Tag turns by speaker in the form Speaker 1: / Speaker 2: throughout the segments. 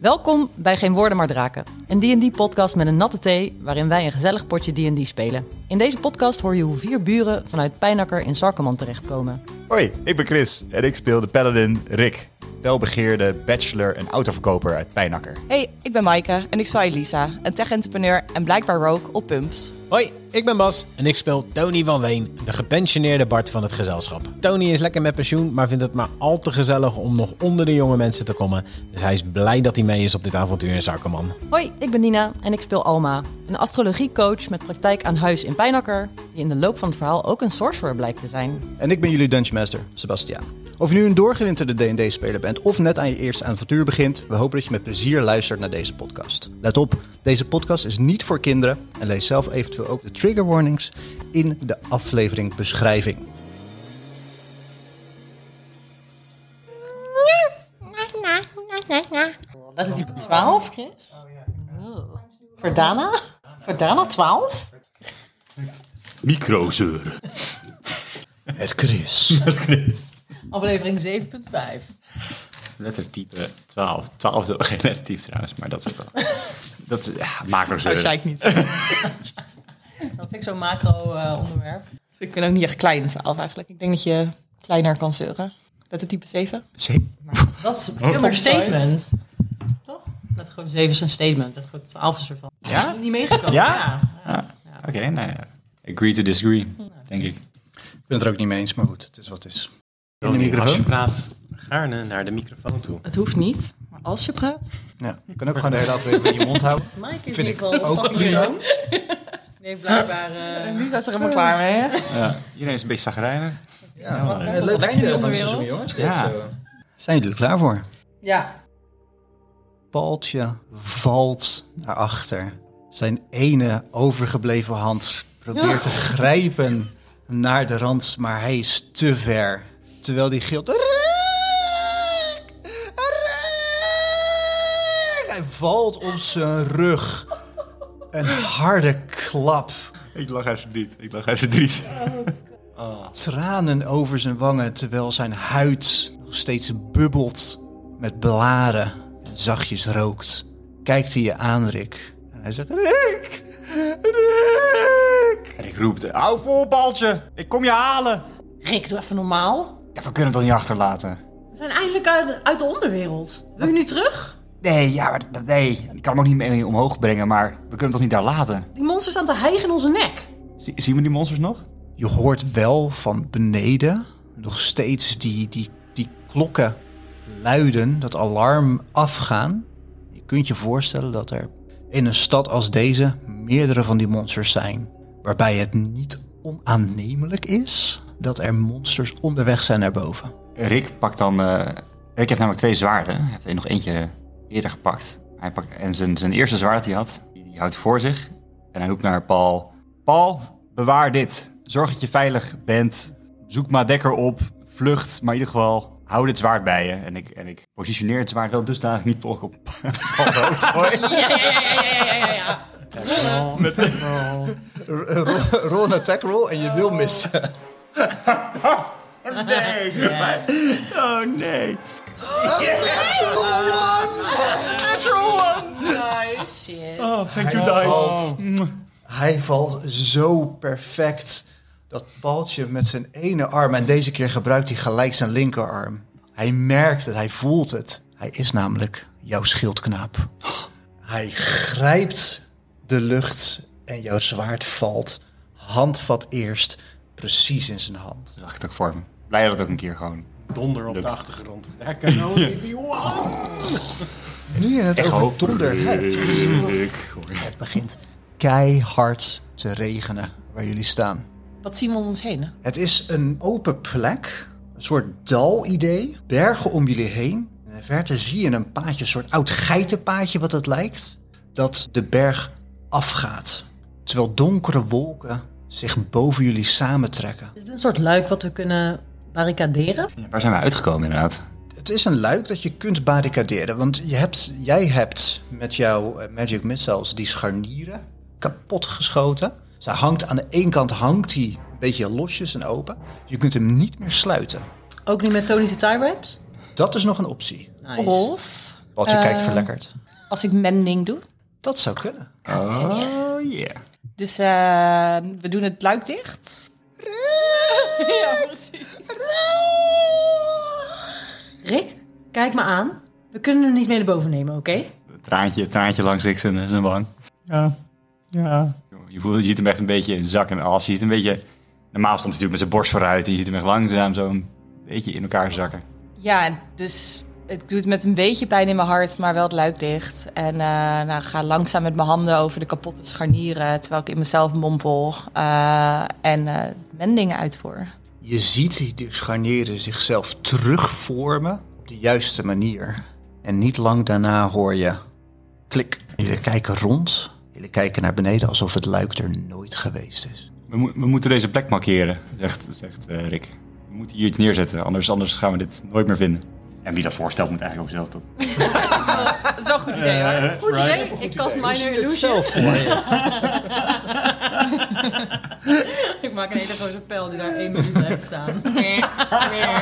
Speaker 1: Welkom bij Geen Woorden Maar Draken, een D&D-podcast met een natte thee waarin wij een gezellig potje D&D spelen. In deze podcast hoor je hoe vier buren vanuit Pijnakker in Sarkerman terechtkomen.
Speaker 2: Hoi, ik ben Chris en ik speel de paladin Rick, welbegeerde bachelor en autoverkoper uit Pijnakker.
Speaker 3: Hey, ik ben Maaike en ik speel Elisa, een tech-entrepreneur en blijkbaar rogue op Pumps.
Speaker 4: Hoi, ik ben Bas en ik speel Tony van Ween, de gepensioneerde Bart van het gezelschap. Tony is lekker met pensioen, maar vindt het maar al te gezellig om nog onder de jonge mensen te komen. Dus hij is blij dat hij mee is op dit avontuur in Zakkerman.
Speaker 1: Hoi, ik ben Nina en ik speel Alma, een astrologiecoach met praktijk aan huis in Pijnakker, die in de loop van het verhaal ook een sorcerer blijkt te zijn.
Speaker 5: En ik ben jullie Dungeon Master, Sebastiaan. Of je nu een doorgewinterde D&D-speler bent of net aan je eerste avontuur begint, we hopen dat je met plezier luistert naar deze podcast. Let op, deze podcast is niet voor kinderen en lees zelf eventueel ook de trigger warnings in de aflevering beschrijving.
Speaker 1: Dat is die 12, Chris? Voor Dana? Voor Dana 12?
Speaker 2: Microzeuren.
Speaker 5: Het Chris.
Speaker 1: Aflevering 7.5.
Speaker 6: Lettertype 12. 12 is ook geen lettertype trouwens, maar dat is ook wel. Dat is, ja,
Speaker 3: Dat
Speaker 6: macrozeuren.
Speaker 3: zei ik niet. Dus
Speaker 1: Dat vind ik zo'n macro-onderwerp. Dus
Speaker 3: ik ben ook niet echt klein in 12 eigenlijk. Ik denk dat je kleiner kan zeuren. Dat het type 7?
Speaker 1: dat
Speaker 6: Oh,
Speaker 1: is een statement. Toch? Dat gewoon 7 is een statement. Dat gewoon 12 is ervan. Ja? Niet meegekomen.
Speaker 6: Ja? Ja. Oké, nou ja. Agree to disagree, denk ik.
Speaker 5: Ik ben het er ook niet mee eens, maar goed, het is wat het is. In de
Speaker 7: Als je
Speaker 5: microfoon?
Speaker 7: praat, gaarne naar de microfoon toe.
Speaker 3: Het hoeft niet, maar als je praat...
Speaker 5: Ja, je kan ook gewoon de hele aflevering in je mond houden.
Speaker 1: Mike is
Speaker 5: Vind
Speaker 1: hier
Speaker 5: ik
Speaker 1: wel
Speaker 5: ook
Speaker 1: fucking
Speaker 5: prima.
Speaker 1: jong. Nee, blijkbaar... eh,
Speaker 3: Die is er helemaal klaar mee, hè?
Speaker 6: Ja. Iedereen is een beetje zagrijnig.
Speaker 5: Ja,
Speaker 1: leuk.
Speaker 5: een leuk einde van het
Speaker 1: Onderwereld.
Speaker 5: seizoen, jongens. Dit,
Speaker 6: Ja.
Speaker 5: eh, Zijn jullie er klaar voor?
Speaker 3: Ja.
Speaker 5: paaltje valt naar achter. Zijn ene overgebleven hand probeert te grijpen naar de rand, maar hij is te ver. Terwijl die gilt... "Riek! Riek!" Hij valt op zijn rug. Een harde klap.
Speaker 2: Ik lag uit verdriet, ik lag uit verdriet.
Speaker 5: Tranen over zijn wangen, terwijl zijn huid nog steeds bubbelt met blaren en zachtjes rookt. Kijkt hij je aan, Rick. En hij zegt, Rick! Rick!
Speaker 6: En ik roep, hou vol, baltje. Ik kom je halen.
Speaker 1: Rick, doe even normaal.
Speaker 6: Ja, we kunnen het toch niet achterlaten?
Speaker 1: We zijn eindelijk uit, uit de onderwereld. Wil je nu terug?
Speaker 6: Nee, ja, maar dat- nee. Ik kan hem ook niet mee omhoog brengen, maar we kunnen hem toch niet daar laten?
Speaker 1: Die monsters staan te hijgen in onze nek.
Speaker 6: Zie- zien we die monsters nog?
Speaker 5: Je hoort wel van beneden nog steeds die, die, die klokken luiden, dat alarm afgaan. Je kunt je voorstellen dat er in een stad als deze meerdere van die monsters zijn. Waarbij het niet onaannemelijk is dat er monsters onderweg zijn naar boven.
Speaker 6: Rick pakt dan. eh, Rick heeft namelijk twee zwaarden. Hij heeft er nog eentje eerder gepakt. Hij pakt en zijn, zijn eerste zwaard die hij had, die, die houdt voor zich. En hij roept naar Paul: Paul, bewaar dit. Zorg dat je veilig bent. Zoek maar dekker op. Vlucht. Maar in ieder geval, hou dit zwaard bij je. En ik, en ik positioneer het zwaard wel dusdanig niet per ongeluk op Paul hoofd gooi.
Speaker 1: Ja, ja, ja, ja, ja, ja, ja, ja.
Speaker 5: Roll een attack roll en je wil missen.
Speaker 6: Nee, maar- oh nee. Oh,
Speaker 5: Hij valt, hij valt zo perfect dat Paltje met zijn ene arm, en deze keer gebruikt hij gelijk zijn linkerarm. Hij merkt het, hij voelt het. Hij is namelijk jouw schildknaap. Hij grijpt de lucht en jouw zwaard valt, handvat eerst, precies in zijn hand.
Speaker 6: Dat dacht ik voor hem. Blij dat het ook een keer gewoon.
Speaker 7: Donder op
Speaker 6: Lukt.
Speaker 7: de achtergrond. Daar kan nou
Speaker 5: Nu je het
Speaker 6: Echo.
Speaker 5: over donder hebt. Het begint keihard te regenen waar jullie staan.
Speaker 3: Wat zien we om ons heen?
Speaker 5: Het is een open plek, een soort dal-idee, bergen om jullie heen. In de verte zie je een paadje, een soort oud geitenpaadje wat het lijkt, dat de berg afgaat. Terwijl donkere wolken zich boven jullie samentrekken.
Speaker 1: Is het een soort luik wat we kunnen barricaderen?
Speaker 6: Ja, waar zijn we uitgekomen inderdaad?
Speaker 5: Het is een luik dat je kunt barricaderen, want je hebt, jij hebt met jouw eh, magic missiles die scharnieren kapot geschoten. Ze hangt aan de ene kant hangt hij een beetje losjes en open. Je kunt hem niet meer sluiten.
Speaker 1: Ook niet met Tony's tie-wraps?
Speaker 5: Dat is nog een optie.
Speaker 1: Nice.
Speaker 3: Of
Speaker 5: Baltje kijkt verlekkerd.
Speaker 3: Als ik mending doe.
Speaker 5: Dat zou kunnen.
Speaker 6: Oh yeah.
Speaker 3: Dus eh, we doen het luik dicht. Ja, precies.
Speaker 8: Rick, kijk me aan. We kunnen hem niet mee naar boven nemen, oké?
Speaker 6: Traantje, traantje langs Rick zijn, zijn wang.
Speaker 2: Ja. Ja.
Speaker 6: Je, voelt, je ziet hem echt een beetje in zak en as. Je ziet hem een beetje... Normaal stond hij natuurlijk met zijn borst vooruit. En je ziet hem echt langzaam zo'n beetje in elkaar zakken.
Speaker 3: Ja, dus ik doe het met een beetje pijn in mijn hart, maar wel het luik dicht. En eh, nou, ga langzaam met mijn handen over de kapotte scharnieren, terwijl ik in mezelf mompel eh, en eh mendingen uitvoer.
Speaker 5: Je ziet die scharnieren zichzelf terugvormen op de juiste manier. En niet lang daarna hoor je klik. Jullie kijken rond. Jullie kijken naar beneden alsof het luik er nooit geweest is.
Speaker 6: We, mo- we moeten deze plek markeren, zegt, zegt eh, Rick. We moeten hier iets neerzetten, anders, anders gaan we dit nooit meer vinden. En wie dat voorstelt moet eigenlijk ook zelf dat...
Speaker 1: Dat is wel een goed idee hoor. Eh, Goed idee. Ik kast Minor Illusion. Ik maak een hele grote pijl die daar één minuut blijft staan.
Speaker 2: Ah,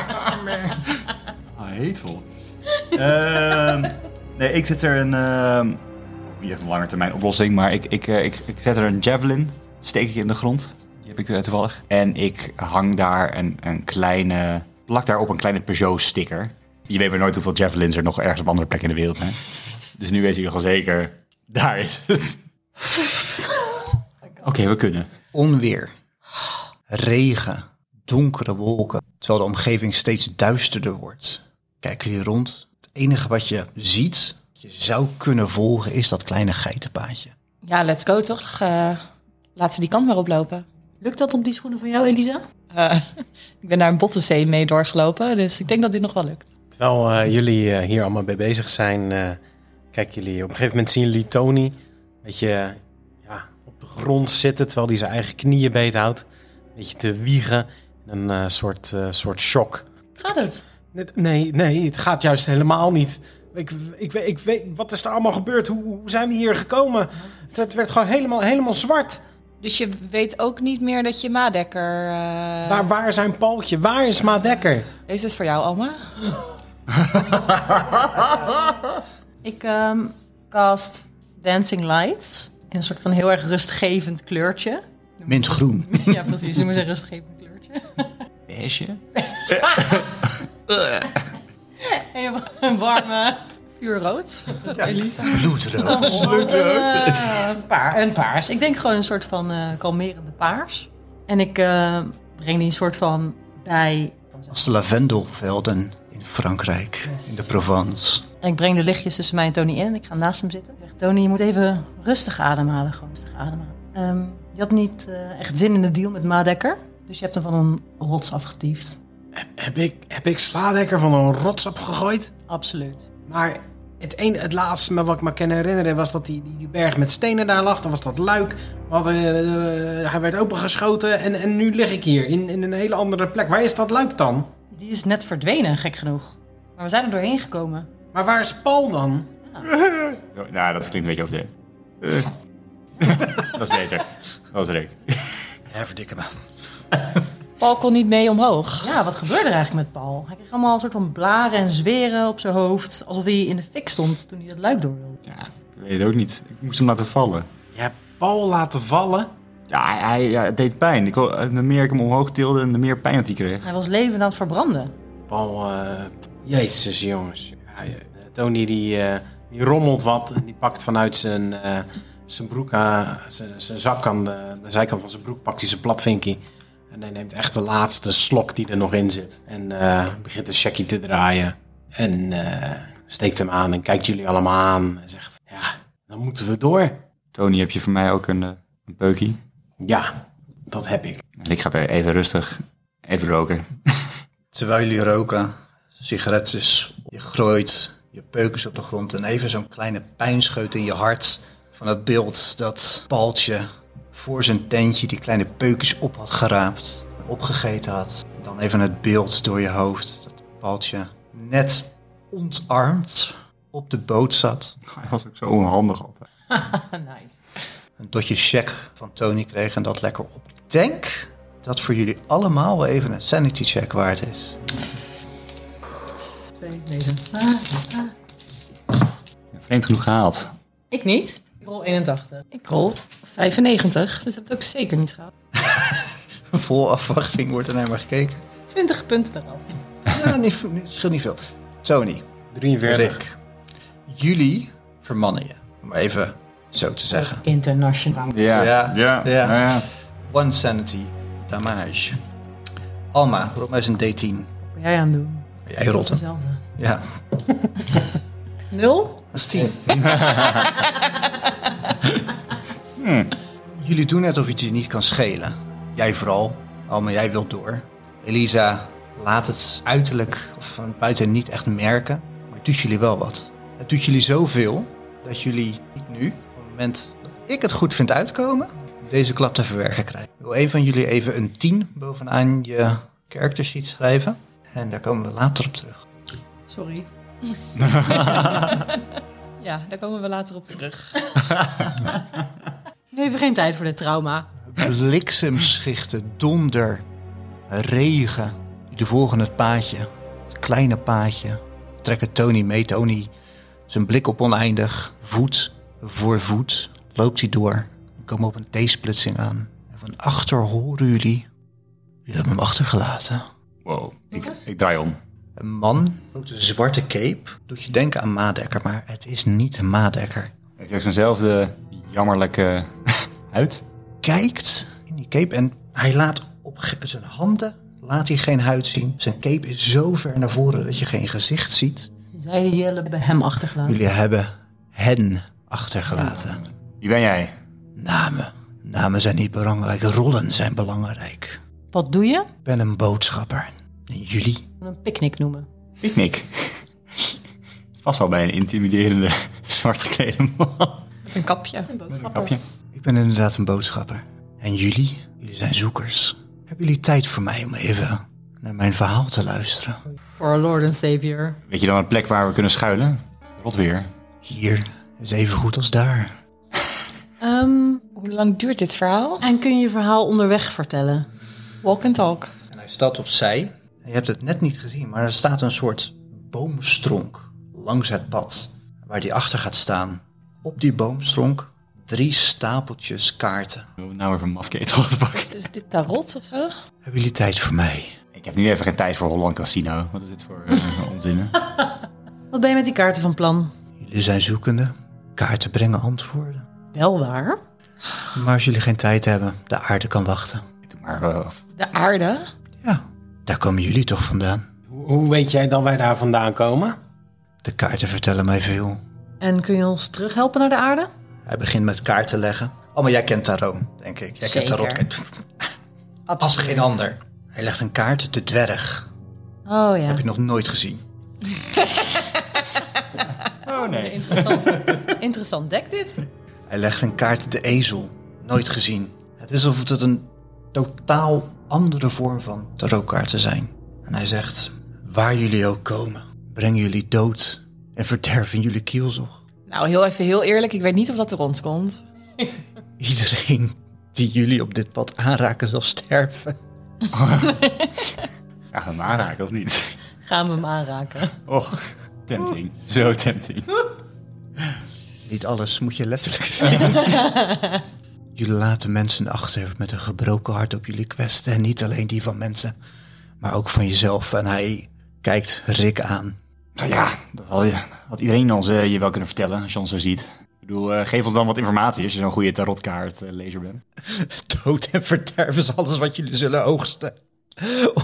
Speaker 2: hateful. Ehm, nee, ik zit er een... ehm, niet echt een lange termijn
Speaker 6: oplossing, maar ik, ik, eh, ik, ik zet er een javelin, steek ik in de grond. Die heb ik eh, toevallig. En ik hang daar een, een kleine, plak daarop een kleine Peugeot-sticker. Je weet maar nooit hoeveel javelins er nog ergens op andere plekken in de wereld zijn. Dus nu weet je wel zeker, daar is het. Oké, we kunnen.
Speaker 5: Onweer. Regen. Donkere wolken. Terwijl de omgeving steeds duisterder wordt. Kijken jullie rond. Het enige wat je ziet, wat je zou kunnen volgen, is dat kleine geitenpaadje.
Speaker 3: Ja, let's go toch? Eh, laten we die kant maar oplopen.
Speaker 8: Lukt dat op die schoenen van jou, Elisa?
Speaker 3: Eh, ik ben naar een bottenzee mee doorgelopen, dus ik denk dat dit nog wel lukt.
Speaker 7: Terwijl eh, jullie eh, hier allemaal mee bezig zijn, eh, kijk jullie, op een gegeven moment zien jullie Tony een beetje eh, ja, op de grond zitten, terwijl hij zijn eigen knieën beethoudt. Een beetje te wiegen, een eh, soort, eh, soort shock.
Speaker 8: Gaat het?
Speaker 7: Net- Nee, nee, het gaat juist helemaal niet. Ik, ik, weet- ik weet, wat is er allemaal gebeurd? Hoe, hoe zijn we hier gekomen? Het, het werd gewoon helemaal, helemaal zwart.
Speaker 3: Dus je weet ook niet meer dat je Madekker... eh,
Speaker 7: Waar, waar zijn Paltje? Waar is Maadekker?
Speaker 3: Deze is voor jou, Alma.
Speaker 1: Ik ehm, cast Dancing Lights. In een soort van heel erg rustgevend kleurtje.
Speaker 5: Mintgroen.
Speaker 1: Ja, precies. Noemen ze een rustgevend kleurtje.
Speaker 6: Beige?
Speaker 1: En een warme...
Speaker 3: Vuurrood.
Speaker 5: Bloedrood.
Speaker 1: Eh, een, paar, een paars. Ik denk gewoon een soort van eh, kalmerende paars. En ik eh, breng die een soort van bij...
Speaker 5: Als de lavendelvelden in Frankrijk, in de Provence.
Speaker 1: En ik breng de lichtjes tussen mij en Tony in. En ik ga naast hem zitten. Ik zeg, Tony, je moet even rustig ademhalen. Gewoon rustig ademhalen. Ehm, je had niet eh, echt zin in de deal met Madekker. Dus je hebt hem van een rots afgetiefd.
Speaker 7: Heb ik, heb ik Slaadekker van een rots opgegooid?
Speaker 1: Absoluut.
Speaker 7: Maar het, een, het laatste me wat ik me kan herinneren was dat die, die, die berg met stenen daar lag. Dan was dat luik. We hadden, eh, hij werd opengeschoten en, en nu lig ik hier in, in een hele andere plek. Waar is dat luik dan?
Speaker 1: Die is net verdwenen, gek genoeg. Maar we zijn er doorheen gekomen.
Speaker 7: Maar waar is Paul dan?
Speaker 6: Nou, dat klinkt een beetje overdreven. dat is beter. Dat was Rick.
Speaker 5: Herverdikke me.
Speaker 3: Paul kon niet mee omhoog.
Speaker 1: Ja, wat gebeurde er eigenlijk met Paul? Hij kreeg allemaal een soort van blaren en zweren op zijn hoofd. Alsof hij in de fik stond toen hij dat luik door wilde.
Speaker 6: Ja, ik weet het ook niet. Ik moest hem laten vallen.
Speaker 7: Ja, Paul laten vallen.
Speaker 6: Ja, hij, hij- ja, het deed pijn. Ik, ho- hoe meer ik hem omhoog tilde, en de meer pijn dat hij kreeg.
Speaker 1: Hij was levend aan het verbranden.
Speaker 7: Paul, eh, jezus jongens. Ja, eh, Tony die, eh, die rommelt wat en die pakt vanuit zijn, eh, zijn broek, eh, zijn, zijn zak aan de, de zijkant van zijn broek, pakt hij zijn platvinkie. En hij neemt echt de laatste slok die er nog in zit. En eh, begint een checkie te draaien. En eh, steekt hem aan en kijkt jullie allemaal aan. En zegt, ja, dan moeten we door.
Speaker 6: Tony, heb je voor mij ook een, eh, een peukie?
Speaker 7: Ja, dat heb ik.
Speaker 6: En ik ga weer even rustig even roken.
Speaker 5: Terwijl jullie roken, sigaretjes, je grooit, je peukens op de grond en even zo'n kleine pijnscheut in je hart van het beeld dat Paltje voor zijn tentje die kleine peukens op had geraapt, opgegeten had. Dan even het beeld door je hoofd dat Paltje net ontarmd op de boot zat.
Speaker 6: Hij was ook zo onhandig altijd.
Speaker 1: nice.
Speaker 5: Een dotje check van Tony kreeg en dat lekker op. Ik Denk dat voor jullie allemaal wel even een sanity check waard is.
Speaker 1: Twee, deze.
Speaker 6: vreemd genoeg gehaald.
Speaker 1: Ik niet. Ik rol 81.
Speaker 3: Ik rol 95, dus heb ik het ook zeker niet gehad.
Speaker 5: Vol afwachting wordt er naar maar gekeken.
Speaker 1: 20 punten eraf.
Speaker 5: Ja, niet, niet- scheelt niet veel. Tony,
Speaker 7: 43.
Speaker 5: Rick, jullie vermannen je. Om even zo te zeggen.
Speaker 1: Internationaal.
Speaker 6: Ja,
Speaker 5: Ja,
Speaker 6: ja, ja.
Speaker 5: ja.
Speaker 6: nou ja.
Speaker 5: One sanity damage. Alma, rol mij eens een D10.
Speaker 1: Wat ben jij aan het doen?
Speaker 5: Jij
Speaker 1: Dat
Speaker 5: rolt
Speaker 1: is
Speaker 5: hem.
Speaker 1: hetzelfde.
Speaker 5: Ja,
Speaker 1: 0?
Speaker 5: Dat is tien. Jullie doen net of het je niet kan schelen. Jij vooral. Alma, jij wilt door. Elisa laat het uiterlijk of van buiten niet echt merken. Maar het doet jullie wel wat. Het doet jullie zoveel dat jullie niet nu, op het moment dat ik het goed vind uitkomen, deze klap te verwerken krijgen. Ik wil een van jullie even een 10 bovenaan je character sheet schrijven. En daar komen we later op terug.
Speaker 1: Sorry.
Speaker 3: Ja, daar komen we later op terug.
Speaker 1: Nu even geen tijd voor dit trauma.
Speaker 5: bliksemschichten, donder, regen. Die volgen het paadje, het kleine paadje. Trekken Tony mee. Tony, zijn blik op oneindig. Voet voor voet loopt hij door. We komen op een T-splitsing aan. En van achter horen jullie. Jullie hebben hem achtergelaten.
Speaker 6: Wow, ik, ik draai om.
Speaker 5: Een man met een zwarte cape. Doet je denken aan Madekker, maar het is niet Madekker.
Speaker 6: Ik zeg zo'nzelfde jammerlijke huid.
Speaker 5: kijkt in die cape en hij laat op ge- zijn handen laat hij geen huid zien. Zijn cape is zo ver naar voren dat je geen gezicht ziet.
Speaker 1: Zij die Jelle bij hem achtergelaten.
Speaker 5: Jullie hebben hen achtergelaten.
Speaker 6: Wie ben jij?
Speaker 5: Namen. Namen zijn niet belangrijk, rollen zijn belangrijk.
Speaker 1: Wat doe je?
Speaker 5: Ik ben een boodschapper. En jullie?
Speaker 1: Een picknick noemen.
Speaker 6: Picnic. Vast wel bij een intimiderende zwart geklede man.
Speaker 3: Een kapje.
Speaker 6: Kapje.
Speaker 5: Ik ben inderdaad een boodschapper. En jullie? Jullie zijn zoekers. Hebben jullie tijd voor mij om even naar mijn verhaal te luisteren?
Speaker 1: Voor our Lord and Savior.
Speaker 6: Weet je dan een plek waar we kunnen schuilen? Rot weer.
Speaker 5: Hier is even goed als daar.
Speaker 1: Ehm,
Speaker 3: Hoe lang duurt dit verhaal?
Speaker 1: en kun je je verhaal onderweg vertellen?
Speaker 3: Walk and talk.
Speaker 5: En hij staat opzij. En je hebt het net niet gezien, maar er staat een soort boomstronk langs het pad. Waar die achter gaat staan. Op die boomstronk drie stapeltjes kaarten.
Speaker 6: We hebben nou weer een mafketel te pakken.
Speaker 3: Is, is dit tarot of zo?
Speaker 5: Hebben jullie tijd voor mij?
Speaker 6: Ik heb nu even geen tijd voor Holland Casino. Wat is dit voor eh, onzin?
Speaker 1: Wat ben je met die kaarten van plan?
Speaker 5: Jullie zijn zoekende. Kaarten brengen antwoorden.
Speaker 1: Wel waar.
Speaker 5: Maar als jullie geen tijd hebben, de aarde kan wachten.
Speaker 6: Doe maar eh,
Speaker 3: De aarde.
Speaker 5: Ja, daar komen jullie toch vandaan.
Speaker 7: Hoe, hoe weet jij dat wij daar vandaan komen?
Speaker 5: De kaarten vertellen mij veel.
Speaker 1: En kun je ons terughelpen naar de aarde?
Speaker 5: Hij begint met kaarten leggen. Oh, maar jij kent Tarot, denk ik. Jij
Speaker 1: Zeker.
Speaker 5: kent Tarot als geen ander. Hij legt een kaart, de dwerg.
Speaker 1: Oh ja.
Speaker 5: Heb je nog nooit gezien.
Speaker 1: Interessant dek dit.
Speaker 5: Hij legt een kaart de ezel. Nooit gezien. Het is alsof het een totaal andere vorm van tarotkaarten zijn. En hij zegt, waar jullie ook komen, brengen jullie dood en verderven jullie kielzog.
Speaker 3: Nou, heel even heel eerlijk. Ik weet niet of dat door ons komt.
Speaker 5: Iedereen die jullie op dit pad aanraken zal sterven.
Speaker 6: ja, hem aanraken of niet?
Speaker 1: Gaan we hem aanraken.
Speaker 6: Oh, tempting. Zo tempting.
Speaker 5: Niet alles moet je letterlijk zien. jullie laten mensen achter met een gebroken hart op jullie kwesten. En niet alleen die van mensen, maar ook van jezelf. En hij kijkt Rick aan.
Speaker 6: Nou ja, dat had, je- had iedereen ons eh, je wel kunnen vertellen als je ons zo ziet. Ik bedoel, eh, geef ons dan wat informatie als je zo'n goede tarotkaart eh, lezer bent.
Speaker 5: Dood en verderf is alles wat jullie zullen oogsten.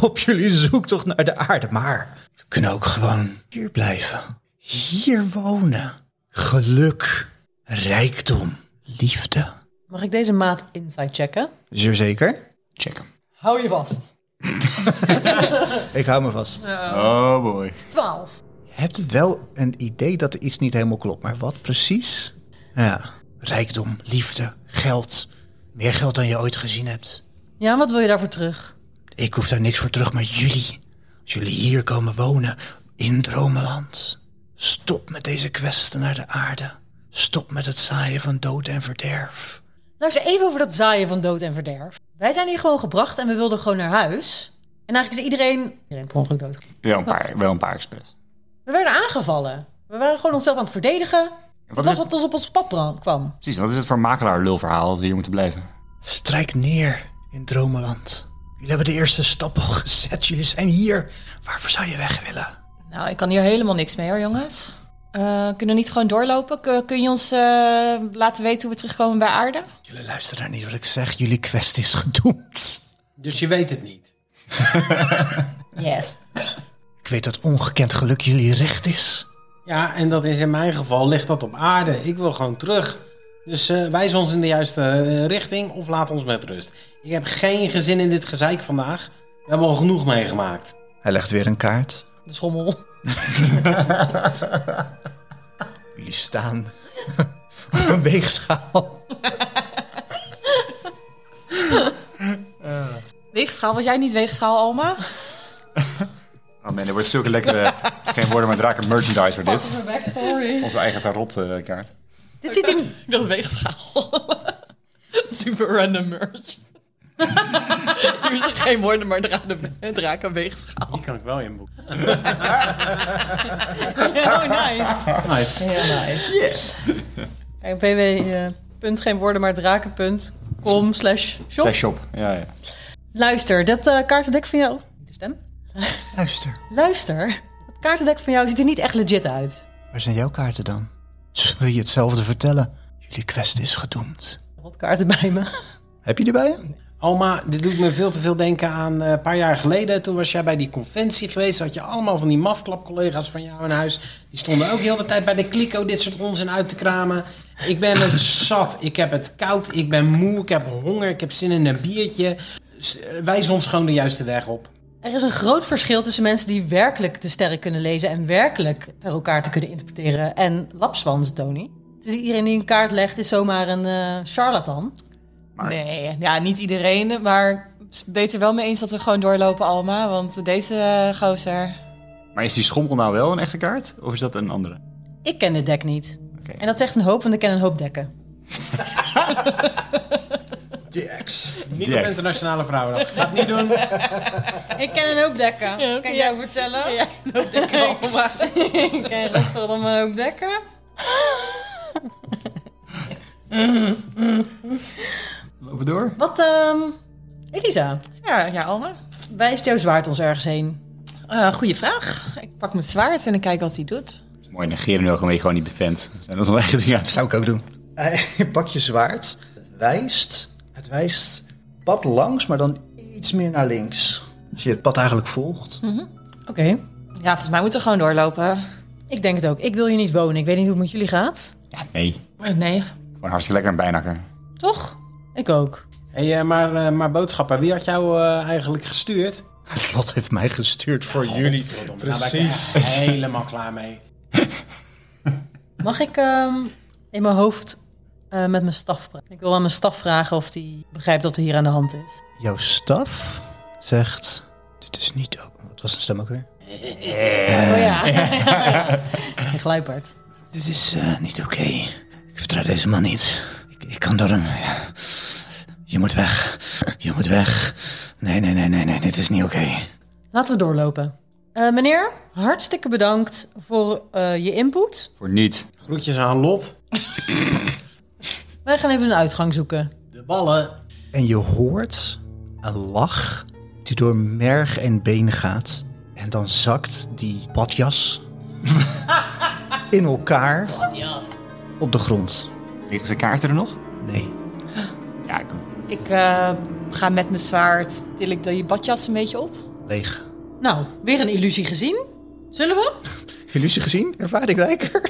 Speaker 5: Op jullie zoektocht naar de aarde. Maar we kunnen ook gewoon hier blijven. Hier wonen. Geluk, rijkdom, liefde.
Speaker 1: Mag ik deze maat inside checken?
Speaker 5: Zeer zeker.
Speaker 6: Check hem.
Speaker 1: Hou je vast.
Speaker 5: Ik hou me vast.
Speaker 6: Oh boy.
Speaker 1: 12.
Speaker 5: Je hebt wel een idee dat er iets niet helemaal klopt. Maar wat precies? Nou Ja. Rijkdom, liefde, geld. Meer geld dan je ooit gezien hebt.
Speaker 1: Ja, wat wil je daarvoor terug?
Speaker 5: Ik hoef daar niks voor terug, maar jullie. Als jullie hier komen wonen, in Dromeland. Stop met deze kwesten naar de aarde. Stop met het zaaien van dood en verderf.
Speaker 1: Luister even over dat zaaien van dood en verderf. Wij zijn hier gewoon gebracht en we wilden gewoon naar huis. En eigenlijk is iedereen... Iedereen per ongeluk dood.
Speaker 6: Wel een paar, wel een paar expres.
Speaker 1: We werden aangevallen. We waren gewoon onszelf aan het verdedigen.
Speaker 8: Het
Speaker 6: Wat is,
Speaker 8: was wat ons op ons pad bra- kwam.
Speaker 6: precies, wat is het voor makelaar-lulverhaal dat we hier moeten blijven?
Speaker 9: Strijk neer in Dromenland. Jullie hebben de eerste stap al gezet. Jullie zijn hier. Waarvoor zou je weg willen?
Speaker 3: Nou, ik kan hier helemaal niks mee hoor, jongens. Eh, kunnen we niet gewoon doorlopen? Kun, kun je ons eh, laten weten hoe we terugkomen bij aarde?
Speaker 9: Jullie luisteren naar niet wat ik zeg. Jullie quest is gedoemd.
Speaker 7: Dus je weet het niet.
Speaker 8: Yes.
Speaker 9: Ik weet dat ongekend geluk jullie recht is.
Speaker 7: Ja, en dat is in mijn geval, ligt dat op aarde. Ik wil gewoon terug. Dus eh, wijs ons in de juiste eh, richting of laat ons met rust. Ik heb geen gezin in dit gezeik vandaag. We hebben al genoeg meegemaakt.
Speaker 5: Hij legt weer een kaart.
Speaker 8: De schommel.
Speaker 5: Jullie staan op een weegschaal.
Speaker 3: Weegschaal, was jij niet weegschaal, Alma?
Speaker 6: Oh man, er wordt zulke lekkere, geen woorden maar draken merchandise voor dit. Onze eigen tarotkaart.
Speaker 8: Dit zit in...
Speaker 3: Ik dacht weegschaal. Super random merch. Hier zijn geen woorden, maar draak een, draak een weegschaal.
Speaker 7: Die kan ik wel inboeken.
Speaker 3: Oh, nice.
Speaker 7: Nice.
Speaker 8: Heel nice.
Speaker 1: Kijk, www. eh, punt geen woorden, maar draken.com slash shop.
Speaker 6: Slash shop. Ja, ja.
Speaker 1: Luister, dat eh, kaartendek van jou... Niet de stem.
Speaker 5: Luister,
Speaker 1: Luister, dat kaartendek van jou ziet er niet echt legit uit.
Speaker 5: waar zijn jouw kaarten dan? Wil je hetzelfde vertellen?
Speaker 9: Jullie quest is gedoemd.
Speaker 1: Rotkaarten bij me.
Speaker 5: Heb je die bij je?
Speaker 7: Oma, dit doet me veel te veel denken aan eh, een paar jaar geleden. Toen was jij bij die conventie geweest. Had je allemaal van die mafklap-collega's van jou in huis. Die stonden ook heel de tijd bij de kliko dit soort onzin uit te kramen. Ik ben het zat. Ik heb het koud. Ik ben moe. Ik heb honger. Ik heb zin in een biertje. Dus, eh, wijs ons gewoon de juiste weg op.
Speaker 1: Er is een groot verschil tussen mensen die werkelijk de sterren kunnen lezen... en werkelijk tarotkaarten kunnen interpreteren en lapswansen, Tony. Dus iedereen die een kaart legt is zomaar een eh, charlatan.
Speaker 3: Nee, ja, niet iedereen, maar beter wel mee eens dat we gewoon doorlopen, Alma. Want deze eh, gozer...
Speaker 6: Maar is die schommel nou wel een echte kaart? Of is dat een andere?
Speaker 1: Ik ken dit dek niet.
Speaker 6: Oké.
Speaker 1: En dat zegt een hoop, want ik ken een hoop dekken.
Speaker 7: Niet
Speaker 6: Jack.
Speaker 7: op internationale vrouwen.
Speaker 8: Ik ken een hoop dekken. kan jij jou vertellen? Ja, een hoop dekken. ik ken Rotterdam een hoop dekken.
Speaker 6: Lopen we door?
Speaker 1: Wat, ehm Elisa,
Speaker 3: Ja, ja, Alma.
Speaker 1: wijst jouw zwaard ons ergens heen?
Speaker 3: Eh goeie vraag. Ik pak mijn zwaard en ik kijk wat hij doet.
Speaker 6: Het is mooi, negeren nu gewoon, gewoon niet bevent. We zijn dat wel echt ja.
Speaker 5: Zou ik ook doen. Hij pakt Eh, je zwaard. Het wijst. Het wijst pad langs, maar dan iets meer naar links. Als je het pad eigenlijk volgt.
Speaker 1: Oké.
Speaker 3: Ja, volgens mij moeten we gewoon doorlopen.
Speaker 1: Ik denk het ook. Ik wil hier niet wonen. Ik weet niet hoe het met jullie gaat.
Speaker 6: Ja, nee.
Speaker 3: Eh, Nee.
Speaker 6: Gewoon hartstikke lekker een bijnakker.
Speaker 1: Toch? Ik ook.
Speaker 7: Hey, eh, maar, eh, maar boodschapper, wie had jou eh, eigenlijk gestuurd?
Speaker 5: Het lot heeft mij gestuurd voor jullie.
Speaker 7: Precies. ben ik echt
Speaker 5: Nou,
Speaker 7: helemaal klaar mee.
Speaker 1: Mag ik ehm, in mijn hoofd eh, met mijn staf praten? Ik wil aan mijn staf vragen of die begrijpt wat er hier aan de hand is.
Speaker 5: Jouw staf zegt... Dit is niet ook... Wat was de stem ook weer?
Speaker 1: Oh ja. Een gluiperd.
Speaker 9: Dit is eh, niet oké. Ik vertrouw deze man niet. Ik, ik kan door hem. Je moet weg. Je moet weg. Nee, nee, nee, nee, nee. Dit is niet oké.
Speaker 1: Laten we doorlopen. Eh, meneer, hartstikke bedankt voor eh, je input.
Speaker 6: Voor niet.
Speaker 7: Groetjes aan Lot.
Speaker 1: Wij gaan even een uitgang zoeken.
Speaker 7: De ballen.
Speaker 5: En je hoort een lach die door merg en been gaat. En dan zakt die badjas in elkaar op de grond.
Speaker 6: Liggen zijn kaarten er nog?
Speaker 5: Nee.
Speaker 6: Ja, ik
Speaker 3: Ik eh, ga met mijn zwaard, til ik de badjas een beetje op.
Speaker 5: Leeg.
Speaker 1: Nou, weer een illusie gezien. Zullen we?
Speaker 5: Illusie gezien? Ervaring rijker?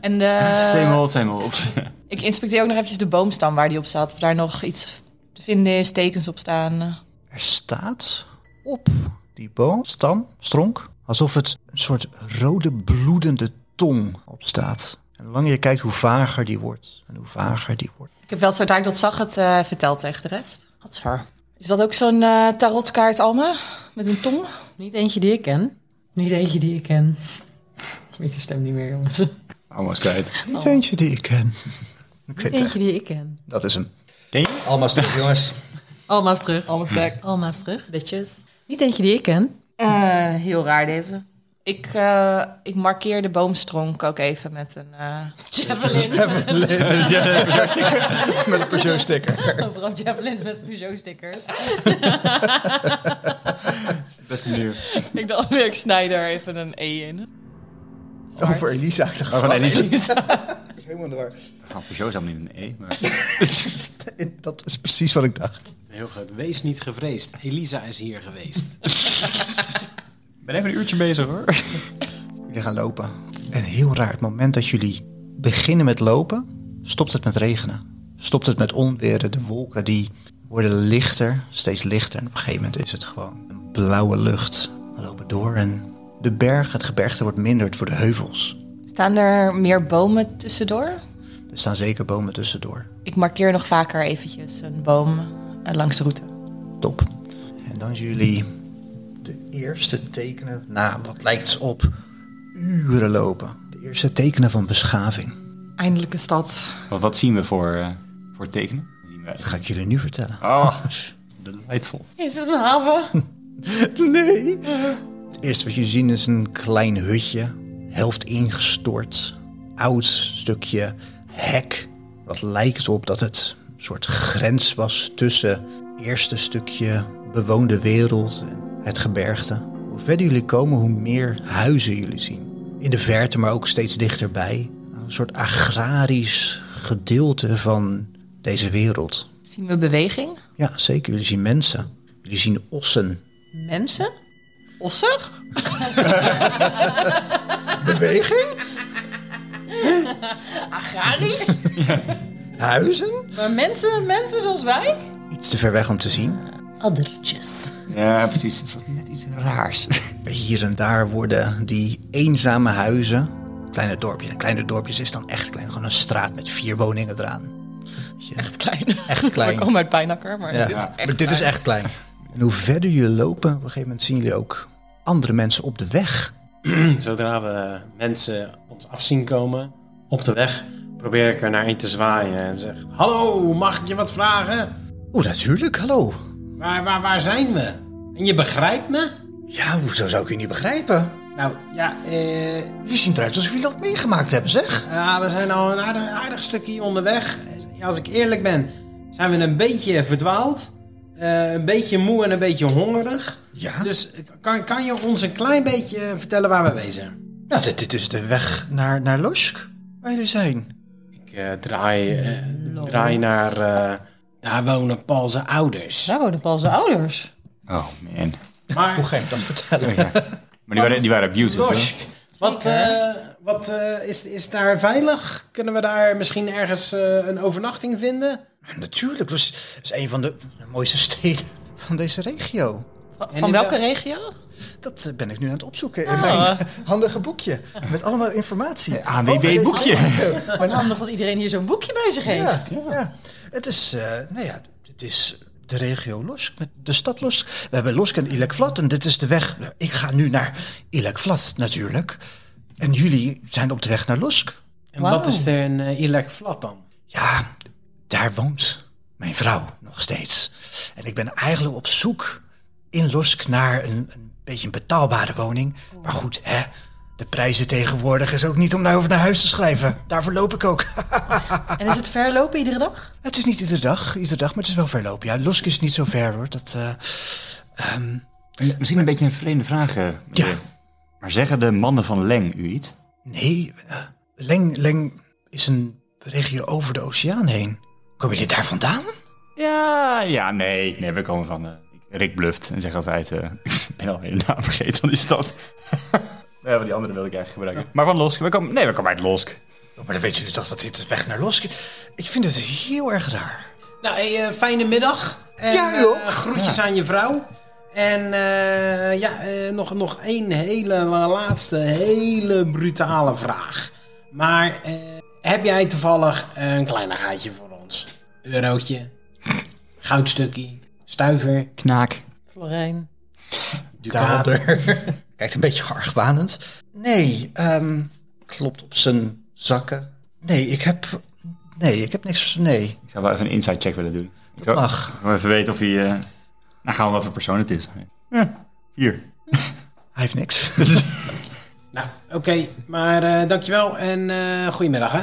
Speaker 3: En eh,
Speaker 6: Same old, same old.
Speaker 3: ik inspecteer ook nog eventjes de boomstam waar die op staat. Of daar nog iets te vinden is, tekens op staan.
Speaker 5: Er staat op die boom, stam, stronk, alsof het een soort rode bloedende tong op staat. En hoe langer je kijkt, hoe vager die wordt. En hoe vager die wordt.
Speaker 3: Ik heb wel zodra ik dat zag het eh, verteld tegen de rest. Wat Is dat ook zo'n eh, tarotkaart, Alma? Met een tong?
Speaker 1: Niet eentje die ik ken. Niet eentje die ik ken. Ik weet die stem niet meer, jongens. Niet
Speaker 6: Almost kwijt.
Speaker 5: Niet eentje die ik ken. Ik weet het.
Speaker 1: eentje die ik ken.
Speaker 5: Dat is hem.
Speaker 6: Ken je?
Speaker 5: Alma's terug, jongens.
Speaker 1: Alma's terug.
Speaker 3: Alma back.
Speaker 1: Alma's terug.
Speaker 3: Bitches.
Speaker 1: Niet eentje die ik ken.
Speaker 3: Eh, heel raar deze. Ik, eh, ik markeer de boomstronk ook even met een... eh,
Speaker 10: Javelin.
Speaker 5: Met een persoonsticker.
Speaker 10: Overal javelins met Peugeot-stickers.
Speaker 6: Beste manier.
Speaker 3: ik dacht weer, ik snij daar even een E in.
Speaker 5: Over Elisa te gaan.
Speaker 6: Oh, nee, niet.
Speaker 5: Dat is helemaal waar.
Speaker 6: Van Peugeot is helemaal niet een E. Maar...
Speaker 5: Dat is precies wat ik dacht.
Speaker 11: Heel goed. Wees niet gevreesd. Elisa is hier geweest.
Speaker 6: Ik ben even een uurtje bezig hoor.
Speaker 5: Jullie gaan lopen. En heel raar, het moment dat jullie beginnen met lopen, stopt het met regenen. Stopt het met onweren. De wolken die worden lichter, steeds lichter. En op een gegeven moment is het gewoon een blauwe lucht. We lopen door en de berg, het gebergte wordt minder. Het worden heuvels.
Speaker 3: Staan er meer bomen tussendoor?
Speaker 5: Er staan zeker bomen tussendoor.
Speaker 3: Ik markeer nog vaker eventjes een boom eh, langs de route.
Speaker 5: Top. En dan zien jullie de eerste tekenen na wat lijkt op uren lopen. De eerste tekenen van beschaving.
Speaker 3: Eindelijk een stad.
Speaker 6: Wat, wat zien we voor, eh, voor tekenen? Zien we...
Speaker 5: Dat ga ik jullie nu vertellen.
Speaker 6: Oh, delightful.
Speaker 10: Is het een haven?
Speaker 5: Nee. Het eerste wat jullie zien is een klein hutje. Helft ingestort. Oud stukje hek. Wat lijkt op dat het een soort grens was tussen het eerste stukje bewoonde wereld en het gebergte. Hoe verder jullie komen, hoe meer huizen jullie zien. In de verte, maar ook steeds dichterbij. Een soort agrarisch gedeelte van deze wereld.
Speaker 3: Zien we beweging?
Speaker 5: Ja, zeker. Jullie zien mensen. Jullie zien ossen.
Speaker 1: Mensen?
Speaker 3: Ossen?
Speaker 5: Beweging?
Speaker 10: Agrarisch?
Speaker 5: Huizen?
Speaker 10: maar mensen, mensen zoals wij?
Speaker 5: Iets te ver weg om te zien.
Speaker 1: Addertjes.
Speaker 6: Ja, precies. Het was net iets raars.
Speaker 5: Hier en daar worden die eenzame huizen. Kleine dorpjes. En kleine dorpjes is dan echt klein. Gewoon een straat met vier woningen eraan. Weet je,
Speaker 3: Echt klein.
Speaker 5: echt
Speaker 3: Ik
Speaker 5: klein.
Speaker 3: kom uit Pijnakker, maar
Speaker 5: Ja.
Speaker 3: dit is
Speaker 5: Maar dit is echt klein. En hoe verder jullie lopen, op een gegeven moment zien jullie ook andere mensen op de weg.
Speaker 11: Zodra we mensen ons afzien komen op de weg, probeer ik er naar een te zwaaien en zeg: Hallo, mag ik je wat vragen?
Speaker 5: Oeh, natuurlijk. Hallo.
Speaker 11: Waar, waar, waar zijn we? En je begrijpt me?
Speaker 5: Ja, hoezo zou ik u niet begrijpen?
Speaker 11: Nou ja, eh,
Speaker 5: Jullie zien eruit alsof jullie dat meegemaakt hebben, zeg.
Speaker 11: ah, we zijn al een aardig, aardig stukje onderweg. Ja, Als ik eerlijk ben, zijn we een beetje verdwaald, eh, een beetje moe en een beetje hongerig.
Speaker 5: Ja.
Speaker 11: Dus kan, kan je ons een klein beetje vertellen waar we wezen?
Speaker 5: Nou, dit, dit is de weg naar, naar Losk, waar jullie zijn.
Speaker 11: Ik eh, draai, eh, draai naar. eh, daar wonen Paul's ouders.
Speaker 1: Daar wonen pas de ouders.
Speaker 6: Oh, man.
Speaker 5: Hoe
Speaker 11: Maar.
Speaker 5: ga je me dat vertellen?
Speaker 6: Maar die waren, die waren abusive.
Speaker 11: Losk, wat, eh, wat eh, is, is daar veilig? Kunnen we daar misschien ergens eh, een overnachting vinden?
Speaker 5: Natuurlijk, dat is, is een van de, de mooiste steden van deze regio.
Speaker 3: Van welke regio?
Speaker 5: Dat eh, ben ik nu aan het opzoeken in mijn handige boekje. Met allemaal informatie.
Speaker 6: ANWB-boekje.
Speaker 5: Oh,
Speaker 1: Maar handig dat iedereen hier zo'n boekje bij zich heeft.
Speaker 5: ja, ja. Het is, eh, nou ja, het is de regio Losk, met de stad Losk. We hebben Losk en Ilekvlat en dit is de weg. Nou, Ik ga nu naar Ilekvlat natuurlijk. En jullie zijn op de weg naar Losk.
Speaker 11: En wat is er in uh, Flat dan?
Speaker 5: Ja, daar woont mijn vrouw nog steeds. En ik ben eigenlijk op zoek in Losk naar een, een beetje een betaalbare woning. Maar goed, hè, de prijzen tegenwoordig is ook niet om daarover naar huis te schrijven. Daarvoor loop ik ook.
Speaker 1: En is het verlopen iedere dag?
Speaker 5: het is niet iedere dag, iedere dag, maar het is wel verlopen. Ja, Losk is niet zo ver hoor. Dat, eh, ehm,
Speaker 6: Misschien een beetje een vreemde vraag. eh, meneer.
Speaker 5: Ja.
Speaker 6: Maar zeggen de mannen van Leng u iets?
Speaker 5: nee, eh, Leng, Leng is een regio over de oceaan heen. Kom je dit daar vandaan?
Speaker 6: Ja, ja, nee. Nee, we komen van... eh, Rick bluft en zegt altijd... eh, ik ben al de naam vergeten van die stad. ja, maar die andere wil ik eigenlijk gebruiken. Maar van Losk. We komen, nee, we komen uit Losk.
Speaker 5: Oh, maar dan weten jullie toch dat dit de weg naar Losk is. Ik vind het heel erg raar.
Speaker 11: Nou, hey, eh, fijne middag. En,
Speaker 5: Ja, joh.
Speaker 11: eh, groetjes aan je vrouw. En eh, ja, eh, nog, nog één hele laatste, hele brutale vraag. Maar eh, heb jij toevallig een kleinigheidje voor ons? Eurootje, goudstukje, stuiver,
Speaker 6: Knaak.
Speaker 1: Florijn.
Speaker 11: ducaat.
Speaker 5: Kijkt een beetje argwanend. Nee, ehm, klopt op zijn zakken. Nee, ik heb... Nee, ik heb niks... Nee,
Speaker 6: Ik zou wel even een inside check willen doen. Ik zou
Speaker 5: mag.
Speaker 6: ik wil even weten of hij... eh, nou, gaan we wat voor persoon het is. Ja, hier.
Speaker 5: Hij heeft niks.
Speaker 7: Nou, oké. Maar eh, dankjewel en eh, goedemiddag, hè?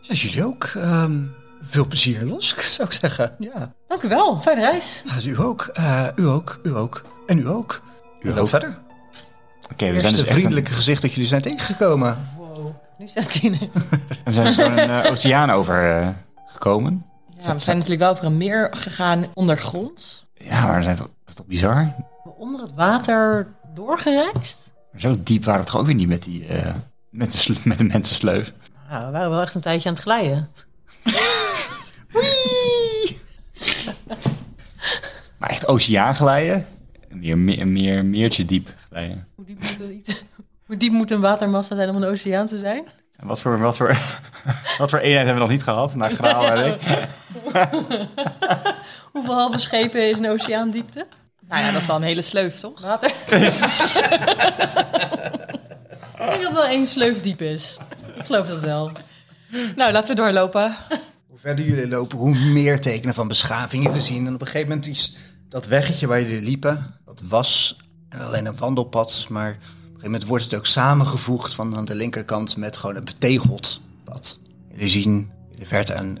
Speaker 5: Ja, jullie ook. Ehm, veel plezier, Losk, zou ik zeggen. Ja,
Speaker 1: Dank u wel. Fijne reis.
Speaker 5: Ja, u ook. Eh, u ook, u ook. En u ook. U
Speaker 6: ook.
Speaker 5: verder.
Speaker 6: Oké, we
Speaker 5: Het
Speaker 6: zijn
Speaker 5: is
Speaker 6: dus
Speaker 5: een
Speaker 6: echt een-
Speaker 5: vriendelijke gezicht dat jullie zijn tegengekomen.
Speaker 1: Nu zegt hij
Speaker 3: Nou,
Speaker 1: nee.
Speaker 6: we zijn dus gewoon een eh, oceaan over eh, gekomen.
Speaker 3: Ja, we zijn natuurlijk wel over een meer gegaan ondergronds.
Speaker 6: Ja, maar we zijn toch, dat is toch bizar?
Speaker 1: Onder het water doorgereisd.
Speaker 6: Maar zo diep waren we toch ook weer niet met die... eh, met de, sl- met de mensen sleuf.
Speaker 1: Nou, we waren wel echt een tijdje aan het glijden.
Speaker 6: Maar echt oceaan glijden. Een Meer, meer, meer, meertje diep glijden.
Speaker 1: Hoe diep moet, er iets, hoe diep moet een watermassa zijn om een oceaan te zijn?
Speaker 6: En wat voor, wat, voor, wat voor eenheid hebben we nog niet gehad? Na graal en ik.
Speaker 1: Hoeveel halve schepen is een oceaandiepte?
Speaker 3: Nou ja, dat is wel een hele sleuf, toch?
Speaker 1: Water. Ik denk dat wel één sleuf diep is. Ik geloof dat wel.
Speaker 3: Nou, laten we doorlopen.
Speaker 5: Hoe verder jullie lopen, hoe meer tekenen van beschaving jullie zien. En op een gegeven moment is dat weggetje waar jullie liepen, dat was alleen een wandelpad. Maar op een gegeven moment wordt het ook samengevoegd van aan de linkerkant met gewoon een betegeld pad. Jullie zien in de verte een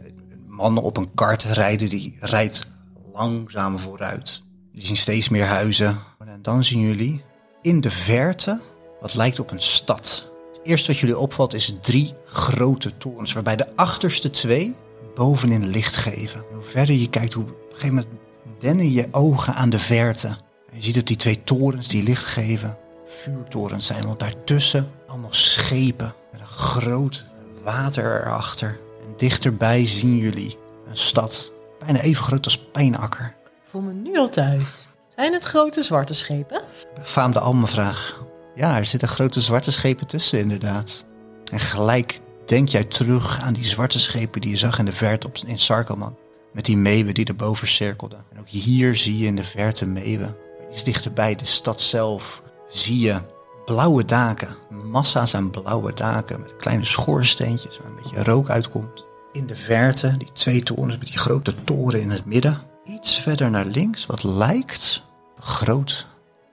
Speaker 5: een man op een kart rijden, die rijdt langzaam vooruit. Jullie zien steeds meer huizen. En dan zien jullie in de verte wat lijkt op een stad. Het eerste wat jullie opvalt is drie grote torens, waarbij de achterste twee bovenin licht geven. Hoe verder je kijkt, hoe op een gegeven moment wennen je ogen aan de verte. En je ziet dat die twee torens die licht geven, vuurtorens zijn, want daartussen allemaal schepen met een groot water erachter. En dichterbij zien jullie een stad, bijna even groot als Pijnakker.
Speaker 1: Ik voel me nu al thuis. Zijn het grote zwarte schepen?
Speaker 5: Befaamde Almenvraag. Ja, er zitten grote zwarte schepen tussen, inderdaad. En gelijk denk jij terug aan die zwarte schepen die je zag in de verte op, in Sarkoman. Met die meeuwen die erboven cirkelden. En ook hier zie je in de verte meeuwen. Maar Iets dichterbij, de stad zelf, zie je blauwe daken. Massa's aan blauwe daken met kleine schoorsteentjes waar een beetje rook uitkomt. In de verte, die twee torens met die grote toren in het midden. Iets verder naar links, wat lijkt een groot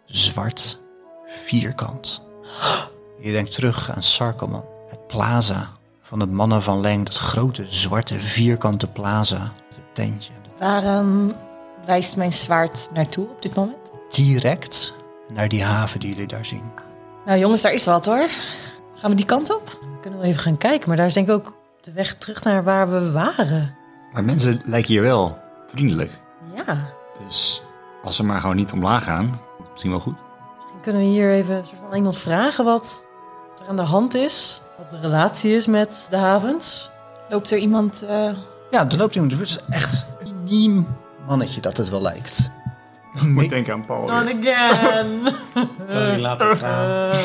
Speaker 5: zwart vierkant. Je denkt terug aan Sarkoman, het plaza van de mannen van Leng, dat grote zwarte vierkante plaza, met het tentje.
Speaker 3: Waar ehm, wijst mijn zwaard naartoe op dit moment?
Speaker 5: Direct naar die haven die jullie daar zien.
Speaker 3: Nou jongens, daar is wat hoor. Gaan we die kant op?
Speaker 1: We kunnen wel even gaan kijken, maar daar is denk ik ook de weg terug naar waar we waren.
Speaker 6: Maar mensen lijken hier wel vriendelijk.
Speaker 1: Ja,
Speaker 6: Dus als ze maar gewoon niet omlaag gaan, komt het misschien wel goed.
Speaker 1: misschien kunnen we hier even een soort van iemand vragen wat er aan de hand is. Wat de relatie is met de havens.
Speaker 3: Loopt er iemand... eh,
Speaker 5: Ja, er loopt iemand. Het is echt een niem mannetje dat het wel lijkt.
Speaker 2: Moet denken aan Paul.
Speaker 1: Not again!
Speaker 7: Tony, laat het gaan.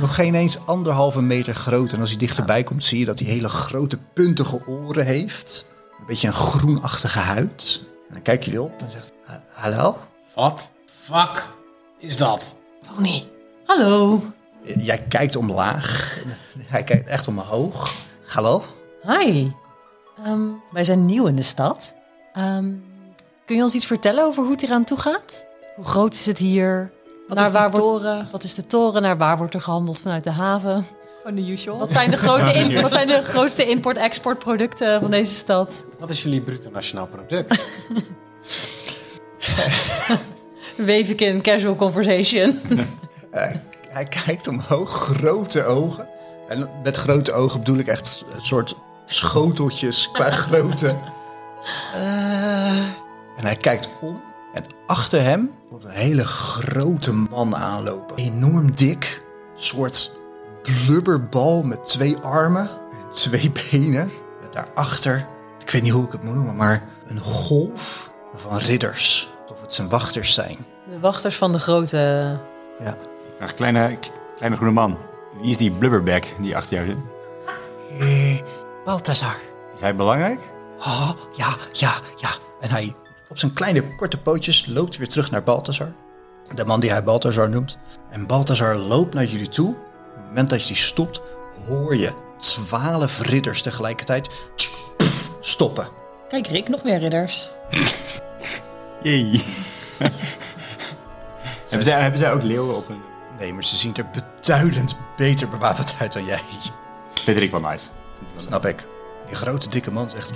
Speaker 5: Nog geen eens anderhalve meter groot. En als hij dichterbij komt, zie je dat hij hele grote puntige oren heeft. Een beetje een groenachtige huid. En dan kijken jullie op en zegt: "Ha- Hallo?
Speaker 7: Wat? Fuck is dat?
Speaker 1: Tony, hallo.
Speaker 5: Jij kijkt omlaag. Hij kijkt echt omhoog. Hallo?
Speaker 1: Hi. Ehm, wij zijn nieuw in de stad. Ehm, kun je ons iets vertellen over hoe het hier aan toe gaat? Hoe groot is het hier?
Speaker 3: wat
Speaker 1: Naar
Speaker 3: is dus die
Speaker 1: waar wordt-
Speaker 3: toren?
Speaker 1: Wat is de toren? Naar waar wordt er gehandeld vanuit de haven?
Speaker 3: Gewoon Oh, de usual.
Speaker 1: Wat zijn de, grote in- wat zijn de grootste import-export producten van deze stad?
Speaker 7: Wat is jullie bruto nationaal product?
Speaker 1: Wevikin Casual Conversation.
Speaker 5: Hij kijkt omhoog, grote ogen. En met grote ogen bedoel ik echt een soort schoteltjes qua grootte. Eh, en hij kijkt om. En achter hem komt een hele grote man aanlopen. Enorm dik. soort blubberbal met twee armen en twee benen. Met daarachter, ik weet niet hoe ik het moet noemen, maar een golf van ridders. Of het zijn wachters zijn.
Speaker 1: De wachters van de grote...
Speaker 5: Ja.
Speaker 6: Vraag kleine, kleine groene man. Wie is die blubberback die achter jou zit?
Speaker 5: Eh, Balthazar.
Speaker 6: Is hij belangrijk?
Speaker 5: Oh, ja, ja, ja. En hij, op zijn kleine korte pootjes, loopt weer terug naar Balthazar. De man die hij Balthazar noemt. En Balthazar loopt naar jullie toe. Op het moment dat je die stopt, hoor je twaalf ridders tegelijkertijd tsk, pff, stoppen.
Speaker 3: Kijk Rick, nog meer ridders.
Speaker 6: Jee. hebben, zij, hebben zij ook leeuwen op hun...
Speaker 2: Nee, maar ze zien er beduidend beter bewapend uit dan jij.
Speaker 6: Vind ik wel nice.
Speaker 2: Snap ik. Die grote, dikke man zegt...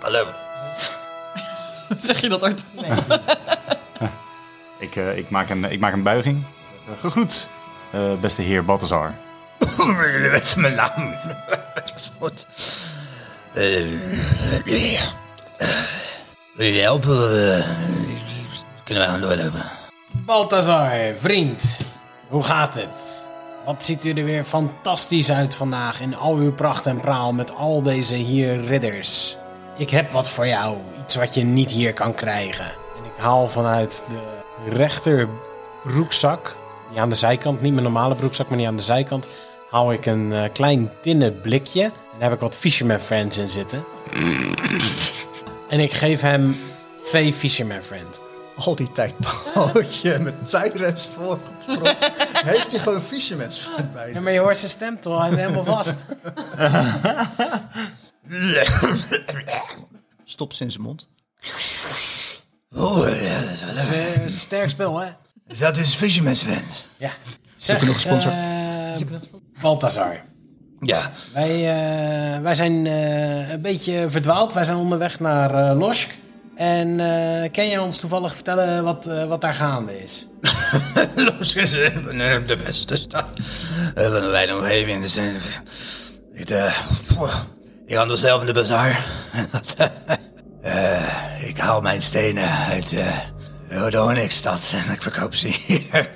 Speaker 2: Hallo.
Speaker 3: Zeg je dat ooit?
Speaker 6: Ik, eh, ik, maak, een, ik maak een buiging. Eh, gegroet, eh, beste heer Balthazar.
Speaker 5: Jullie weten mijn naam. Dat is goed. Eh, eh, eh, Wil jullie helpen? Eh, Kunnen wij gaan doorlopen?
Speaker 11: Balthazar, vriend, hoe gaat het? Wat ziet u er weer fantastisch uit vandaag in al uw pracht en praal met al deze hier ridders. Ik heb wat voor jou, iets wat je niet hier kan krijgen. En ik haal vanuit de rechter broekzak, die aan de zijkant, niet mijn normale broekzak, maar die aan de zijkant, haal ik een eh, klein tinnen blikje. En daar heb ik wat Fisherman Friends in zitten. en ik geef hem twee Fisherman Friends.
Speaker 2: Al Oh, die tijd pootje met tijdreps voorgepropt. Heeft hij gewoon fisherman's friend bij
Speaker 11: Ja,
Speaker 2: zich?
Speaker 11: maar je hoort zijn stem toch, hij is helemaal vast.
Speaker 2: Stopt ze in zijn mond.
Speaker 5: Oh, ja, dat is wel leuk.
Speaker 11: Het is, eh, sterk spel, hè?
Speaker 5: Dat is Fisherman's Friend.
Speaker 11: Ja. Zeg,
Speaker 2: nog een sponsor.
Speaker 11: eh, Balthazar,
Speaker 5: Ja.
Speaker 11: wij, eh, wij zijn eh, een beetje verdwaald. Wij zijn onderweg naar eh Losk. En eh, kan jij ons toevallig vertellen wat, eh, wat daar gaande is?
Speaker 5: Los is eh, de beste stad eh, van de wijde omgeving. Dus, eh, ik, eh, poeh, ik handel zelf in de bazaar. Eh, ik haal mijn stenen uit eh, de Onyx-stad en ik verkoop ze hier.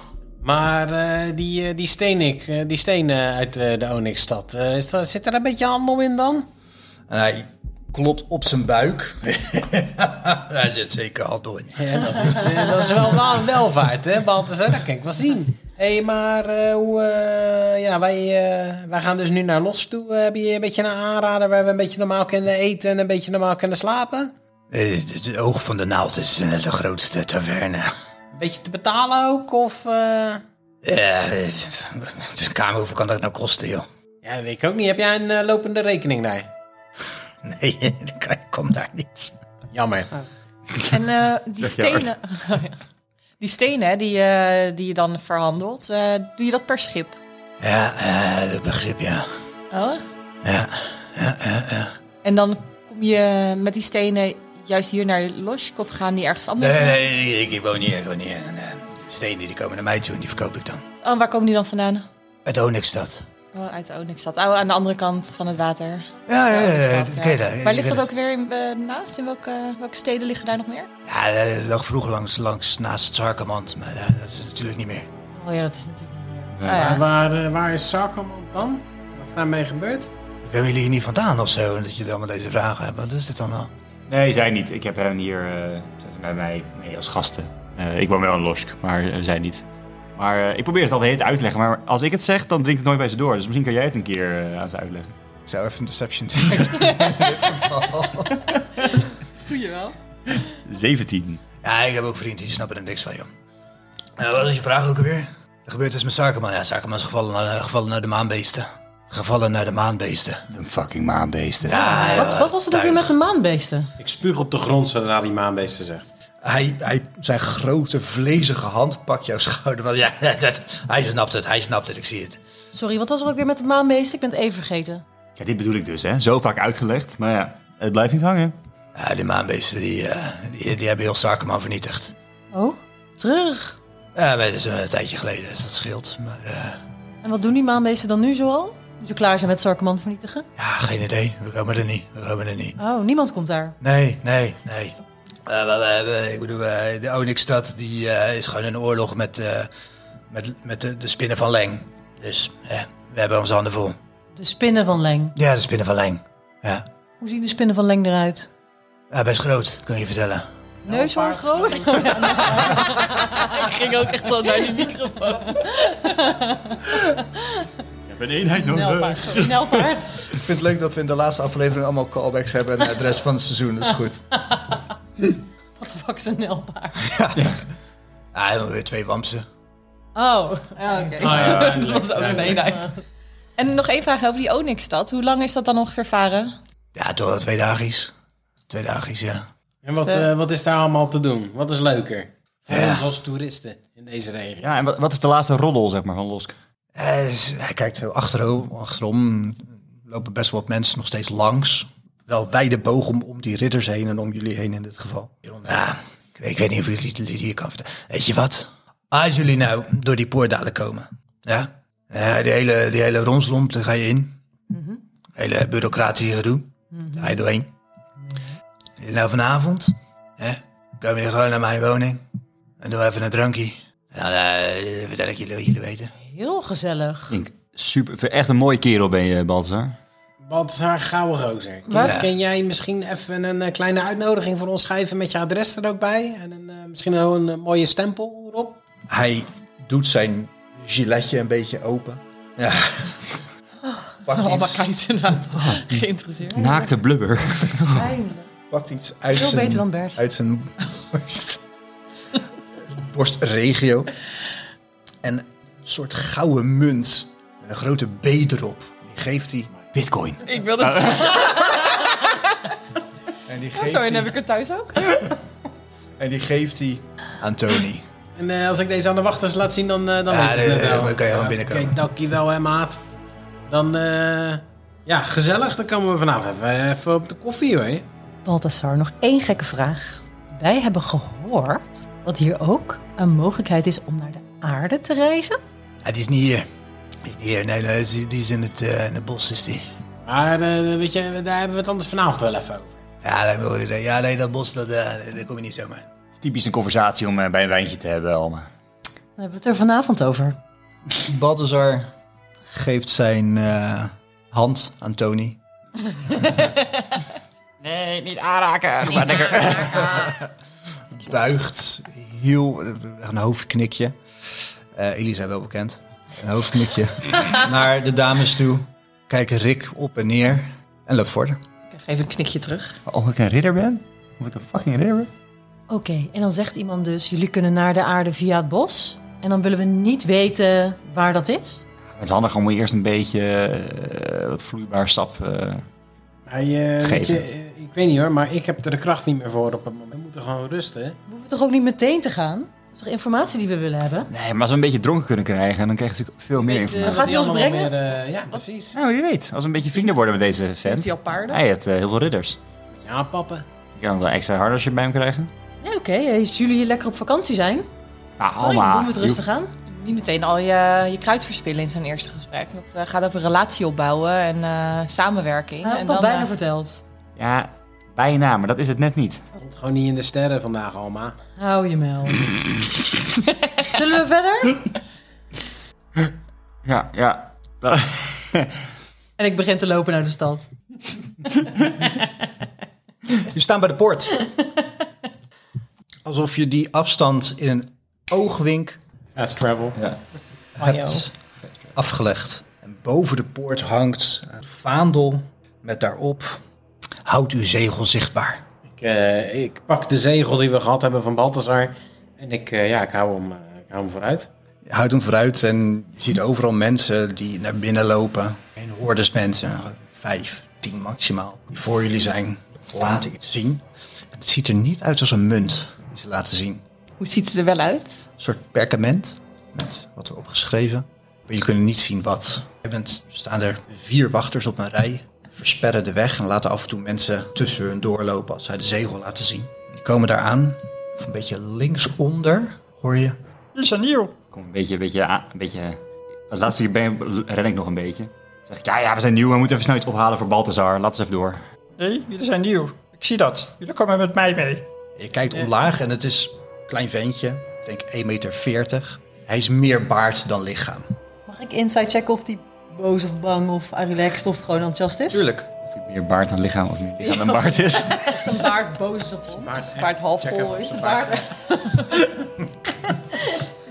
Speaker 11: Maar eh, die, eh, die Stenik, eh, die stenen uit eh, de Onyxstad, eh, is dat, zit er een beetje handel in dan?
Speaker 2: En hij klopt op zijn buik.
Speaker 5: Daar zit zeker handel in.
Speaker 11: Ja, dat is, eh, dat is wel wel- welvaart, hè, Balthazar? Dat kan ik wel zien. Hé, hey, maar eh, hoe, eh, ja, wij, eh, wij gaan dus nu naar Los toe. Eh, heb je een beetje een aanrader waar we een beetje normaal kunnen eten en een beetje normaal kunnen slapen?
Speaker 5: Eh, Het het oog van de naald is eh, de grootste taverne.
Speaker 11: Een beetje te betalen ook? Of, eh,
Speaker 5: Ja, eh, de kamer, hoeveel kan dat nou kosten, joh?
Speaker 11: Ja, weet ik ook niet. Heb jij een eh, lopende rekening daar?
Speaker 5: Nee, dat kan- ik kom daar niet.
Speaker 11: Jammer.
Speaker 4: Ah.
Speaker 3: En eh, die
Speaker 6: Zeg je hard.
Speaker 3: stenen. Die stenen hè, die, eh, die je dan verhandelt, eh, doe je dat per schip?
Speaker 5: Ja, eh, dat begrip, ja.
Speaker 3: Oh? En dan kom je met die stenen juist hier naar Losk of gaan die ergens anders?
Speaker 5: Nee, nee, ik, ik woon hier, ik woon hier. En, eh, de stenen die komen naar mij toe en die verkoop ik dan.
Speaker 3: Oh, waar komen die dan vandaan?
Speaker 5: Uit Onyxstad.
Speaker 3: Oh, uit de Onyxstad. Oh, aan de andere kant van het water.
Speaker 5: Ja, ja, ja, ja,
Speaker 3: Onyxstad,
Speaker 5: dat
Speaker 3: ja.
Speaker 5: ken je daar.
Speaker 3: Waar
Speaker 5: Je
Speaker 3: ligt dat
Speaker 5: kent
Speaker 3: ook weer in, eh, naast? In welke, welke steden liggen daar nog meer?
Speaker 5: het. Ja, dat lag vroeger langs, langs naast Sarkamand, maar eh, dat is natuurlijk niet meer.
Speaker 1: Oh ja, dat is natuurlijk.
Speaker 3: Oh, ja.
Speaker 11: Waar, eh, waar is Sarkamon dan? Wat is daarmee gebeurd?
Speaker 5: Komen jullie hier niet vandaan of zo, dat jullie allemaal deze vragen hebben? Wat is dit allemaal?
Speaker 6: Nee, zij niet. Ik heb hen hier eh, zij zijn bij mij mee als gasten. Eh, ik woon wel in Losk, maar eh, zij niet. Maar eh, ik probeer het altijd uit te leggen. Maar als ik het zeg, dan drinkt het nooit bij ze door. Dus misschien kan jij het een keer eh, aan ze uitleggen.
Speaker 2: Ik zou even een deception doen. In dit geval.
Speaker 6: 17.
Speaker 5: Ja, ik heb ook vrienden die snappen er niks van, joh. Eh, wat is je vraag ook alweer? Er gebeurt iets met Sarkaman. Ja, Sarkaman is gevallen, naar- gevallen naar de maanbeesten. Gevallen naar de maanbeesten.
Speaker 6: Een fucking maanbeesten.
Speaker 5: Ja, ja,
Speaker 1: Wat, wat was het ook weer met de maanbeesten?
Speaker 11: Ik spuug op de grond zodra die maanbeesten zegt.
Speaker 2: Hij, hij, zijn grote vlezige hand pakt jouw schouder.
Speaker 5: Want Ja, dat- hij snapt het, hij snapt het, ik zie het.
Speaker 1: Sorry, wat was er ook weer met de maanbeesten? Ik ben het even vergeten.
Speaker 6: Ja, dit bedoel ik dus, hè. Zo vaak uitgelegd. Maar ja, het blijft niet hangen.
Speaker 5: Ja, die maanbeesten die, eh, die, die hebben heel Sarkaman vernietigd.
Speaker 1: Oh, terug.
Speaker 5: Ja, maar het is een tijdje geleden, dus dat scheelt. Maar eh,
Speaker 1: En wat doen die maanbeesten dan nu zoal? Nu ze klaar zijn met Sarkoman vernietigen?
Speaker 5: ja, geen idee. We komen er niet. We komen er niet.
Speaker 1: Oh, niemand komt daar.
Speaker 5: Nee, nee, nee. Eh, we- we- we- ik bedoel, eh, de Onyxstad die, eh, is gewoon in oorlog met, eh, met, met de, de spinnen van Leng. Dus eh, we hebben onze handen vol.
Speaker 1: De spinnen van Leng.
Speaker 5: Ja, de spinnen van Leng. Ja.
Speaker 1: Hoe zien de spinnen van Leng eruit?
Speaker 5: Ja, best groot, kan je vertellen.
Speaker 1: Neushoorn groot?
Speaker 3: Ik ging ook echt al naar die microfoon.
Speaker 12: Ik heb een eenheid
Speaker 3: Nelpaard. sorry, Nelpaard.
Speaker 2: Ik vind het leuk dat we in de laatste aflevering allemaal callbacks hebben naar de rest van het seizoen. Dat is goed.
Speaker 1: Wat de fuck is een nelpaard?
Speaker 5: Ah, en weer twee wamsen.
Speaker 3: Oh, ja, oké. dat was ook een eenheid. En nog één vraag over die Onyxstad. Hoe lang is dat dan ongeveer varen?
Speaker 5: Ja, toch wel twee dagies. Twee dagies, ja.
Speaker 11: En wat,
Speaker 3: Zo.
Speaker 11: eh, wat is daar allemaal te doen? Wat is leuker?
Speaker 4: Voor ons als toeristen in deze regio.
Speaker 6: Ja, en wat, wat is de laatste roddel, zeg maar, van Losk?
Speaker 5: Hij Eh, is- hij kijkt zo achterom, achterom. Lopen best wel wat mensen nog steeds langs. Wel wijde boog om, om die ridders heen en om jullie heen in dit geval. Jeroen, ja, ik, weet- ik weet niet of jullie het hier kan vertellen. Weet je wat? Als jullie nou door die poortdalen komen, ja? Ja, die hele, die hele romslomp, daar ga je in. Mhm. Hele bureaucratische gedoe, daar ga je doorheen. Jullie Nou, vanavond, hè? Komen jullie gewoon naar mijn woning en doen even een drankje. En dan eh, vertel ik jullie wat jullie weten.
Speaker 1: Heel gezellig.
Speaker 6: Ink, super, echt een mooie kerel ben je, Balthazar.
Speaker 4: Balthazar Gouden Rozer. Ken,
Speaker 1: Wat?
Speaker 4: ken jij misschien even een eh, kleine uitnodiging voor ons schrijven met je adres er ook bij? En een, eh, misschien wel een eh, mooie stempel erop?
Speaker 5: Hij doet zijn giletje een beetje open. Ja. Pakt
Speaker 3: Oh. Allemaal
Speaker 5: iets,
Speaker 3: kijkt inderdaad. Geïnteresseerd.
Speaker 6: Naakte blubber.
Speaker 1: Eindelijk.
Speaker 5: pakt iets uit
Speaker 1: Veel
Speaker 5: zijn,
Speaker 1: beter dan Bert.
Speaker 5: uit zijn borst. borstregio. En een soort gouden munt met een grote B erop. En die geeft hij.
Speaker 6: Bitcoin.
Speaker 3: Ik wil dat
Speaker 5: En die geeft
Speaker 3: Zo, en
Speaker 5: hij-
Speaker 3: heb ik het thuis ook.
Speaker 5: en die geeft hij aan Tony.
Speaker 4: En eh, als ik deze aan de wachters laat zien, dan, eh dan
Speaker 5: Ja,
Speaker 4: weet je het
Speaker 5: nee,
Speaker 4: wel.
Speaker 5: nee, dan kan je gewoon binnenkomen.
Speaker 4: Kijk, dankjewel hè, maat. Dan, eh, ja, gezellig. Dan komen we vanavond even, eh, even op de koffie, hoor.
Speaker 1: Balthasar, nog één gekke vraag. Wij hebben gehoord dat hier ook een mogelijkheid is om naar de aarde te reizen.
Speaker 5: Ja, die is niet hier. Die is niet hier. Nee, nee, die is- die is in het, eh, in het bos. Is die.
Speaker 4: Maar, eh, weet je, daar hebben we het anders vanavond wel even over.
Speaker 5: Ja, nee, hoor je dat. ja, nee, dat bos, dat, eh, daar kom je niet zomaar.
Speaker 6: Typisch een conversatie om eh, bij een wijntje te hebben, Alma.
Speaker 1: Daar hebben we het er vanavond over.
Speaker 5: Balthazar geeft zijn eh, hand aan Tony.
Speaker 6: Nee, niet aanraken. Maar lekker.
Speaker 5: Buigt heel... Een hoofdknikje. Eh Elisa wel bekend. Een hoofdknikje. naar de dames toe. Kijken Rick op en neer. En loopt verder.
Speaker 3: Ik geef een knikje terug.
Speaker 6: Of ik een ridder ben? Of ik een fucking ridder ben?
Speaker 1: Oké, en dan zegt iemand dus, jullie kunnen naar de aarde via het bos. En dan willen we niet weten waar dat is.
Speaker 6: Het is handig om eerst een beetje eh, wat vloeibaar sap... eh,
Speaker 4: Hij, eh, weet
Speaker 6: Geven.
Speaker 4: je, eh, ik weet niet hoor, maar ik heb er de kracht niet meer voor op het moment. We moeten gewoon rusten.
Speaker 1: We hoeven toch ook niet meteen te gaan? Dat is toch informatie die we willen hebben?
Speaker 6: Nee, maar als we een beetje dronken kunnen krijgen, dan krijg je natuurlijk veel meer informatie.
Speaker 1: gaat hij ons
Speaker 4: eh, Allemaal
Speaker 1: brengen?
Speaker 4: meer, eh, ja, precies.
Speaker 6: Nou, wie weet. Als we een beetje vrienden worden met deze
Speaker 3: Heeft hij
Speaker 6: vent.
Speaker 3: al paarden?
Speaker 6: Hij heeft eh, heel veel ridders.
Speaker 4: Ja, papa.
Speaker 6: Je kan ook wel extra harder als je bij hem krijgen.
Speaker 1: Ja, oké. Als jullie hier lekker op vakantie zijn,
Speaker 6: Nou,
Speaker 1: Oh, dan
Speaker 6: Alma.
Speaker 1: doen we het rustig aan.
Speaker 3: Niet meteen al je, je kruid verspillen in zo'n eerste gesprek. Dat eh, gaat over relatie opbouwen en eh, samenwerking.
Speaker 1: Hij had
Speaker 3: en
Speaker 1: het al
Speaker 3: dan,
Speaker 1: bijna
Speaker 3: eh,
Speaker 1: verteld.
Speaker 6: Ja, bijna, maar dat is het net niet.
Speaker 4: Komt gewoon niet in de sterren vandaag, Alma.
Speaker 1: Hou je mel. Zullen we verder?
Speaker 6: Ja, ja.
Speaker 1: En ik begin te lopen naar de stad.
Speaker 5: Je staan bij de poort. Alsof je die afstand in een oogwink
Speaker 4: Fast travel.
Speaker 5: hebt afgelegd. En boven de poort hangt een vaandel met daarop... Houd uw zegel zichtbaar.
Speaker 4: Ik, eh, ik pak de zegel die we gehad hebben van Balthazar. En ik, eh, ja, ik hou hem, eh, ik hou hem vooruit.
Speaker 5: Je houdt hem vooruit en je ziet overal mensen die naar binnen lopen. En hordes mensen, vijf, tien maximaal, die voor jullie zijn, laten iets zien. Het ziet er niet uit als een munt die ze laten zien.
Speaker 3: Hoe ziet het er wel uit?
Speaker 5: Een soort perkament met wat erop geschreven. Maar je kunt niet zien wat. Er bent- staan er vier wachters op een rij, versperren de weg en laten af en toe mensen tussen hun doorlopen als zij de zegel laten zien. Die komen daar aan, of een beetje linksonder hoor je. Is een nieuw.
Speaker 6: Kom een beetje, een beetje, a- een beetje. Als laatste keer ben, ren ik nog een beetje. Zeg ik, ja, ja, we zijn nieuw, we moeten even snel iets ophalen voor Balthazar. Laat eens even door.
Speaker 11: Nee, jullie zijn nieuw. Ik zie dat. Jullie komen met mij mee.
Speaker 5: Je kijkt omlaag en het is een klein ventje. Ik denk 1,40 meter. Hij is meer baard dan lichaam.
Speaker 1: Mag ik inside checken of die boos of bang of relaxed of gewoon enthousiast is?
Speaker 6: Of ik meer baard dan lichaam of meer lichaam dan baard is.
Speaker 1: Of zijn baard boos Oh, is op ons?
Speaker 3: Paard half vol is.
Speaker 1: Zijn baard echt? is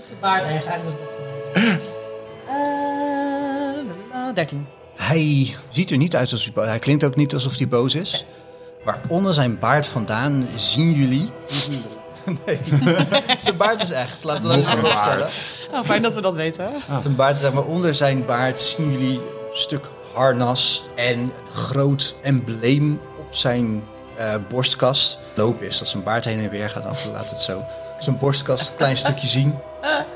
Speaker 1: zijn baard echt? Eigenlijk was dat gewoon. Eh, la, la, 13.
Speaker 5: Hij ziet er niet uit als hij boos Hij klinkt ook niet alsof hij boos is. Maar onder zijn baard vandaan zien jullie... Nee, zijn baard is echt. Laten we dat even opstellen.
Speaker 3: Oh, fijn dat we dat weten.
Speaker 5: Zijn baard, zeg maar, onder zijn baard zien jullie een stuk harnas en een groot embleem op zijn eh borstkast. Lopen is dat zijn baard heen en weer gaat af, laat het zo. zijn borstkas een klein stukje zien. En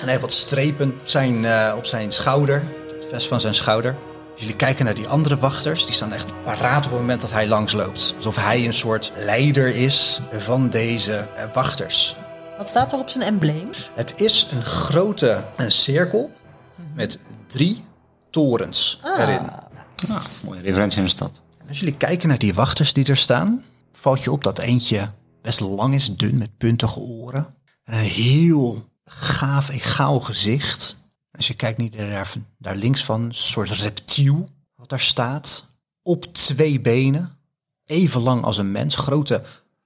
Speaker 5: hij heeft wat strepen op zijn, eh, op zijn schouder, op het vest van zijn schouder. Dus jullie kijken naar die andere wachters, die staan echt paraat op het moment dat hij langsloopt. Alsof hij een soort leider is van deze eh, wachters.
Speaker 1: Wat staat er op zijn embleem?
Speaker 5: Het is een grote een cirkel met drie torens erin.
Speaker 6: Ah, Mooie referentie in de stad.
Speaker 5: Als jullie kijken naar die wachters die er staan, valt je op dat eentje best lang is, dun met puntige oren. En een heel gaaf, egaal gezicht. Als je kijkt niet daar, daar links van, een soort reptiel wat daar staat. Op twee benen, even lang als een mens, grote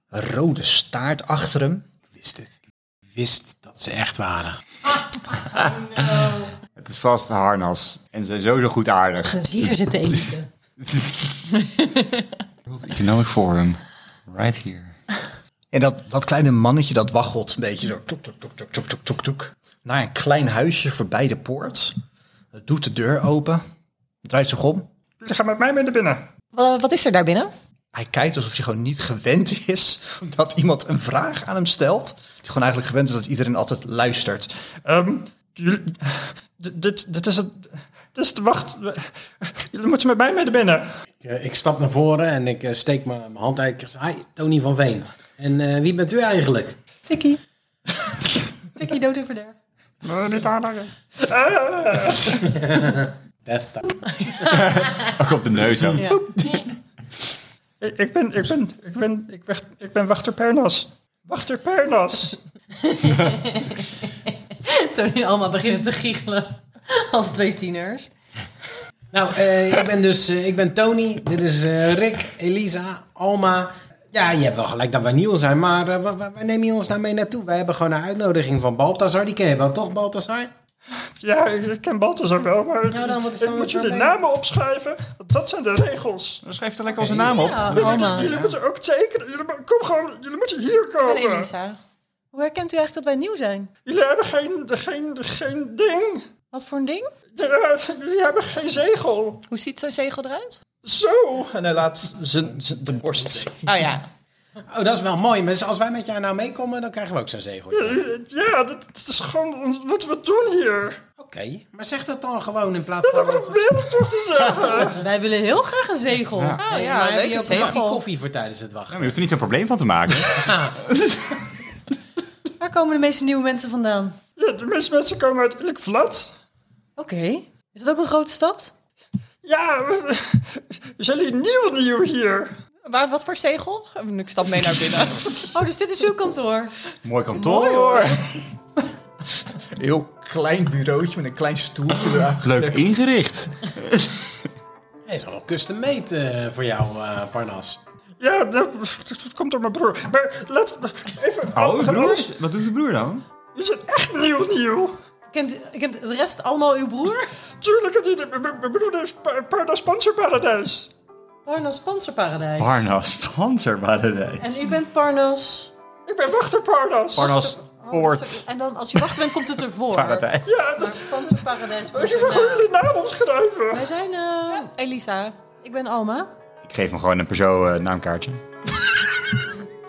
Speaker 5: rode staart achter hem.
Speaker 7: Wist dit. Ik Wist dat ze echt waren.
Speaker 6: Het is vast een harnas. En ze zijn sowieso goed aardig.
Speaker 1: Dus hier zit de enige.
Speaker 6: World Economic nou Forum. Right here.
Speaker 5: En dat, dat kleine mannetje dat waggelt een beetje zo toek, toek, toek, toek, toek, toek, toek, toek. Naar een klein huisje voorbij de poort. Het doet de deur open, draait zich om.
Speaker 11: Jullie gaan met mij mee naar binnen.
Speaker 3: Wa- Wat is er daar binnen?
Speaker 5: Hij kijkt alsof hij gewoon niet gewend is dat iemand een vraag aan hem stelt. Die gewoon eigenlijk gewend is dat iedereen altijd luistert.
Speaker 11: Ehm, jullie- dit, dit, dit is het... Dit is de wacht... Jullie moeten met mij mee naar binnen.
Speaker 7: Ik, eh, ik stap naar voren en ik eh, steek mijn mijn hand uit. Ik zeg, hi, Tony van Veen. En eh, wie bent u eigenlijk?
Speaker 1: Tikkie. Tikkie dood en verderf.
Speaker 11: Nee, niet aanraken. Ah.
Speaker 7: Death Town.
Speaker 2: Ook op de neus ook.
Speaker 11: Ik, ik ben... Ik ben... Ik ben... Ik, ben, ik ben wachter Pernas. Wachter Pernas.
Speaker 1: Tony en Alma beginnen te giechelen. Als twee tieners.
Speaker 7: Nou, eh, ik ben dus eh, ik ben Tony. Dit is eh, Rick, Elisa, Alma. Ja, je hebt wel gelijk dat wij nieuw zijn, maar eh, waar, waar- waar neem je ons nou mee naartoe? Wij hebben gewoon een uitnodiging van Balthazar. Die ken je wel, toch, Balthazar?
Speaker 11: Ja, ik, ik ken Balthazar wel, maar het-
Speaker 7: Nou, dan moet-
Speaker 11: ik
Speaker 7: dan
Speaker 11: moet
Speaker 7: moet-
Speaker 11: jullie
Speaker 7: dan-
Speaker 11: namen opschrijven. Want dat zijn de regels.
Speaker 2: Schrijf er lekker onze naam op.
Speaker 1: Ja, Alma.
Speaker 11: Jullie moeten ook tekenen. Jullie, mo- kom gewoon, jullie moeten hier
Speaker 3: Ik ben
Speaker 11: komen.
Speaker 3: Elisa.
Speaker 1: Hoe herkent u eigenlijk dat wij nieuw zijn?
Speaker 11: Jullie hebben geen, geen, geen ding.
Speaker 1: Wat voor een ding?
Speaker 11: Ja, Jullie hebben geen zegel.
Speaker 3: Hoe ziet zo'n zegel eruit?
Speaker 11: Zo.
Speaker 5: En hij laat zijn, zijn- de borst zien.
Speaker 3: Oh ja.
Speaker 7: Oh, dat is wel mooi. Maar als wij met jou nou meekomen, dan krijgen we ook zo'n zegeltje. Oké,
Speaker 11: Ja, dat, dat is gewoon ons- wat we doen hier.
Speaker 7: maar zeg dat dan gewoon in plaats
Speaker 11: Dat
Speaker 7: van...
Speaker 11: hebben we weer toch te zeggen.
Speaker 1: Wij willen heel graag een zegel. Ah,
Speaker 3: Oh
Speaker 7: Maar
Speaker 3: ja,
Speaker 7: heb je
Speaker 3: leuke
Speaker 7: ook een bakje
Speaker 3: zegel.
Speaker 7: koffie voor tijdens het wachten?
Speaker 2: Ja, maar je hoeft er niet zo'n probleem van te maken.
Speaker 1: Waar komen de meeste nieuwe mensen vandaan?
Speaker 11: Ja, de meeste mensen komen uit Ilkvlat.
Speaker 1: Oké. Is dat ook een grote stad?
Speaker 11: Ja, we- we- jullie nieuw nieuw hier.
Speaker 3: Maar wat voor zegel? Ik stap mee naar binnen.
Speaker 1: Oh, dus dit is uw kantoor.
Speaker 2: Mooi kantoor.
Speaker 5: Een heel klein bureautje met een klein stoeltje erachter.
Speaker 2: Leuk ingericht.
Speaker 7: Hij is al wel custom made eh, voor jou, eh, Parnas.
Speaker 11: Ja, dat, dat komt door mijn broer. Maar laten we even...
Speaker 2: Oh,
Speaker 11: gaan
Speaker 2: broer?
Speaker 11: we-
Speaker 2: Wat doet je broer dan?
Speaker 11: Jullie zijn echt nieuw nieuw.
Speaker 1: Kent, kent de rest allemaal uw broer?
Speaker 11: Tuurlijk, het niet. M- m- mijn broer heeft pa- Paarden Sponsor Paradijs.
Speaker 1: Parnas Panzerparadijs.
Speaker 2: Parnas Panzerparadijs.
Speaker 1: en u bent Parnas...
Speaker 11: Ik ben wachter Parnas.
Speaker 2: Parnas Poort.
Speaker 6: oh,
Speaker 1: Sorry, En dan als je wacht bent, komt het ervoor.
Speaker 2: Paradijs.
Speaker 11: Ja, dat,
Speaker 1: Maar Panzerparadijs
Speaker 3: Oh,
Speaker 1: wordt
Speaker 11: ik
Speaker 1: zijn
Speaker 11: wil gewoon
Speaker 1: naam.
Speaker 11: jullie naam opschrijven.
Speaker 1: Wij zijn... eh,
Speaker 3: Elisa.
Speaker 1: Ik ben Alma.
Speaker 6: Ik geef hem gewoon een persoon eh, naamkaartje.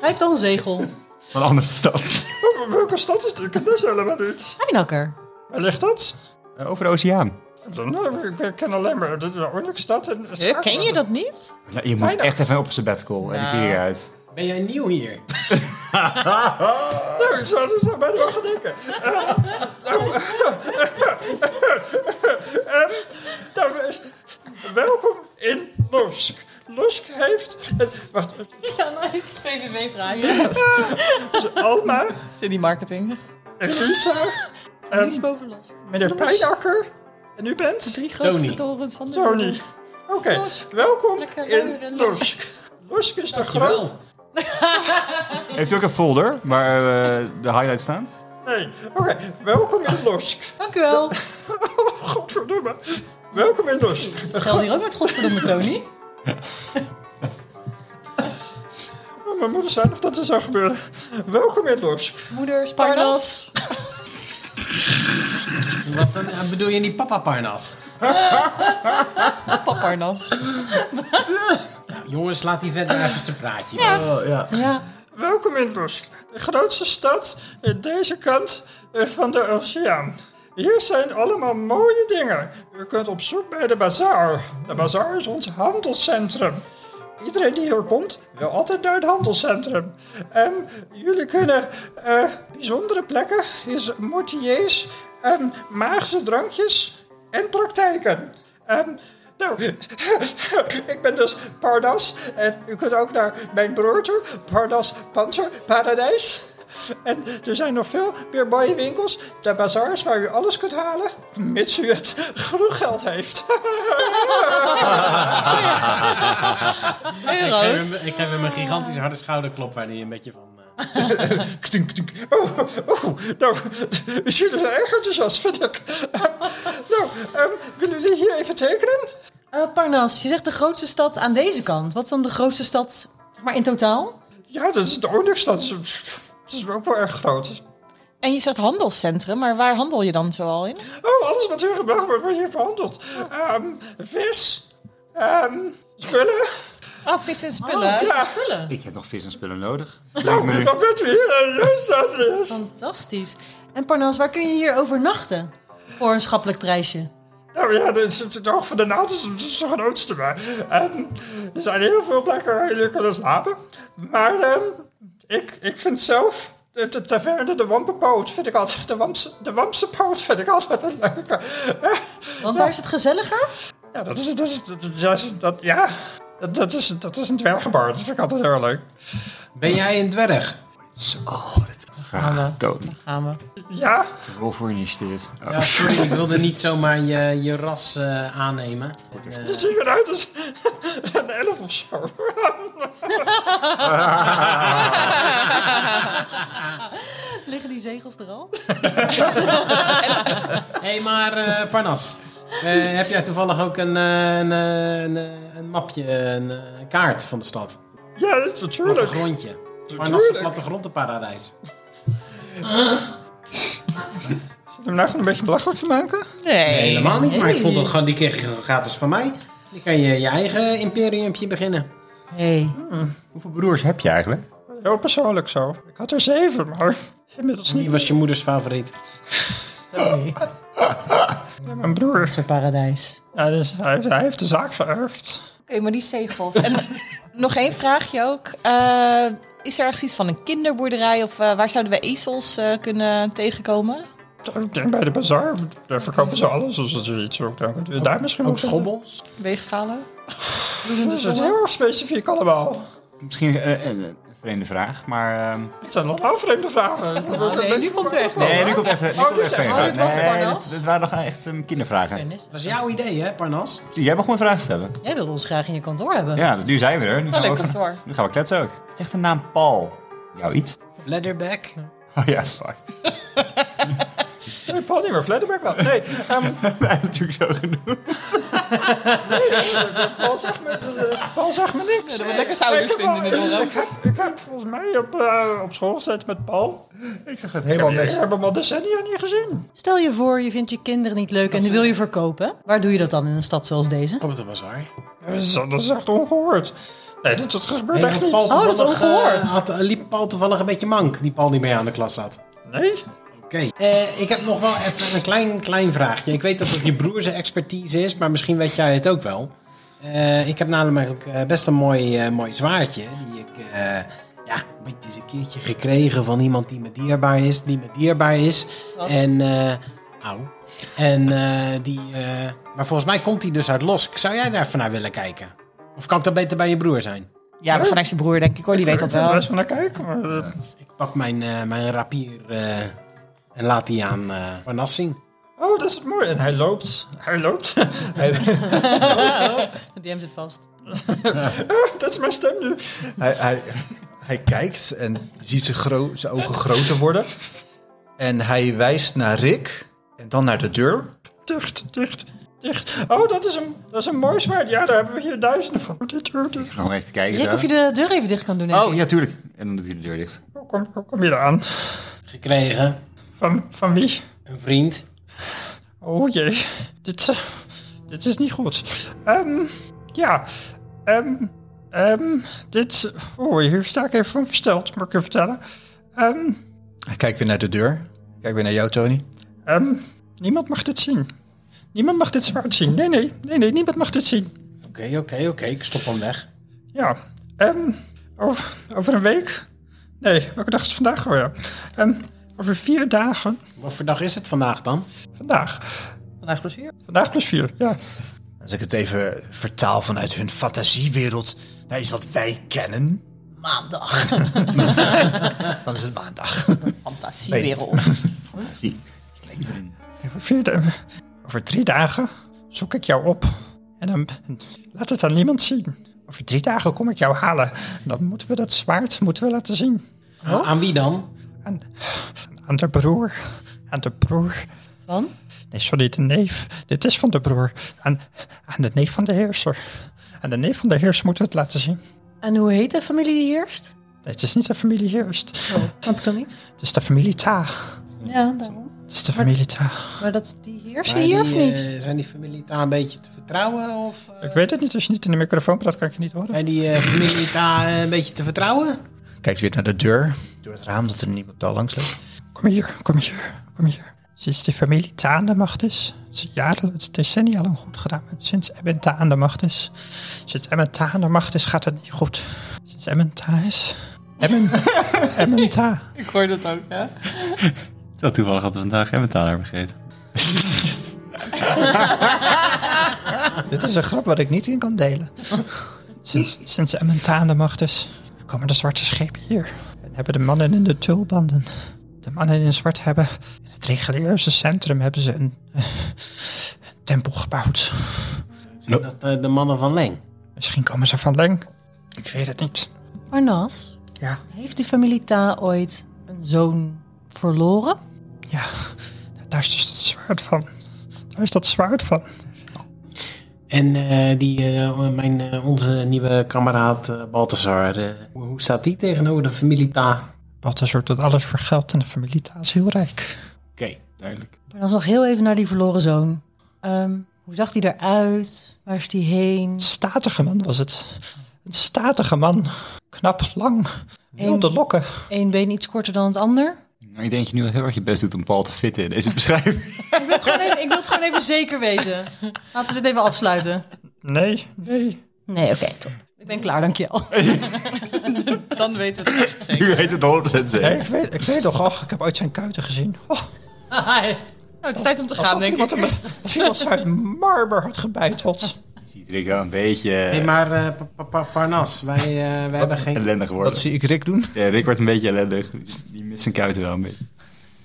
Speaker 1: Hij heeft al een zegel.
Speaker 2: Van een andere stad.
Speaker 11: Over welke stad is het? Ik ken dus helemaal niet.
Speaker 1: Heinakker.
Speaker 11: Waar ligt dat?
Speaker 2: Eh, Over de oceaan.
Speaker 11: Ik bedoel, nou, Ik ben- ik ken alleen maar de- de Onyx-stad en...
Speaker 3: Huh, Ken je dat niet?
Speaker 2: Nou, je moet
Speaker 11: Bijna.
Speaker 2: echt even op zijn bed call. En ik
Speaker 3: Nou.
Speaker 2: hier uit.
Speaker 7: Ben jij nieuw hier?
Speaker 11: Nou, ik zou er zo bijna aan gaan denken. Eh, nou, eh, nou, eh, welkom in Lusk. Lusk heeft... eh, Wacht,
Speaker 1: Ja, nou is het VVV-praatje.
Speaker 11: eh, Alma,
Speaker 3: City marketing.
Speaker 11: Elisa,
Speaker 1: Die is
Speaker 11: en
Speaker 1: bovenlast.
Speaker 11: meneer Pijnakker. En u bent?
Speaker 1: Drie grootste
Speaker 7: Tony.
Speaker 1: torens van de
Speaker 11: Tony.
Speaker 1: wereld.
Speaker 11: Oké,
Speaker 1: Lusk.
Speaker 11: welkom
Speaker 1: Lekker
Speaker 11: in
Speaker 1: ruilen.
Speaker 11: Lusk. Lusk is de grote...
Speaker 7: Jawel.
Speaker 2: Heeft u ook een folder waar eh, de highlights staan?
Speaker 11: Nee, oké, welkom in Lusk.
Speaker 1: Dank u wel.
Speaker 11: Oh, godverdomme. Welkom in Lusk.
Speaker 1: Schel hier ook met godverdomme Tony.
Speaker 11: Oh, Mijn moeder zei nog dat het zou gebeuren. Welkom in Lusk.
Speaker 1: Moeder,
Speaker 3: Parnas.
Speaker 1: Parnas.
Speaker 7: Was dan, eh, bedoel je niet papa Parnas?
Speaker 3: Paparnas.
Speaker 7: Nou, jongens, laat die vent maar even zijn praatje. doen.
Speaker 2: Oh, ja.
Speaker 1: Ja,
Speaker 11: Welkom in Lusk, de grootste stad in deze kant eh, van de oceaan. Hier zijn allemaal mooie dingen. U kunt op zoek bij de bazaar. De bazaar is ons handelscentrum. Iedereen die hier komt, wil altijd naar het handelscentrum. En jullie kunnen eh, bijzondere plekken, is motiers, en magische drankjes en praktijken. En nou, ik ben dus Pardas. En u kunt ook naar mijn broer toe. Pardas Panzer Paradijs. En er zijn nog veel meer mooie winkels. De bazaars waar u alles kunt halen. Mits u het genoeg geld heeft.
Speaker 4: Ik
Speaker 8: Euro's.
Speaker 4: geef, hem, ik geef hem een gigantisch harde schouderklop waar hij een beetje van... eh,
Speaker 11: Ktunk, ktunk. Oh, oh, nou, jullie zijn erg enthousiast, vind ik. nou, ehm, willen jullie hier even tekenen?
Speaker 1: Eh, Parnas, je zegt de grootste stad aan deze kant. Wat is dan de grootste stad zeg maar in totaal?
Speaker 11: Ja, dat is de Onyx-stad. Dat is- dat is ook wel erg groot.
Speaker 3: En je zegt handelscentrum, maar waar handel je dan zoal in?
Speaker 11: Oh, alles wat hier gebracht wordt, wordt hier verhandeld. Ehm, vis, ehm, spullen.
Speaker 3: Oh, vis en
Speaker 1: Ah, Spullen.
Speaker 11: ja.
Speaker 1: Spullen.
Speaker 6: Ik heb nog vis en spullen nodig.
Speaker 11: Nou, dan bent u hier. eh, Juist, Andreas.
Speaker 1: Fantastisch. En Parnas, waar kun je hier overnachten? Voor een schappelijk prijsje.
Speaker 11: Nou ja, dit is het het oog van de naald is het is de grootste. Maar ehm, er zijn heel veel plekken waar jullie kunnen slapen. Maar ehm, ik, ik vind zelf... De, de taverne, de Wampenpoot, vind ik altijd... De, Wamse, de Wamsenpoot vind ik altijd het leuke.
Speaker 1: Want daar is het gezelliger.
Speaker 11: Ja, dat is... Dat is, dat is, dat is- dat, ja, dat, dat is, dat is een dwergenbar. Dat vind ik altijd heel erg leuk.
Speaker 7: Ben jij een dwerg?
Speaker 6: Graag, Tony.
Speaker 1: Gaan we.
Speaker 11: Ja,
Speaker 6: Rol voor initiatief. Oh,
Speaker 7: Ja, sorry, ik wilde niet zomaar je, je ras eh, aannemen. En, eh,
Speaker 11: Het ziet eruit als een elf of zo.
Speaker 1: Liggen die zegels er al?
Speaker 7: Hé, hey, maar eh, Parnas, eh, heb jij toevallig ook een, eh, een, eh, een, eh, een mapje, een, eh, een kaart van de stad?
Speaker 11: Ja, dat is natuurlijk.
Speaker 7: Plattegrondje. Parnas,
Speaker 11: Tuurlijk.
Speaker 7: plattegrondenparadijs.
Speaker 11: Zit hem nou gewoon een beetje belachelijk te maken?
Speaker 3: Nee.
Speaker 7: helemaal niet, maar ik vond dat
Speaker 1: Nee.
Speaker 7: gewoon, die kreeg je gratis van mij. Dan kan je je eigen imperiumpje beginnen.
Speaker 1: Hey.
Speaker 2: Hoeveel broers heb je eigenlijk?
Speaker 11: Heel persoonlijk zo. Ik had er zeven, maar inmiddels
Speaker 7: Wie
Speaker 11: niet.
Speaker 7: was je moeders favoriet?
Speaker 11: Mijn broer,
Speaker 1: Zo'n paradijs.
Speaker 11: ja, dus hij, heeft- hij heeft de zaak geërfd.
Speaker 3: Oké, maar die zegels. En nog één vraagje ook. Eh, is er ergens iets van een kinderboerderij of eh, waar zouden we ezels eh, kunnen tegenkomen?
Speaker 11: Ik denk bij de bazaar, daar verkopen ze alles als het zoiets ook. Dan kunnen we daar misschien
Speaker 7: Ook
Speaker 11: wel vinden.
Speaker 7: schobbels?
Speaker 3: Weegschalen?
Speaker 11: Dus het is heel erg specifiek allemaal.
Speaker 6: Misschien eh, een, een vreemde vraag, maar... ehm,
Speaker 7: Oh,
Speaker 11: Het zijn allemaal vreemde vragen.
Speaker 1: nee, nu komt het echt.
Speaker 6: Nee, nu komt echt
Speaker 7: oh,
Speaker 6: nu komt
Speaker 11: dit
Speaker 6: echt
Speaker 11: is echt
Speaker 6: geen
Speaker 11: hard
Speaker 6: vraag.
Speaker 1: vast,
Speaker 6: Nee,
Speaker 1: Barnas.
Speaker 6: dit, dit waren nog echt ehm, kindervragen.
Speaker 1: Dennis,
Speaker 7: Dat is jouw idee, hè, Parnas?
Speaker 6: Zie, jij mag gewoon vragen stellen.
Speaker 1: Jij wilde ons graag in je kantoor hebben.
Speaker 6: Ja, Nou, nu zijn we er. Nu
Speaker 3: Wel
Speaker 6: gaan we,
Speaker 3: leuk
Speaker 6: ook-
Speaker 3: kantoor.
Speaker 6: nu gaan we kletsen ook. Het is echt de naam Paul. Jou iets?
Speaker 7: Leatherback?
Speaker 6: Oh ja, fuck.
Speaker 11: Nee, Paul niet meer, Vladimir wel. Nee, ehm,
Speaker 6: Wij hebben natuurlijk zo genoeg.
Speaker 11: Paul zegt me, eh, Paul zegt me niks.
Speaker 3: Dat we lekker ouders
Speaker 11: Ik heb
Speaker 3: vinden in de
Speaker 11: wel-
Speaker 3: dorp.
Speaker 11: Ik heb, ik heb volgens mij op, eh, op school gezeten met Paul.
Speaker 6: Ik zag het helemaal
Speaker 11: Ik heb hem al decennia niet gezien.
Speaker 1: Stel je voor, je vindt je kinderen niet leuk en die wil je verkopen. Waar doe je dat dan in een stad zoals deze?
Speaker 7: Op de bazaar.
Speaker 11: Dat is, dat is echt ongehoord. Nee, dat, dat gebeurt
Speaker 7: Hey,
Speaker 11: echt
Speaker 7: had
Speaker 11: niet.
Speaker 7: Paul
Speaker 1: Oh, dat is
Speaker 7: toevallig,
Speaker 1: ongehoord.
Speaker 7: eh, had, liep Paul toevallig een beetje mank, die Paul niet mee aan de klas zat.
Speaker 11: Nee?
Speaker 7: Oké, eh, ik heb nog wel even een klein, klein vraagje. Ik weet dat het je broer zijn expertise is, maar misschien weet jij het ook wel. Eh, ik heb namelijk eh, best een mooi, eh, mooi zwaardje. Die ik, eh, ja, het is een keertje gekregen van iemand die me dierbaar is, die me dierbaar is.
Speaker 1: Was.
Speaker 7: En, eh au. En eh, die, eh, maar volgens mij komt die dus uit Losk. Zou jij daar even naar willen kijken? Of kan ik dan beter bij je broer zijn?
Speaker 3: Ja, we gaan naar zijn broer, denk ik hoor. Die weet dat
Speaker 11: Ik wil
Speaker 3: wel.
Speaker 11: best wel naar kijken, maar eh,
Speaker 7: Ik pak mijn, eh, mijn rapier eh, en laat die aan eh Parnas zien.
Speaker 11: Oh, dat is mooi. En hij loopt. Hij loopt.
Speaker 1: Die hem zit vast.
Speaker 11: Oh, dat is mijn stem nu.
Speaker 5: Hij, hij, hij kijkt en je ziet zijn, gro- zijn ogen groter worden. En hij wijst naar Rick en dan naar de deur.
Speaker 11: Dicht, dicht, dicht. Oh, dat is een, dat is een mooi zwaard. Ja, daar hebben we hier duizenden van. Oh, Dit, dit, dit.
Speaker 6: Nog even te kijken.
Speaker 1: Rick,
Speaker 6: zo.
Speaker 1: of je de deur even dicht kan doen. denk
Speaker 6: Oh,
Speaker 1: ik.
Speaker 6: ja, tuurlijk. En dan doet hij de deur dicht.
Speaker 11: Hoe oh, kom, hoe kom je eraan?
Speaker 7: Gekregen.
Speaker 11: Van, van wie?
Speaker 7: Een vriend.
Speaker 11: Oh jee. Dit, eh, dit is niet goed. Ehm, ja. Ehm, Ehm, dit... Oeh, hier sta ik even van versteld, moet ik je vertellen. Ehm,
Speaker 5: Ik Kijk weer naar de deur. Ik Kijk weer naar jou, Tony.
Speaker 11: ehm, niemand mag dit zien. Niemand mag dit zwaard zien. Nee, nee, nee, nee, niemand mag dit zien.
Speaker 7: Oké, oké, oké. Ik stop hem weg.
Speaker 11: Ja, ehm, over, over een week? Nee, welke dag is het vandaag alweer? Ehm, over vier dagen.
Speaker 7: Wat voor dag is het vandaag dan?
Speaker 1: Oh.
Speaker 11: Vandaag.
Speaker 1: Vandaag plus vier.
Speaker 11: Vandaag plus vier, ja.
Speaker 5: Als ik het even vertaal vanuit hun fantasiewereld naar iets wat wij kennen,
Speaker 1: Maandag.
Speaker 5: dan is het maandag.
Speaker 3: Fantasiewereld.
Speaker 2: Zie.
Speaker 11: Over vier dagen. Over drie dagen zoek ik jou op. En dan laat het aan niemand zien. Over drie dagen kom ik jou halen. En dan moeten we dat zwaard moeten we laten zien.
Speaker 7: Aan- Aan wie dan?
Speaker 11: Aan, aan de broer. Aan de broer.
Speaker 1: Van?
Speaker 11: Nee, sorry, de neef. Dit is van de broer. Aan, aan de neef van de heerser. Aan de neef van de heerser moeten we het laten zien.
Speaker 1: En hoe heet de familie die heerst?
Speaker 11: Nee, het is niet de familie heerst.
Speaker 1: Oh, snap ik dan niet?
Speaker 11: Het is de familie Ta.
Speaker 1: Ja, daarom.
Speaker 11: Het is de familie Ta.
Speaker 1: Maar dat, die heersen
Speaker 7: Maar
Speaker 1: hier
Speaker 7: die,
Speaker 1: of niet?
Speaker 7: eh, zijn die familie daar een beetje te vertrouwen? Of eh,
Speaker 11: Ik weet het niet, als je niet in de microfoon praat, kan ik je niet horen.
Speaker 7: zijn die eh, familie daar eh, een beetje te vertrouwen?
Speaker 5: Kijk weer naar de deur, door het raam dat er niemand daar langs loopt.
Speaker 11: Kom hier, kom hier, kom hier. Sinds de familie Ta aan de macht is, sinds jaren, het is decennia lang goed gedaan. maar Sinds Emmen Ta aan de macht is, sinds Emmen Ta aan de macht is, gaat het niet goed. Sinds Emmen Ta is, Emmen, Emmen Ta.
Speaker 3: Ik hoor dat ook, ja.
Speaker 2: Zo toevallig hadden we vandaag Emmentaler hebben gegeten.
Speaker 5: Dit is een grap wat ik niet in kan delen.
Speaker 11: Sinds, sinds Emmen Ta aan de macht is, komen de zwarte schepen hier. En hebben de mannen in de tulbanden. De mannen in zwart hebben, in het reguliere centrum hebben ze een eh, tempel gebouwd.
Speaker 7: Zijn dat eh, de mannen van Leen?
Speaker 11: Misschien komen ze van Leng. Ik weet het niet.
Speaker 1: Arnas,
Speaker 11: Ja.
Speaker 1: heeft die familie Ta ooit een zoon verloren?
Speaker 11: Ja, daar is dus dat zwaard van. Daar is dat zwaard van.
Speaker 7: En eh, die, eh, mijn, eh, onze nieuwe kameraad eh Balthazar, eh, hoe, hoe staat die tegenover de familie Ta? Oké,
Speaker 11: Balthazar doet alles voor geld en de familie Ta is heel rijk.
Speaker 6: duidelijk.
Speaker 1: Maar dan nog heel even naar die verloren zoon. Ehm, hoe zag die eruit? Waar is die heen?
Speaker 11: Een statige man was het. Een statige man. Knap, lang. Wilde lokken.
Speaker 1: Eén been iets korter dan het ander?
Speaker 6: Nou, ik denk dat je nu wel heel erg je best doet om Paul te fitten in deze beschrijving.
Speaker 1: Ik wil het gewoon even, ik wil het gewoon even zeker weten. Laten we dit even afsluiten.
Speaker 11: Nee, nee.
Speaker 1: Nee, oké, top. Ik ben klaar, dankjewel.
Speaker 3: Dan weten we het echt zeker.
Speaker 2: U weet het 100%
Speaker 11: nee ik, weet, ik weet nog, och, ik heb ooit zijn kuiten gezien. Oh, Och,
Speaker 3: Nou, het is tijd om te gaan,
Speaker 11: alsof
Speaker 3: denk ik.
Speaker 11: iemand, hem, alsof iemand ze uit marmer had gebeiteld.
Speaker 2: Ziet er wel een beetje
Speaker 7: hey,
Speaker 2: eh,
Speaker 7: maar eh, Pa- Pa- Pa- Parnas, wij, eh, wij hebben geen...
Speaker 2: ellendig
Speaker 5: Wat
Speaker 2: geworden.
Speaker 5: zie ik Rick doen?
Speaker 2: Ja, Rick wordt een beetje ellendig. Die mist zijn kuiten wel een beetje.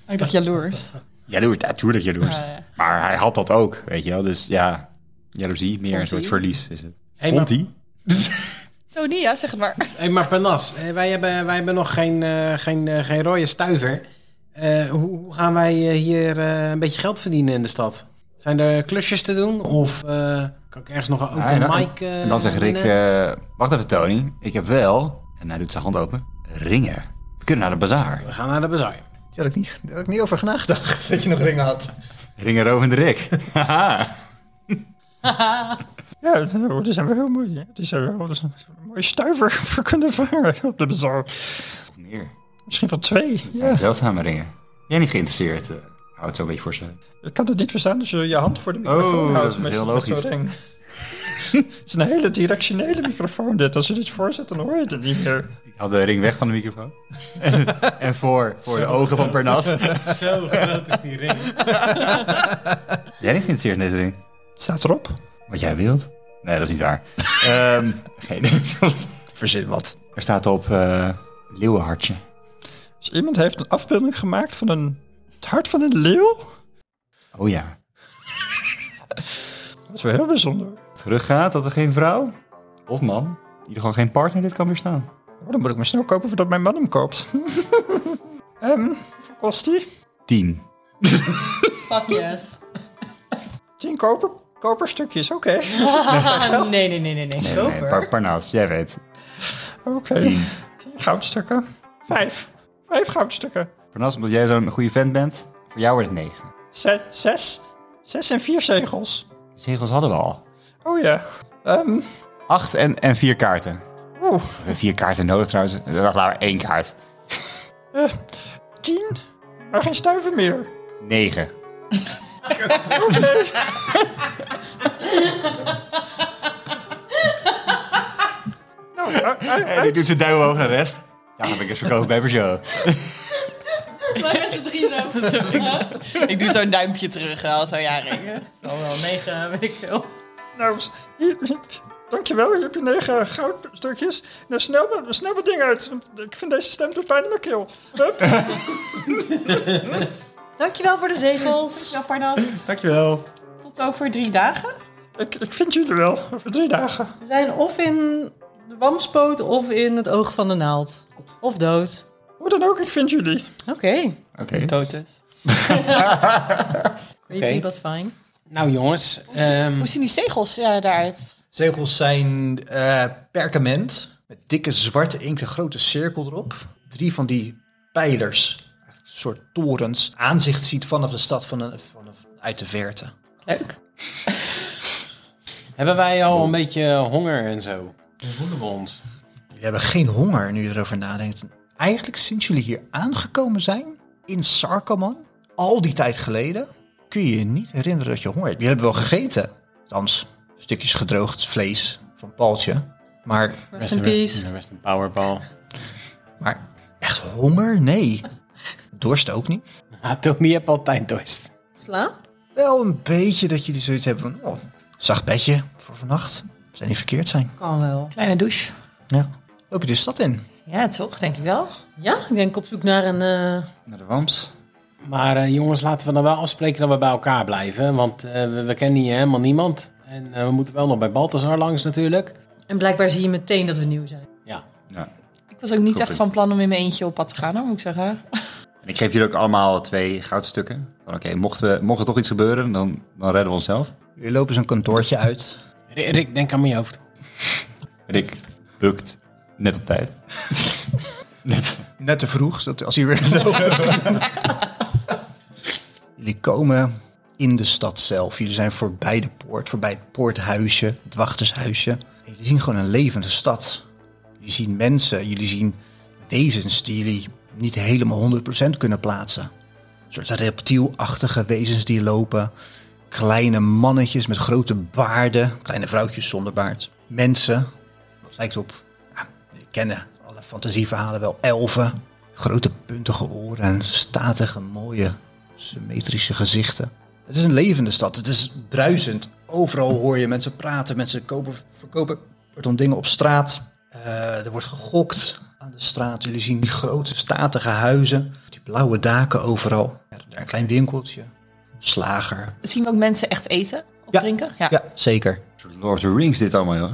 Speaker 3: Ik dacht jaloers.
Speaker 2: Jaloers, natuurlijk jaloers.
Speaker 3: Ah, ja.
Speaker 2: Maar hij had dat ook, weet je wel. Dus ja, jaloezie, meer een soort verlies is het.
Speaker 7: Hey,
Speaker 2: Vond
Speaker 7: maar,
Speaker 2: hij?
Speaker 3: Tony, ja, zeg het maar.
Speaker 7: hey, maar Parnas, eh, wij, hebben, wij hebben nog geen, eh, geen, eh, geen rode stuiver. Eh, hoe, hoe gaan wij eh, hier eh, een beetje geld verdienen in de stad? Zijn er klusjes te doen? Of eh, kan ik ergens nog een open
Speaker 6: Ja, en dan-
Speaker 7: mic... eh,
Speaker 6: En dan zegt Rick,
Speaker 7: winnen?
Speaker 6: eh, wacht even Tony, ik heb wel, en hij doet zijn hand open, ringen. We kunnen naar de bazaar.
Speaker 7: We gaan naar de bazaar.
Speaker 5: Daar had ik niet, daar had ik niet over nagedacht, dat je nog ringen had.
Speaker 6: Ringen rovende Rick. Haha.
Speaker 11: Ja, oh, die zijn wel heel mooi. hè. Die zijn wel dat is een mooie stuiver voor kunnen vangen op de bazaar.
Speaker 6: Of meer.
Speaker 11: Misschien wel twee.
Speaker 6: Het zijn
Speaker 11: Ja.
Speaker 6: zeldzame ringen. Jij niet geïnteresseerd? eh hou het zo'n beetje voor ze.
Speaker 11: Ik kan het niet verstaan als je je hand voor de microfoon
Speaker 6: Oh,
Speaker 11: houdt.
Speaker 6: dat is
Speaker 11: met-
Speaker 6: heel
Speaker 11: met zo'n
Speaker 6: logisch.
Speaker 11: ring. het is een hele directionele microfoon dit. Als je dit voorzet, dan hoor je het niet meer.
Speaker 6: Ik haal de ring weg van de microfoon. en voor, voor de ogen van Pernas.
Speaker 7: Zo groot is die ring.
Speaker 6: Jij niet geïnteresseerd in deze ring?
Speaker 11: Het staat erop.
Speaker 6: Wat jij wilt? Nee, dat is niet waar. Ehm, geen
Speaker 5: Verzin wat.
Speaker 6: Er staat op eh, leeuwenhartje.
Speaker 11: Dus iemand heeft een afbeelding gemaakt van een, het hart van een leeuw.
Speaker 6: Oh ja.
Speaker 11: Dat is wel heel bijzonder.
Speaker 6: Teruggaat dat er geen vrouw of man, in ieder geval geen partner dit kan weerstaan.
Speaker 11: Oh, dan moet ik me snel kopen voordat mijn man hem koopt. Ehm, hoeveel kost die?
Speaker 6: 10.
Speaker 3: Fuck yes.
Speaker 11: Tien koper, koperstukjes, oké.
Speaker 3: Ah, nee, nee, nee, nee, nee.
Speaker 6: Nee, nee,
Speaker 3: Koper.
Speaker 6: par, parnaas, jij weet.
Speaker 11: Oké.
Speaker 6: Tien.
Speaker 11: Tien goudstukken. Vijf. Vijf goudstukken.
Speaker 6: Parnas, omdat jij zo'n goede vent bent, voor jou wordt het 9.
Speaker 11: Zes. Zes, zes en vier zegels.
Speaker 6: Zegels hadden we al.
Speaker 11: Oh ja. Ehm,
Speaker 6: 8 en, en 4 kaarten.
Speaker 11: Oh,
Speaker 6: We hebben vier kaarten nodig trouwens. Dat was later één kaart.
Speaker 11: eh, tien? Maar geen stuiver meer.
Speaker 6: Negen.
Speaker 11: Nou, u- u-
Speaker 6: En die doet zijn duim omhoog naar de rest. Ja, dan ben ik eens verkopen bij Peugeot.
Speaker 8: Waar is het drie zo?
Speaker 3: Ik doe zo'n duimpje terug eh, al zo'n jaar in.
Speaker 1: Zo wel negen, weet ik veel.
Speaker 11: nou, s- hier, dankjewel, hier heb je negen goudstukjes. Nou, snel, maar- snel dat ding uit, want ik vind deze stem doet pijn in mijn keel. Hup.
Speaker 1: Dankjewel voor de zegels. Ja, Parnas.
Speaker 2: Dankjewel.
Speaker 1: Tot over drie dagen.
Speaker 11: Ik, ik vind jullie wel, over drie dagen.
Speaker 1: We zijn of in de wamspoot of in het oog van de naald. Of dood.
Speaker 11: Hoe dan ook, ik vind jullie.
Speaker 1: Oké.
Speaker 6: Oké.
Speaker 3: Dood dus.
Speaker 1: Creepy, but fine.
Speaker 7: Nou jongens, ehm,
Speaker 3: Hoe zien die zegels eh, daaruit?
Speaker 5: Zegels zijn eh, perkament. Met dikke zwarte inkt, een grote cirkel erop. Drie van die pijlers, een soort torens. Aanzicht ziet vanaf de stad van een, vanaf, uit de verte.
Speaker 3: Leuk.
Speaker 7: hebben wij al een beetje honger en zo? Hoe voelen we ons?
Speaker 5: We hebben geen honger nu je erover nadenkt. Eigenlijk sinds jullie hier aangekomen zijn, in Sarkoman, al die tijd geleden, kun je je niet herinneren dat je honger hebt. Je hebt wel gegeten. Althans, stukjes gedroogd vlees van Paltje. Maar,
Speaker 1: Rest in peace.
Speaker 7: Rest een powerball.
Speaker 5: maar echt honger? Nee. Dorst ook niet.
Speaker 7: Ah, Tony heb altijd dorst.
Speaker 1: Sla?
Speaker 5: Wel een beetje dat jullie zoiets hebben van, oh, zacht bedje voor vannacht. Zou niet verkeerd zijn.
Speaker 1: Kan wel.
Speaker 3: Kleine douche.
Speaker 5: Ja. Loop je de stad in.
Speaker 3: Ja, toch? Denk ik wel.
Speaker 1: Ja, ik denk op zoek naar een... eh,
Speaker 6: Naar de Wams.
Speaker 7: Maar eh, jongens, laten we dan wel afspreken dat we bij elkaar blijven. Want eh, we, we kennen hier helemaal niemand. En eh, we moeten wel nog bij Balthazar langs natuurlijk.
Speaker 1: En blijkbaar zie je meteen dat we nieuw zijn.
Speaker 7: Ja.
Speaker 3: Ik was ook niet
Speaker 6: Goed
Speaker 3: echt van plan om in mijn eentje op pad te gaan, hoor, moet ik zeggen.
Speaker 6: En ik geef jullie ook allemaal twee goudstukken. Van Oké, mocht, we, mocht er toch iets gebeuren, dan, dan redden we onszelf.
Speaker 5: Jullie lopen zo'n kantoortje uit.
Speaker 7: Rick, Rick, denk aan mijn hoofd.
Speaker 6: Rick bukt net op tijd.
Speaker 5: Net te vroeg, zodat als hij weer Jullie komen in de stad zelf. Jullie zijn voorbij de poort, voorbij het poorthuisje, het wachtershuisje. En jullie zien gewoon een levende stad. Jullie zien mensen, jullie zien wezens die jullie niet helemaal 100% kunnen plaatsen. Een soort reptielachtige wezens die lopen. Kleine mannetjes met grote baarden. Kleine vrouwtjes zonder baard. Mensen. Dat lijkt op Jullie kennen eh, alle fantasieverhalen wel. Elfen, grote puntige oren en statige, mooie, symmetrische gezichten. Het is een levende stad. Het is bruisend. Overal hoor je mensen praten. Mensen kopen, verkopen pardon, dingen op straat. Eh, er wordt gegokt aan de straat. Jullie zien die grote, statige huizen. Die blauwe daken overal. Ja, daar een klein winkeltje. Slager.
Speaker 3: Zien we ook mensen echt eten of
Speaker 5: Ja.
Speaker 3: drinken?
Speaker 5: Ja, zeker.
Speaker 6: Lord of the Rings dit allemaal, joh.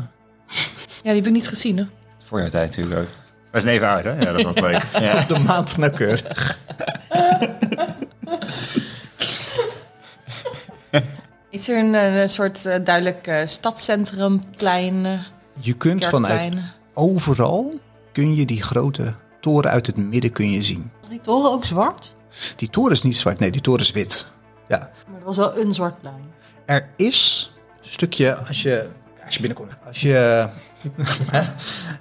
Speaker 3: Ja, die heb ik niet gezien. Hè?
Speaker 6: Voor jouw tijd natuurlijk ook. Was een even oud, hè? Ja, dat was leuk. Ja.
Speaker 5: De maand nauwkeurig.
Speaker 3: Is er een, eh, een soort eh, duidelijk eh, stadscentrumplein, eh,
Speaker 5: Je kunt vanuit
Speaker 3: kerkplein?
Speaker 5: overal kun je die grote toren uit het midden kun je zien.
Speaker 1: Was die toren ook zwart?
Speaker 5: Die toren is niet zwart, nee, die toren is wit. Ja.
Speaker 1: Maar dat was wel een zwart plein.
Speaker 5: Er is een stukje, als je, als je binnenkomt, als je hè,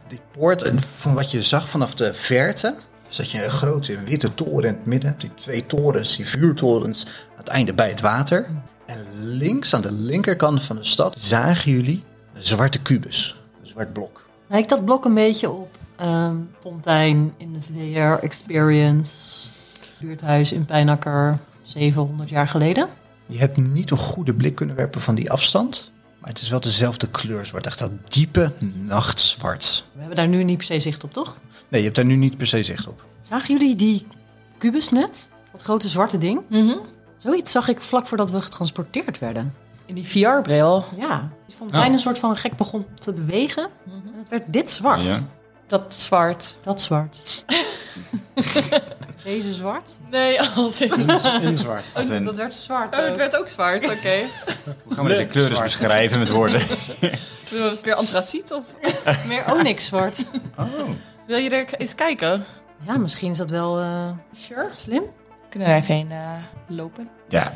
Speaker 5: die poort en van wat je zag vanaf de verte, is dat je een grote witte toren in het midden hebt. Die twee torens, die vuurtorens, aan het einde bij het water. En links, aan de linkerkant van de stad, zagen jullie een zwarte kubus, een zwart blok.
Speaker 1: Lijkt dat blok een beetje op ehm, Fontijn in de VR Experience. Buurthuis in Pijnakker, 700 jaar geleden.
Speaker 5: Je hebt niet een goede blik kunnen werpen van die afstand. Maar het is wel dezelfde kleur zwart. Echt dat diepe nachtzwart.
Speaker 1: We hebben daar nu niet per se zicht op, toch?
Speaker 5: Nee, je hebt daar nu niet per se zicht op.
Speaker 1: Zagen jullie die kubus net? Dat grote zwarte ding?
Speaker 3: Mhm.
Speaker 1: Zoiets zag ik vlak voordat we getransporteerd werden.
Speaker 3: In die VR-bril.
Speaker 1: Ja, het fontein een soort van gek begon te bewegen. En het werd dit zwart.
Speaker 6: Ja.
Speaker 3: Mhm. Dat zwart.
Speaker 1: Dat zwart. Deze zwart?
Speaker 3: Nee, als in...
Speaker 7: In zwart.
Speaker 6: Als in,
Speaker 1: Dat werd zwart. eh, ook.
Speaker 3: Oh, werd ook zwart, oké.
Speaker 6: hoe gaan we deze kleuren eens beschrijven met woorden?
Speaker 3: Was het weer antraciet of...
Speaker 1: Meer onyx zwart.
Speaker 6: Oh.
Speaker 3: Wil je er eens kijken?
Speaker 1: Ja, misschien is dat wel eh,
Speaker 3: Sure.
Speaker 1: slim.
Speaker 3: Kunnen we er even heen eh, lopen?
Speaker 6: Ja,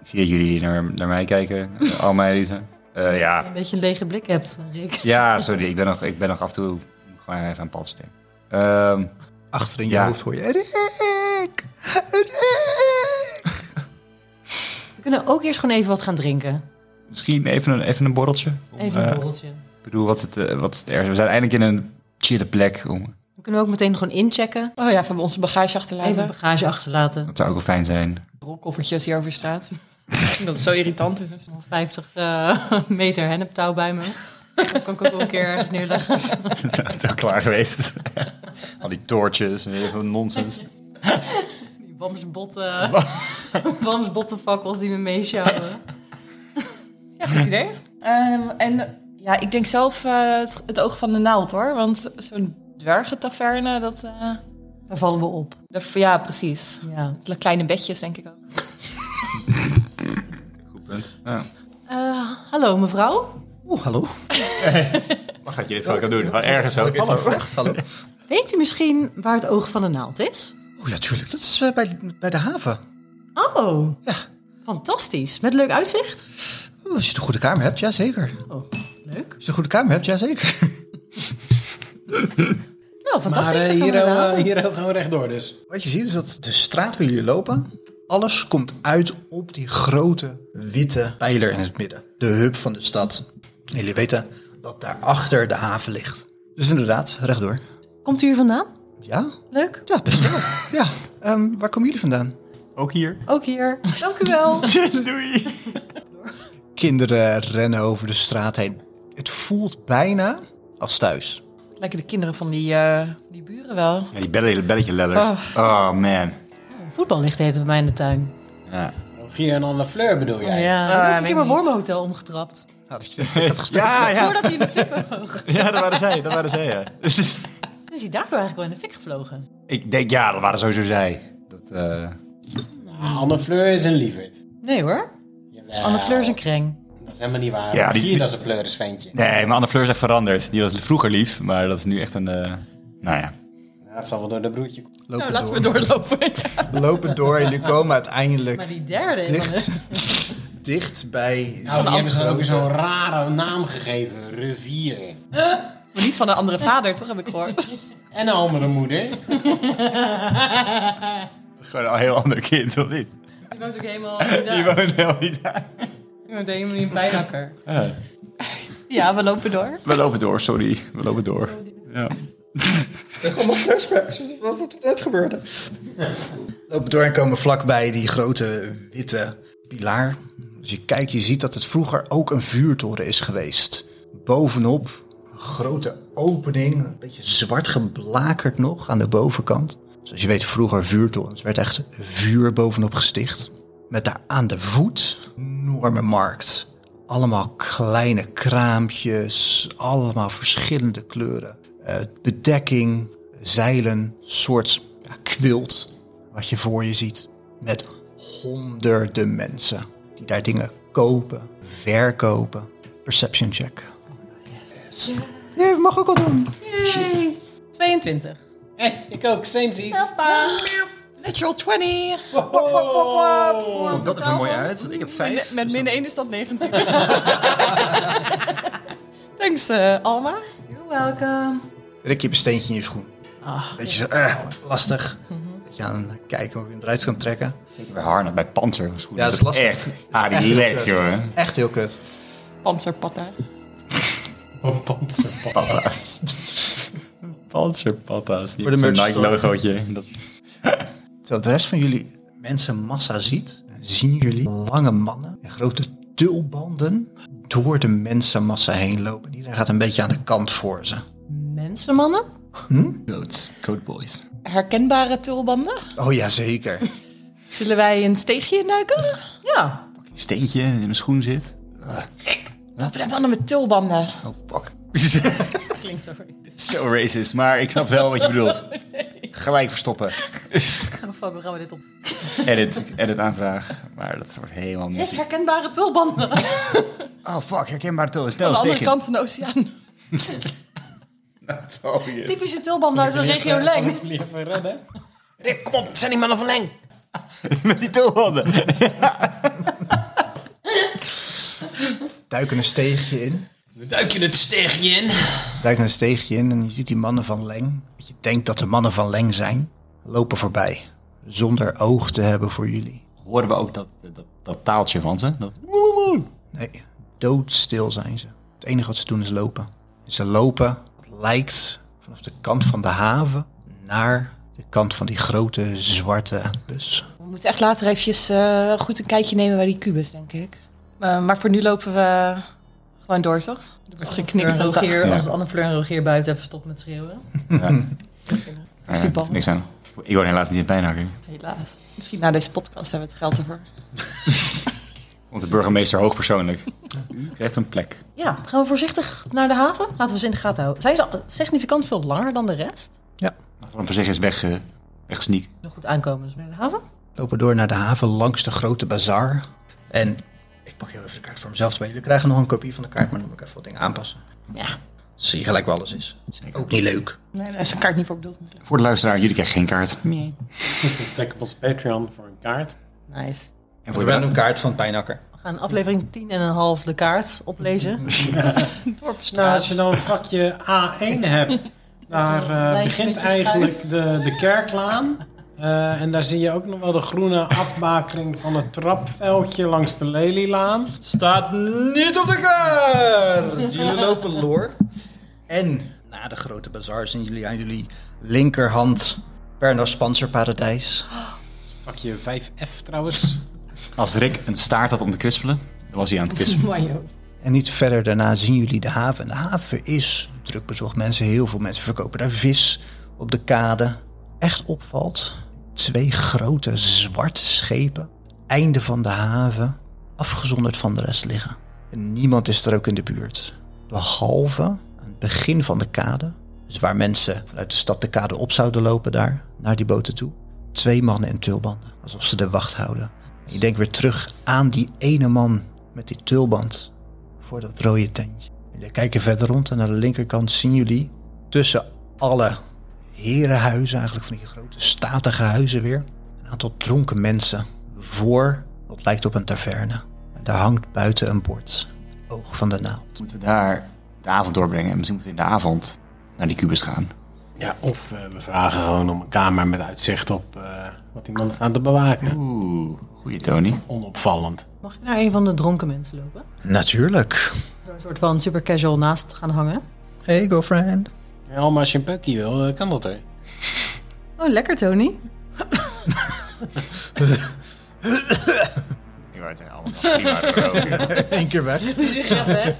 Speaker 6: ik zie dat jullie naar, naar mij kijken, al mijn Elise. Eh, ja.
Speaker 1: Een beetje een lege blik hebt, Rick.
Speaker 6: ja, sorry, ik ben, nog, ik ben nog af en toe gewoon even aan Paltje denken. Ehm,
Speaker 5: Achter in je
Speaker 6: Ja.
Speaker 5: hoofd hoor je... Rick! Rick!
Speaker 1: We kunnen ook eerst gewoon even wat gaan drinken.
Speaker 6: misschien even een, even een borreltje.
Speaker 1: Even
Speaker 6: Eh,
Speaker 1: een borreltje.
Speaker 6: Ik bedoel, wat is het, eh, wat is het ergste? We zijn eindelijk in een chille plek. Om,
Speaker 1: We kunnen ook meteen gewoon inchecken.
Speaker 3: Oh ja, we hebben onze bagage
Speaker 1: Even
Speaker 3: achterlaten.
Speaker 1: bagage achterlaten.
Speaker 6: dat zou ook wel fijn zijn.
Speaker 3: Rolkoffertjes hier over straat. dat is zo irritant. is.
Speaker 1: 50 eh, meter henneptouw bij me. Dat kan ik ook wel een keer ergens neerleggen.
Speaker 6: dat is ook klaar geweest. Al die toortjes en even nonsens.
Speaker 1: Die wamsbotten, wamsbottenfakkels die me meesjouwen.
Speaker 3: Ja, goed idee. Ehm, en ja, ik denk zelf eh, het, het oog van de naald hoor. Want zo'n dwergentaverne, dat... eh,
Speaker 1: Daar vallen we op.
Speaker 3: dat- ja, precies.
Speaker 1: Ja.
Speaker 3: Kleine bedjes denk ik ook.
Speaker 6: Goed punt. Ja.
Speaker 1: Eh, hallo mevrouw,
Speaker 5: Oeh, hallo.
Speaker 6: Wat gaat je dit gewoon doen? Gewoon ergens ook.
Speaker 5: Echt, hallo.
Speaker 1: weet u misschien waar het oog van de naald is?
Speaker 5: Oeh, ja, tuurlijk. Dat is eh, bij, bij de haven.
Speaker 1: Oh,
Speaker 5: Ja.
Speaker 1: fantastisch. Met leuk uitzicht.
Speaker 5: Oeh, Oh, als je een goede kamer hebt, ja zeker.
Speaker 1: Oh, leuk.
Speaker 5: Als je een goede kamer hebt, ja zeker.
Speaker 1: Nou,
Speaker 7: Maar
Speaker 1: fantastisch. dan gaan
Speaker 7: eh,
Speaker 1: we
Speaker 7: hier,
Speaker 1: naar de
Speaker 7: eh,
Speaker 1: haven.
Speaker 7: hier ook gewoon rechtdoor dus.
Speaker 5: Wat je ziet is dat de straat waar jullie lopen, alles komt uit op die grote witte pijler in het midden. De hub van de stad. Jullie weten dat daarachter de haven ligt. Dus inderdaad, rechtdoor.
Speaker 1: Komt u hier vandaan?
Speaker 5: Ja?
Speaker 1: Leuk.
Speaker 5: Ja, best wel. ja. Ehm, waar komen jullie vandaan?
Speaker 6: Ook hier.
Speaker 1: Ook hier. Dank u wel.
Speaker 6: Doei.
Speaker 5: Kinderen rennen over de straat heen. Het voelt bijna als thuis.
Speaker 3: Lijken de kinderen van die, eh, die buren wel.
Speaker 6: Ja, die belletje, belletje letters. Oh, man.
Speaker 1: Voetbal ligt heet bij mij in de tuin.
Speaker 6: Ja.
Speaker 7: Rogier en Anne Fleur bedoel jij?
Speaker 1: Oh, Ja,
Speaker 3: Eh,
Speaker 1: ik heb
Speaker 3: weet
Speaker 1: ik in mijn
Speaker 3: niet.
Speaker 1: wormhotel omgetrapt.
Speaker 6: Ja, ja.
Speaker 1: Voordat hij in de fik vloog.
Speaker 6: ja, dat waren zij. Dat waren zij, ja.
Speaker 1: Dan is hij daardoor eigenlijk wel in de fik gevlogen.
Speaker 6: Ik denk, ja, dat waren sowieso zij. Dat, eh,
Speaker 7: Ah, Anne Fleur is een lieverd.
Speaker 1: Nee hoor.
Speaker 7: Jawel.
Speaker 1: Anne Fleur is een kreng.
Speaker 7: Dat is helemaal niet waar.
Speaker 6: Ja,
Speaker 7: Rogier,
Speaker 6: die-
Speaker 7: dat is een pleurisventje.
Speaker 6: Nee, maar Anne Fleur is echt veranderd. Die was vroeger lief, maar dat is nu echt een... eh, Nou ja.
Speaker 7: Ja, dat zal wel door de broertje komen.
Speaker 5: Lopen
Speaker 3: Nou, laten we
Speaker 5: door.
Speaker 3: doorlopen.
Speaker 5: Lopen door en jullie komen
Speaker 1: Maar
Speaker 5: uiteindelijk
Speaker 1: die derde is
Speaker 5: dicht, dicht bij...
Speaker 7: Nou, die hebben ze dan ook weer zo'n rare naam gegeven. Rivier.
Speaker 3: Maar niet van een andere vader, toch heb ik gehoord.
Speaker 7: En een andere moeder.
Speaker 6: Dat is gewoon een heel ander kind, of niet?
Speaker 1: Die woont ook helemaal niet
Speaker 6: Die
Speaker 1: daar.
Speaker 6: woont helemaal niet daar.
Speaker 1: Die woont helemaal niet in Pijnakker.
Speaker 3: Ja, we lopen door.
Speaker 6: We lopen door, sorry. We lopen door. Ja.
Speaker 11: Allemaal flashbacks. Wat wat er net gebeurde.
Speaker 5: lopen door en komen vlakbij die grote witte pilaar. Als je kijkt, je ziet dat het vroeger ook een vuurtoren is geweest. Bovenop een grote opening, een beetje zwart geblakerd nog aan de bovenkant. Zoals je weet, vroeger vuurtorens werd echt vuur bovenop gesticht. Met daar aan de voet een enorme markt. Allemaal kleine kraampjes, allemaal verschillende kleuren. Eh, bedekking, zeilen, soort ja, quilt wat je voor je ziet. Met honderden mensen die daar dingen kopen, verkopen. Perception check. Ja, dat mag ook wel doen.
Speaker 1: 22.
Speaker 7: Hé, ik ook. Samesies.
Speaker 3: Papa. Natural 20.
Speaker 6: Komt dat er mooi uit? Want ik heb vijf.
Speaker 3: Met, met min 1 is dat 19. Thanks, eh, Alma.
Speaker 1: You're welcome.
Speaker 5: Rick, je hebt een steentje in je schoen. Beetje zo, eh, lastig. Dat je aan het kijken of je hem eruit kan trekken.
Speaker 6: Bij Harne, bij Panzer. was goed.
Speaker 5: Ja, dat is lastig.
Speaker 6: Echt.
Speaker 5: Dat is
Speaker 6: Ah,
Speaker 5: echt
Speaker 6: die
Speaker 5: heel
Speaker 6: lekt,
Speaker 5: kut.
Speaker 6: joh.
Speaker 5: Echt heel kut.
Speaker 3: Panzerpatta.
Speaker 7: Oh, panzerpap.
Speaker 6: Patas. Panzerpatas. Die
Speaker 5: Voor de
Speaker 6: hebben zo'n
Speaker 5: merch store.
Speaker 6: Nike-logootje. Dat...
Speaker 5: Terwijl de rest van jullie mensenmassa ziet, zien jullie lange mannen en grote tulbanden door de mensenmassa heen lopen. Iedereen gaat een beetje aan de kant voor ze.
Speaker 1: Mensenmannen?
Speaker 6: Hm? Goats. Goat boys.
Speaker 3: Herkenbare tulbanden.
Speaker 5: Oh ja, zeker.
Speaker 3: Zullen wij een steegje induiken?
Speaker 1: Ja.
Speaker 6: Pak je Een steentje in mijn schoen zit.
Speaker 3: Dat zijn mannen met tulbanden.
Speaker 6: Oh, fuck.
Speaker 1: Klinkt zo goed.
Speaker 6: Zo racist, maar ik snap wel wat je bedoelt. Gelijk verstoppen.
Speaker 1: Oh, fuck, hoe gaan we dit op?
Speaker 6: Edit, edit aanvraag. Maar dat wordt helemaal
Speaker 1: Dit
Speaker 6: mis.
Speaker 1: herkenbare tulbanden.
Speaker 6: Oh fuck, herkenbaar toon. Snel,
Speaker 3: Aan de
Speaker 6: steek je.
Speaker 3: andere kant van de oceaan.
Speaker 6: Sorry.
Speaker 1: Typische tulbanden uit de regio
Speaker 7: eh,
Speaker 1: Leng.
Speaker 7: Jullie even redden. Rick, kom op. Het zijn die mannen van Leng.
Speaker 6: Met die tulbanden.
Speaker 5: duiken een steegje in.
Speaker 9: We duiken het steegje in.
Speaker 5: Duikt een steegje in en je ziet die mannen van Leng. Je denkt dat de mannen van Leng zijn. Lopen voorbij. Zonder oog te hebben voor jullie.
Speaker 6: Horen we ook dat, dat, dat taaltje van ze? Dat,
Speaker 5: Nee, doodstil zijn ze. Het enige wat ze doen is lopen. En ze lopen, het lijkt, vanaf de kant van de haven naar de kant van die grote zwarte bus.
Speaker 3: We moeten echt later eventjes eh, goed een kijkje nemen bij die kubus, denk ik. Eh, maar voor nu lopen we gewoon door, toch? Er wordt geknikt.
Speaker 1: Fleur en Rogier,
Speaker 6: Ja.
Speaker 1: Als Anne Fleur en Rogier buiten hebben gestopt met schreeuwen.
Speaker 6: eh, het is niks aan. Ik woon helaas niet in Pijnhakker.
Speaker 3: Helaas. Misschien na deze podcast hebben we het geld ervoor.
Speaker 6: Want de burgemeester hoogpersoonlijk. U krijgt een plek.
Speaker 1: Ja, gaan we voorzichtig naar de haven? Laten we ze in de gaten houden. Zij is al significant veel langer dan de rest.
Speaker 6: Laten we hem voor zich eens weg, eh, wegsneak.
Speaker 1: Nog goed aankomen dus naar de haven.
Speaker 5: Lopen door naar de haven langs de grote bazaar. En ik pak heel even de kaart voor mezelf bij. Jullie krijgen nog een kopie van de kaart, maar dan moet ik even wat dingen aanpassen.
Speaker 1: Ja.
Speaker 5: Zie je gelijk waar alles is. Ook niet leuk.
Speaker 3: Nee, daar is een kaart niet voor bedoeld. natuurlijk.
Speaker 6: Voor de luisteraar, jullie krijgen geen kaart.
Speaker 7: Kijk op ons Patreon voor een kaart.
Speaker 1: Nice.
Speaker 6: En
Speaker 5: Een
Speaker 6: voor de,
Speaker 5: random kaart van Pijnakker.
Speaker 1: We gaan aflevering 10 en een half de kaart oplezen.
Speaker 7: Nou, als je dan een vakje A1 hebt, daar eh,
Speaker 1: Lijntje
Speaker 7: begint
Speaker 1: met je schuif.
Speaker 7: eigenlijk de, de kerklaan. Eh, en daar zie je ook nog wel de groene afbakering van het trapveldje langs de Lelylaan.
Speaker 5: Staat niet op de kaart! Jullie lopen loor. En na de grote bazaar zien jullie aan jullie linkerhand Pernos Panzerparadijs.
Speaker 7: Vakje 5F trouwens.
Speaker 6: als Rick een staart had om te kwispelen, dan was hij aan het kwispelen.
Speaker 5: En niet verder daarna zien jullie de haven. En de haven is druk bezocht. Mensen, heel veel mensen verkopen daar vis op de kade. Echt opvalt, twee grote zwarte schepen, einde van de haven, afgezonderd van de rest liggen. En niemand is er ook in de buurt. Behalve aan het begin van de kade, dus waar mensen vanuit de stad de kade op zouden lopen daar, naar die boten toe. Twee mannen in tulbanden, alsof ze de wacht houden. En je denkt weer terug aan die ene man met die tulband voor dat rode tentje. Jullie kijken verder rond en aan de linkerkant zien jullie tussen alle herenhuizen, eigenlijk van die grote statige huizen weer, een aantal dronken mensen voor wat lijkt op een taverne. En daar hangt buiten een bord, oog van de naald.
Speaker 6: Moeten we daar de avond doorbrengen? En misschien moeten we in de avond naar die kubus gaan.
Speaker 7: Ja, of eh, we vragen gewoon om een kamer met uitzicht op eh, wat iemand staat te bewaken.
Speaker 6: Oeh, goeie Tony.
Speaker 7: Onopvallend.
Speaker 1: Mag ik naar een van de dronken mensen lopen?
Speaker 5: Natuurlijk.
Speaker 1: Door een soort van super casual naast te gaan hangen.
Speaker 5: Hey girlfriend.
Speaker 7: Ja, maar als je een pukkie wil, eh, kan dat hè?
Speaker 1: Oh, lekker Tony.
Speaker 6: Ik wou het allemaal prima roken.
Speaker 5: Eén keer weg.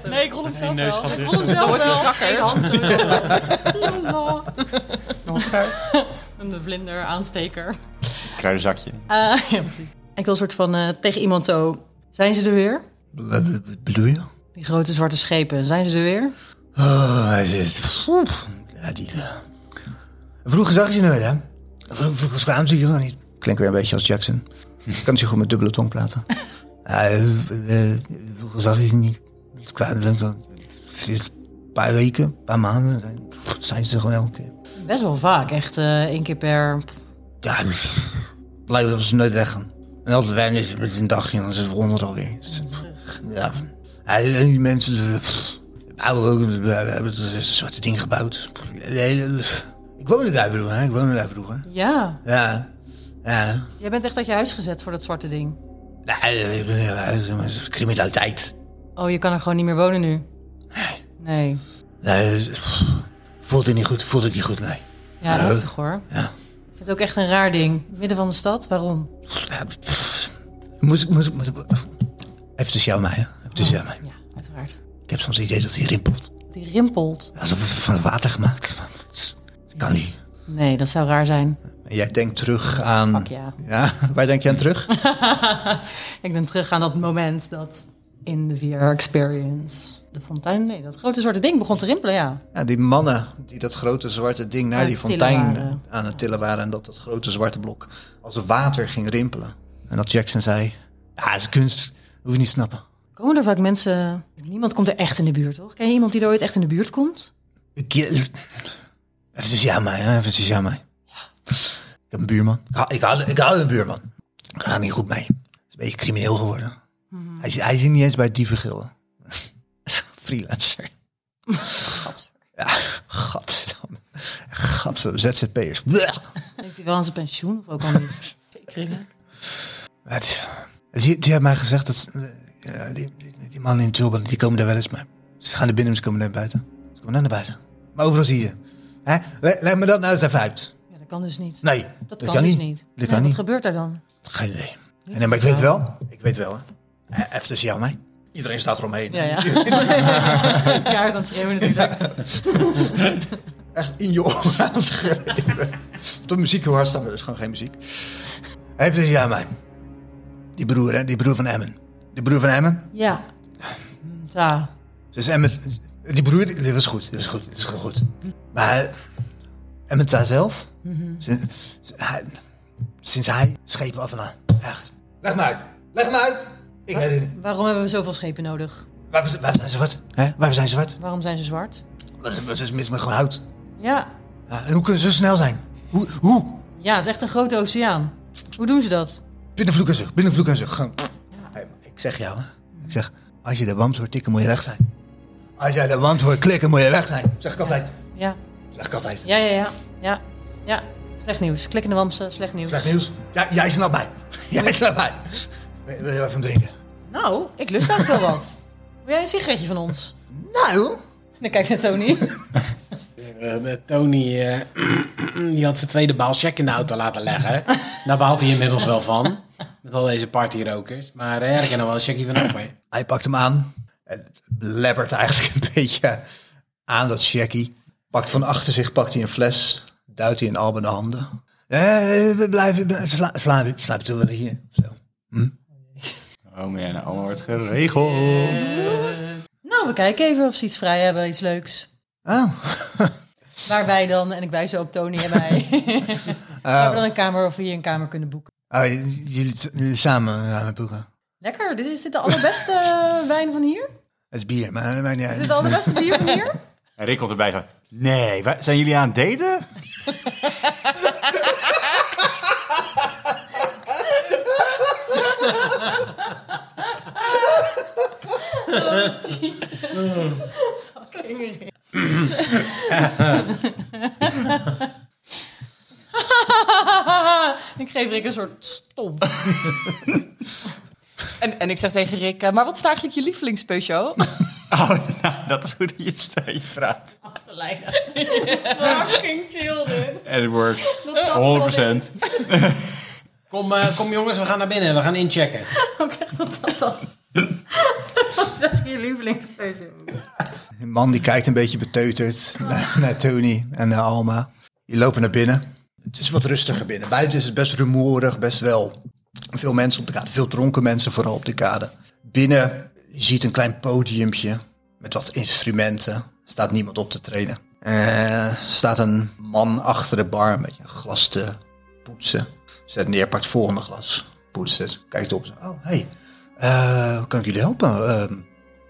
Speaker 8: Nee, ik rol hem zelf wel. Ik
Speaker 1: Kom zelf wel. Eén hand sowieso. Een vlinder aansteker.
Speaker 6: Kruidenzakje.
Speaker 1: Eh, ja, precies. Ik wil een soort van eh, tegen iemand zo... Zijn ze er weer?
Speaker 5: Wat bedoel je?
Speaker 1: Die grote zwarte schepen, zijn ze er weer?
Speaker 5: Oh, hij zit. Oeh, Ja, die. eh, Vroeger zag je ze nooit, hè? Vroeger, vroeger schaam ze je gewoon niet. Klinkt weer een beetje als Jackson. Ik kan ze goed met dubbele tong praten. Ja, eh, eh, vroeger zag je ze niet. Het kwamen dan zo- Sinds een paar weken, een paar maanden zijn- zijn ze er gewoon elke keer.
Speaker 1: Best wel vaak, echt eh, één keer per...
Speaker 5: Ja, het lijkt alsof ze nooit weggaan. En altijd wijn is het met een dagje en dan is het wonder alweer. Dus, Ja. Ja, En die mensen eh, pff, bouwen ook eh, hebben een soort ding gebouwd. De hele- Ik woonde daar vroeger, hè? Ik woonde daar vroeger.
Speaker 1: Ja,
Speaker 5: Ja. Ja.
Speaker 1: jij bent echt uit je huis gezet voor dat zwarte ding.
Speaker 5: Ja, eh, ik ben- ja, eh, maar het is criminaliteit.
Speaker 1: Oh, je kan er gewoon niet meer wonen nu? Nee.
Speaker 5: Nee, eh, pff, voelt het niet goed, voelt het niet goed, nee.
Speaker 1: Ja,
Speaker 5: Ja.
Speaker 1: heftig hoor.
Speaker 5: Ja.
Speaker 1: Ik vind het ook echt een raar ding. Midden van de stad, waarom?
Speaker 5: Pff, ja, pff. Moest ik, moest ik, moest ik... Even tussen jou en mij, hè? Even tussen jou en mij.
Speaker 1: Ja, uiteraard.
Speaker 5: Ik heb soms het idee dat hij rimpelt.
Speaker 1: Die rimpelt.
Speaker 5: Alsof het van het water gemaakt is. maar het Kan niet.
Speaker 1: Nee, dat zou raar zijn.
Speaker 5: En jij denkt terug aan...
Speaker 1: Fuck ja.
Speaker 5: waar denk je aan terug?
Speaker 1: Ik ben terug aan dat moment dat in de VR Experience de fontein, nee, dat grote zwarte ding begon te rimpelen, ja.
Speaker 5: ja, die mannen die dat grote zwarte ding naar
Speaker 1: Aan
Speaker 5: die
Speaker 1: het tillen
Speaker 5: fontein
Speaker 1: waren.
Speaker 5: aan het tillen waren... en dat dat grote zwarte blok als water ging rimpelen. En dat Jackson zei... Ja, het is kunst. Hoef je niet te snappen.
Speaker 1: Komen er vaak mensen... Niemand komt er echt in de buurt, toch? Ken je iemand die er ooit echt in de buurt komt?
Speaker 5: Ik, even tussen jou en mij, hè? even tussen jou en mij. Ik heb een buurman. Ik hou, ik hou, ik hou van een buurman. Ik ga niet goed mee. Hij is een beetje crimineel geworden. Hij, is- hij zit niet eens bij het dievengilde. freelancer. Ja, gadverdamme. Gadverdamme, ZZP'ers. Blech.
Speaker 1: Denkt hij wel aan zijn pensioen of ook al niet?
Speaker 5: Het, die, die hebben mij gezegd dat eh, ja, die, die, die mannen in Tulban, die komen daar wel eens mee. Ze gaan naar binnen, ze komen naar buiten. Ze komen dan naar buiten. Maar overal zie je. Hè? Le- Leg me dat nou eens even uit.
Speaker 1: Ja, dat kan dus niet.
Speaker 5: Nee,
Speaker 1: dat, kan, dus niet.
Speaker 5: Dat
Speaker 1: Nee,
Speaker 5: kan
Speaker 1: Wat
Speaker 5: niet.
Speaker 1: gebeurt er dan?
Speaker 5: Geen idee. En, dan- maar ik weet wel, ik weet wel. Hè. Eh, Even tussen jou en mij. Iedereen staat eromheen.
Speaker 1: Ja, ja. Kaart aan het schreeuwen natuurlijk.
Speaker 5: echt in je oren aanschreeuwen. Tot muziek heel hard staan, maar dat is gewoon geen muziek. Even dus ja, mij. Die broer, hè? Die broer van Emmen. Die broer van Emmen.
Speaker 1: Ja. Hm, Ja.
Speaker 5: Dus Emmen... Die broer, die die was goed. Die was goed. Die is gewoon goed. Maar Emmen daar zelf...
Speaker 1: Mhm.
Speaker 5: Sinds, hij, sinds hij schepen af en aan. Echt. Leg maar uit. Leg maar uit. Ik weet het niet.
Speaker 1: Waarom hebben we zoveel schepen nodig?
Speaker 5: Waar, waar zijn ze wat? Hè? Waar zijn ze wat?
Speaker 1: Waarom zijn ze zwart?
Speaker 5: Wat is, wat is mis met gewoon hout?
Speaker 1: Ja.
Speaker 5: Ja, En hoe kunnen ze zo snel zijn? Hoe? Hoe?
Speaker 1: Ja, het is echt een grote oceaan. Hoe doen ze dat?
Speaker 5: Binnen vloek en zucht, binnen vloek en zucht. Gewoon. Hey, maar ik zeg jou, hè. Ik zeg, als je de wand hoort tikken, moet je weg zijn. Als jij de wand hoort klikken, moet je weg zijn. Zeg ik altijd.
Speaker 1: Ja.
Speaker 5: Zeg ik altijd.
Speaker 1: Ja, ja, ja. Ja. Ja. Slecht nieuws. Klik in de wamsen. Slecht nieuws.
Speaker 5: Slecht nieuws. Ja, jij snapt mij. Jij snapt mij. Wil- Wil je even drinken?
Speaker 1: Nou, ik lust eigenlijk wel wat. Wil jij een sigaretje van ons?
Speaker 5: Nou,
Speaker 1: Dan kijk naar Tony.
Speaker 7: Eh, eh, Tony eh, die had zijn tweede baal check in de auto laten leggen. Daar baalt hij inmiddels wel van. Met al deze partyrokers. Maar eh, er kan nog wel een checkie van af. hè.
Speaker 5: hij pakt hem aan. En lebbert eigenlijk een beetje aan dat checkie. Pakt van achter zich, pakt hij een fles. Duwt hij in albende handen. Eh, we blijven, sla, slaap, slaap toe wel hier. Zo.
Speaker 6: Oh en allemaal wordt geregeld.
Speaker 1: Nou, we kijken even of ze iets vrij hebben, iets leuks.
Speaker 5: Oh.
Speaker 1: Waar wij dan, en ik wijs op Tony en mij, waar
Speaker 3: Eh.
Speaker 1: we dan een kamer of hier een kamer kunnen boeken.
Speaker 5: Oh, j- jullie, t- jullie samen ja, met boeken.
Speaker 1: Lekker, dit is is dit de allerbeste eh, wijn van hier?
Speaker 5: Het is bier, maar dat maakt niet
Speaker 1: Is
Speaker 5: uit.
Speaker 1: dit de allerbeste bier van hier?
Speaker 6: En Rick komt erbij van, nee, wa- zijn jullie aan het daten?
Speaker 1: ik geef Rick een soort stom.
Speaker 3: En, en ik zeg tegen Rick, eh, maar wat is nou eigenlijk je lievelingspeusje?
Speaker 6: Oh, nou, dat is goed dat je het aan je vraagt.
Speaker 8: Fucking chill dit.
Speaker 6: And it works. 100 procent.
Speaker 7: Kom, eh, kom jongens, we gaan naar binnen. We gaan inchecken.
Speaker 1: je lievelingsfeestje.
Speaker 5: Een man die kijkt een beetje beteuterd naar, naar Tony en naar Alma. Die lopen naar binnen. Het is wat rustiger binnen. Buiten is het best rumoerig, best wel veel mensen op de kade. Veel dronken mensen vooral op de kade. Binnen je ziet een klein podiumpje met wat instrumenten. Staat niemand op te treden. Eh, staat een man achter de bar met een glas te poetsen. Zet neer, pakt het volgende glas. Poetst het, kijkt op. Oh, hey, eh, hoe kan ik jullie helpen? Ehm,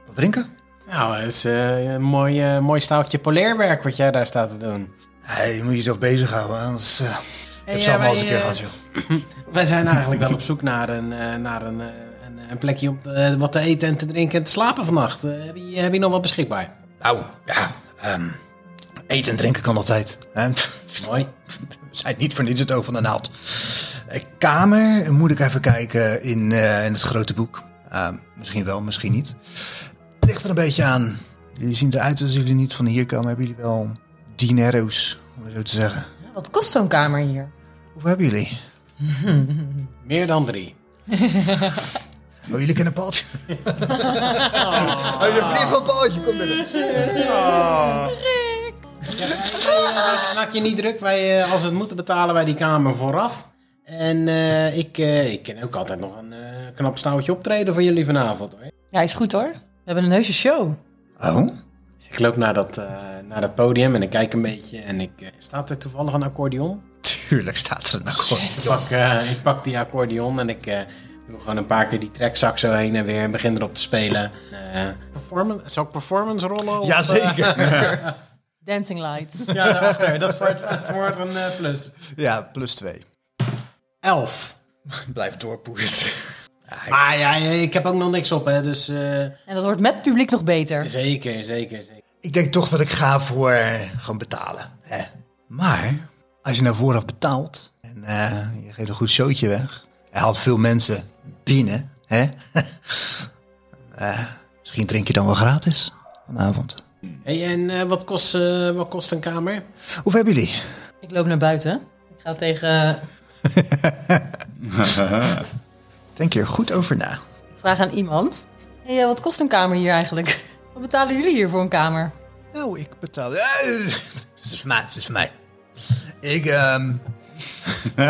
Speaker 5: wat drinken?
Speaker 7: Nou, het is eh, een mooi, eh, mooi staaltje poleerwerk wat jij daar staat te doen.
Speaker 5: Hey, je moet jezelf bezighouden, hè, anders eh, ik heb
Speaker 7: ja,
Speaker 5: ze allemaal al
Speaker 7: wij,
Speaker 5: eens een keer
Speaker 7: eh,
Speaker 5: gehad, joh.
Speaker 7: Wij zijn eigenlijk wel op zoek naar een, eh, naar een, eh, een, een plekje om te- eh, wat te eten en te drinken en te slapen vannacht. Eh, heb, je, heb je nog wat beschikbaar?
Speaker 5: Nou, ja, ehm, eten en drinken kan altijd. Hè?
Speaker 7: Mooi.
Speaker 5: We zijn niet voor niets het oog van de naald. Eh, Kamer, moet ik even kijken in, eh, in het grote boek. Ehm, misschien wel, misschien niet. Het ligt er een beetje aan. Jullie zien eruit als jullie niet van hier komen. Hebben jullie wel dinero's, om het zo te zeggen.
Speaker 1: Wat kost zo'n kamer hier?
Speaker 5: Hoeveel hebben jullie?
Speaker 7: Meer dan drie.
Speaker 5: Oh, jullie kennen Paaltje. Oh, je van Paaltje, kom binnen.
Speaker 7: Eh, Maak je niet druk. Wij, eh, als we het moeten, betalen wij die kamer vooraf. En eh, ik, eh, ik kan ook altijd nog een eh, knap staaltje optreden voor jullie vanavond. Hoor.
Speaker 3: Ja, is goed hoor.
Speaker 1: We hebben een heuse show.
Speaker 5: Oh?
Speaker 7: Dus ik loop naar dat, eh, naar dat podium en ik kijk een beetje. En ik, eh, staat er toevallig een accordeon?
Speaker 5: Tuurlijk staat er een gewoon.
Speaker 7: Ik pak, eh, ik pak die accordeon en ik eh, doe gewoon een paar keer die trekzak zo heen en weer en begin erop te spelen. Eh performance, zal ik performance rollen? of,
Speaker 5: Jazeker.
Speaker 1: Dancing Lights.
Speaker 7: eh, ja, daarachter. Dat is voor, het- voor een eh, plus.
Speaker 5: Ja, plus twee.
Speaker 7: Elf.
Speaker 5: Blijf doorpoezen.
Speaker 7: Maar Ah, ja, ik heb ook nog niks op, hè, dus... eh,
Speaker 1: En dat wordt met publiek nog beter.
Speaker 7: zeker, zeker, zeker.
Speaker 5: Ik denk toch dat ik ga voor eh, gewoon betalen. Hè. Maar als je nou vooraf betaalt en eh, je geeft een goed showtje weg. Hij haalt veel mensen binnen. Hè? Eh, misschien drink je dan wel gratis vanavond.
Speaker 7: Hey, en eh, wat, kost, eh, wat kost een kamer?
Speaker 5: Hoeveel hebben jullie?
Speaker 1: Ik loop naar buiten. Ik ga tegen... eh,
Speaker 5: Denk hier goed over na.
Speaker 1: Ik vraag aan iemand. Hé, eh, wat kost een kamer hier eigenlijk? Wat betalen jullie hier voor een kamer?
Speaker 5: Nou, ik betaal. Eh, Het is voor mij, het is voor mij. Ik, ehm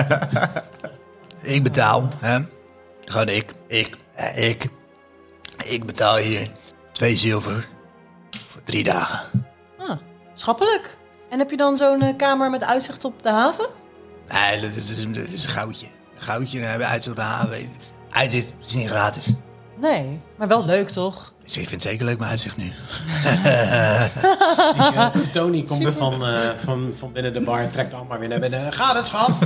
Speaker 5: ik betaal, hè? Gewoon ik, ik, eh, ik. Ik betaal hier twee zilver voor drie dagen.
Speaker 1: Ah, schappelijk. En heb je dan zo'n eh, kamer met uitzicht op de haven?
Speaker 5: Nee, dat is, dat is, dat is een goudje. Een goudje, dan hebben we uitzicht op de haven. Uitzicht is niet gratis.
Speaker 1: Nee, maar wel leuk toch?
Speaker 5: Dus ik vind het zeker leuk, mijn uitzicht nu.
Speaker 7: Tony komt van, eh, van, van binnen de bar, trekt allemaal weer naar binnen. Gaat het, schat?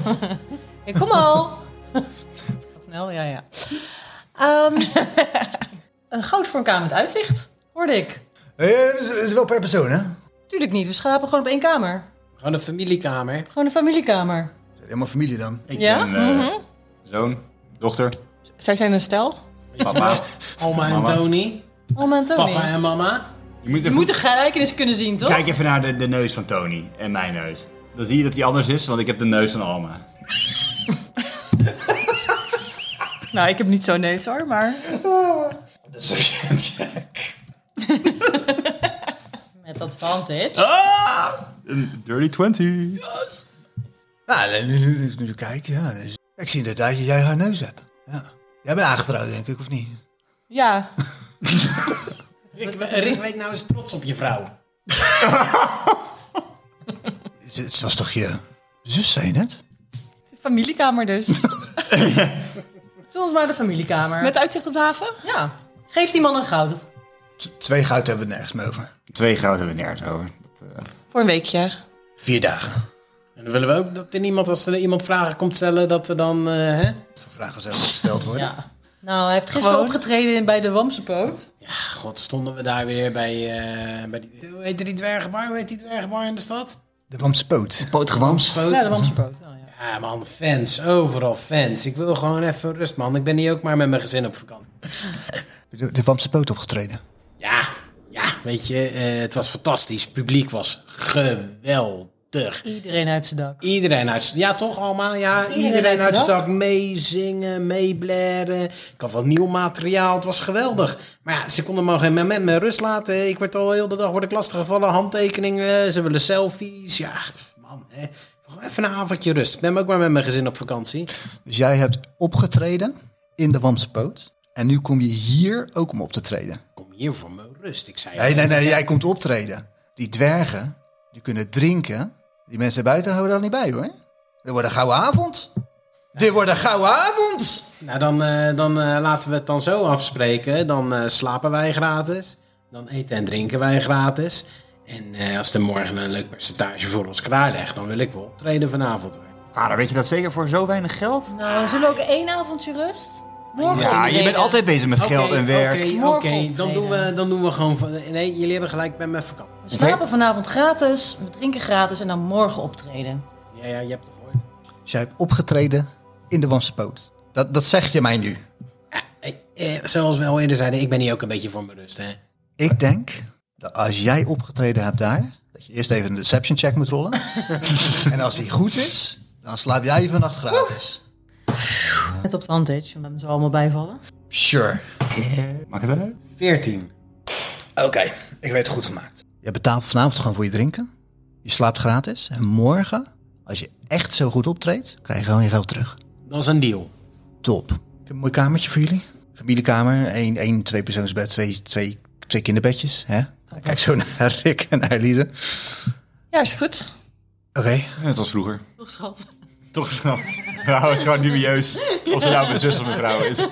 Speaker 1: Ja, kom al. Wat snel, ja, ja. Ehm, een goud voor een kamer met uitzicht, hoorde ik.
Speaker 5: Eh, dat is, dat is wel per persoon, hè?
Speaker 1: Tuurlijk niet, we slapen gewoon op één kamer.
Speaker 7: Gewoon een familiekamer.
Speaker 1: Gewoon een familiekamer.
Speaker 5: Helemaal familie dan.
Speaker 1: ja?
Speaker 6: En, eh, Zoon, dochter,
Speaker 3: Zij zijn een stel.
Speaker 6: papa.
Speaker 7: Oma en
Speaker 6: Mama.
Speaker 7: Tony.
Speaker 1: Oma en Tony.
Speaker 7: Papa en mama.
Speaker 6: Je moet
Speaker 1: Je
Speaker 6: even
Speaker 1: moet de gelijkenis kunnen zien, toch?
Speaker 6: Kijk even naar de, de neus van Tony en mijn neus. Dan zie je dat hij anders is, want ik heb de neus van Alma.
Speaker 3: Nou, ik heb niet zo'n neus hoor, maar...
Speaker 5: Dat is een check.
Speaker 1: Met advantage.
Speaker 6: Een dirty 20.
Speaker 5: Nou, nu, nu, nu, nu kijk, ja. dus- Ik zie inderdaad dat jij haar neus hebt. Ja. Jij bent aangetrouwd, denk ik, of niet?
Speaker 3: Ja,
Speaker 7: Rick, Rick, weet nou eens trots op je vrouw.
Speaker 5: Ze- Het was toch je zus, zei je net?
Speaker 3: familiekamer dus.
Speaker 1: Doe ons maar de familiekamer.
Speaker 3: Met uitzicht op de haven?
Speaker 1: Ja, geef die man een goud.
Speaker 5: T- twee goud hebben we nergens meer over.
Speaker 2: Twee gouden hebben we nergens over. Dat, eh,
Speaker 3: Voor een weekje.
Speaker 5: Vier dagen.
Speaker 7: En dan willen we ook dat er iemand, als er iemand vragen komt stellen, dat we dan... eh, hè?
Speaker 5: Voor vragen zelf gesteld worden.
Speaker 1: Ja. Nou, hij heeft gisteren
Speaker 3: Gewoon?
Speaker 1: opgetreden in- bij de Wamsepoot.
Speaker 7: God, stonden we daar weer bij, eh, bij die... Hoe heet die dwergenbar? Hoe heet die dwergenbar in de stad?
Speaker 5: De Wamse poot.
Speaker 2: Pootgewams.
Speaker 1: Ja, de Wamsepoot. Oh, ja.
Speaker 7: Ja, man, fans. Overal fans. Ik wil gewoon even rust, man. Ik ben hier ook maar met mijn gezin op vakantie.
Speaker 5: De, de Wamse poot opgetreden.
Speaker 7: Ja, ja, weet je, eh, het was fantastisch. Het publiek was geweldig.
Speaker 1: Iedereen uit zijn dak.
Speaker 7: Iedereen uit Ja, toch, Alma? Ja,
Speaker 1: uit zijn
Speaker 7: iedereen, uit zijn
Speaker 1: dak.
Speaker 7: dak meezingen, meeblaren. Ik had wat nieuw materiaal. Het was geweldig. Maar ja, ze konden me geen moment met rust laten. Ik werd al heel de dag word ik lastiggevallen. Handtekeningen, ze willen selfies. Ja, pff, man, hè. Gewoon Even een avondje rust. Ik ben ook maar met mijn gezin op vakantie.
Speaker 5: Dus jij hebt opgetreden in de Wamse poot. En nu kom je hier ook om op te treden.
Speaker 7: Kom hier voor mijn rust. Ik zei,
Speaker 5: Nee, nee, nee, jij komt optreden. Die dwergen, die kunnen drinken. Die mensen buiten houden daar niet bij, hoor. Dit wordt een gouden avond. Dit wordt een gouden avond.
Speaker 7: nou dan, eh, dan eh, laten we het dan zo afspreken. Dan eh, slapen wij gratis. Dan eten en drinken wij gratis. En eh, als er morgen een leuk percentage voor ons klaarlegt, dan wil ik wel optreden vanavond. hoor.
Speaker 2: Vader, weet je dat zeker voor zo weinig geld?
Speaker 1: Nou, we zullen ook één avondje rust. Morgen
Speaker 2: Ja, Ah, je
Speaker 1: optreden.
Speaker 2: bent altijd bezig met
Speaker 7: Oké,
Speaker 2: geld en werk.
Speaker 7: Oké,
Speaker 1: Morgen
Speaker 7: oké, dan,
Speaker 1: optreden.
Speaker 7: doen we, dan doen we gewoon... van- Nee, jullie hebben gelijk, bij mijn vakantie.
Speaker 1: We slapen vanavond gratis, we drinken gratis en dan morgen optreden.
Speaker 7: Ja, ja, je hebt het gehoord.
Speaker 5: Dus jij hebt opgetreden in de Wamse poot. Dat, dat zeg je mij nu.
Speaker 7: Eh, eh, zoals we al eerder zeiden, ik ben hier ook een beetje voor mijn rust, hè.
Speaker 5: Ik denk dat als jij opgetreden hebt daar, dat je eerst even een deception check moet rollen. en als die goed is, dan slaap jij vannacht gratis.
Speaker 1: Met advantage, omdat we zo allemaal bijvallen.
Speaker 5: Sure.
Speaker 2: Maakt het uit?
Speaker 7: 14.
Speaker 5: Oké, ik weet het goed gemaakt. Je betaalt vanavond gewoon voor je drinken. Je slaapt gratis. En morgen, als je echt zo goed optreedt, krijg je gewoon je geld terug.
Speaker 7: Dat is een deal.
Speaker 5: Top. Ik heb een mooi kamertje voor jullie. Familiekamer, één, één twee persoonsbed, twee, twee, twee kinderbedjes. Hè? Kijk zo naar Rick en naar Elise. Oké.
Speaker 3: Ja, is het goed.
Speaker 6: Net als vroeger.
Speaker 1: Toch, schat?
Speaker 6: Toch snap. We houden het gewoon dubieus of ze nou mijn zus of mijn vrouw is.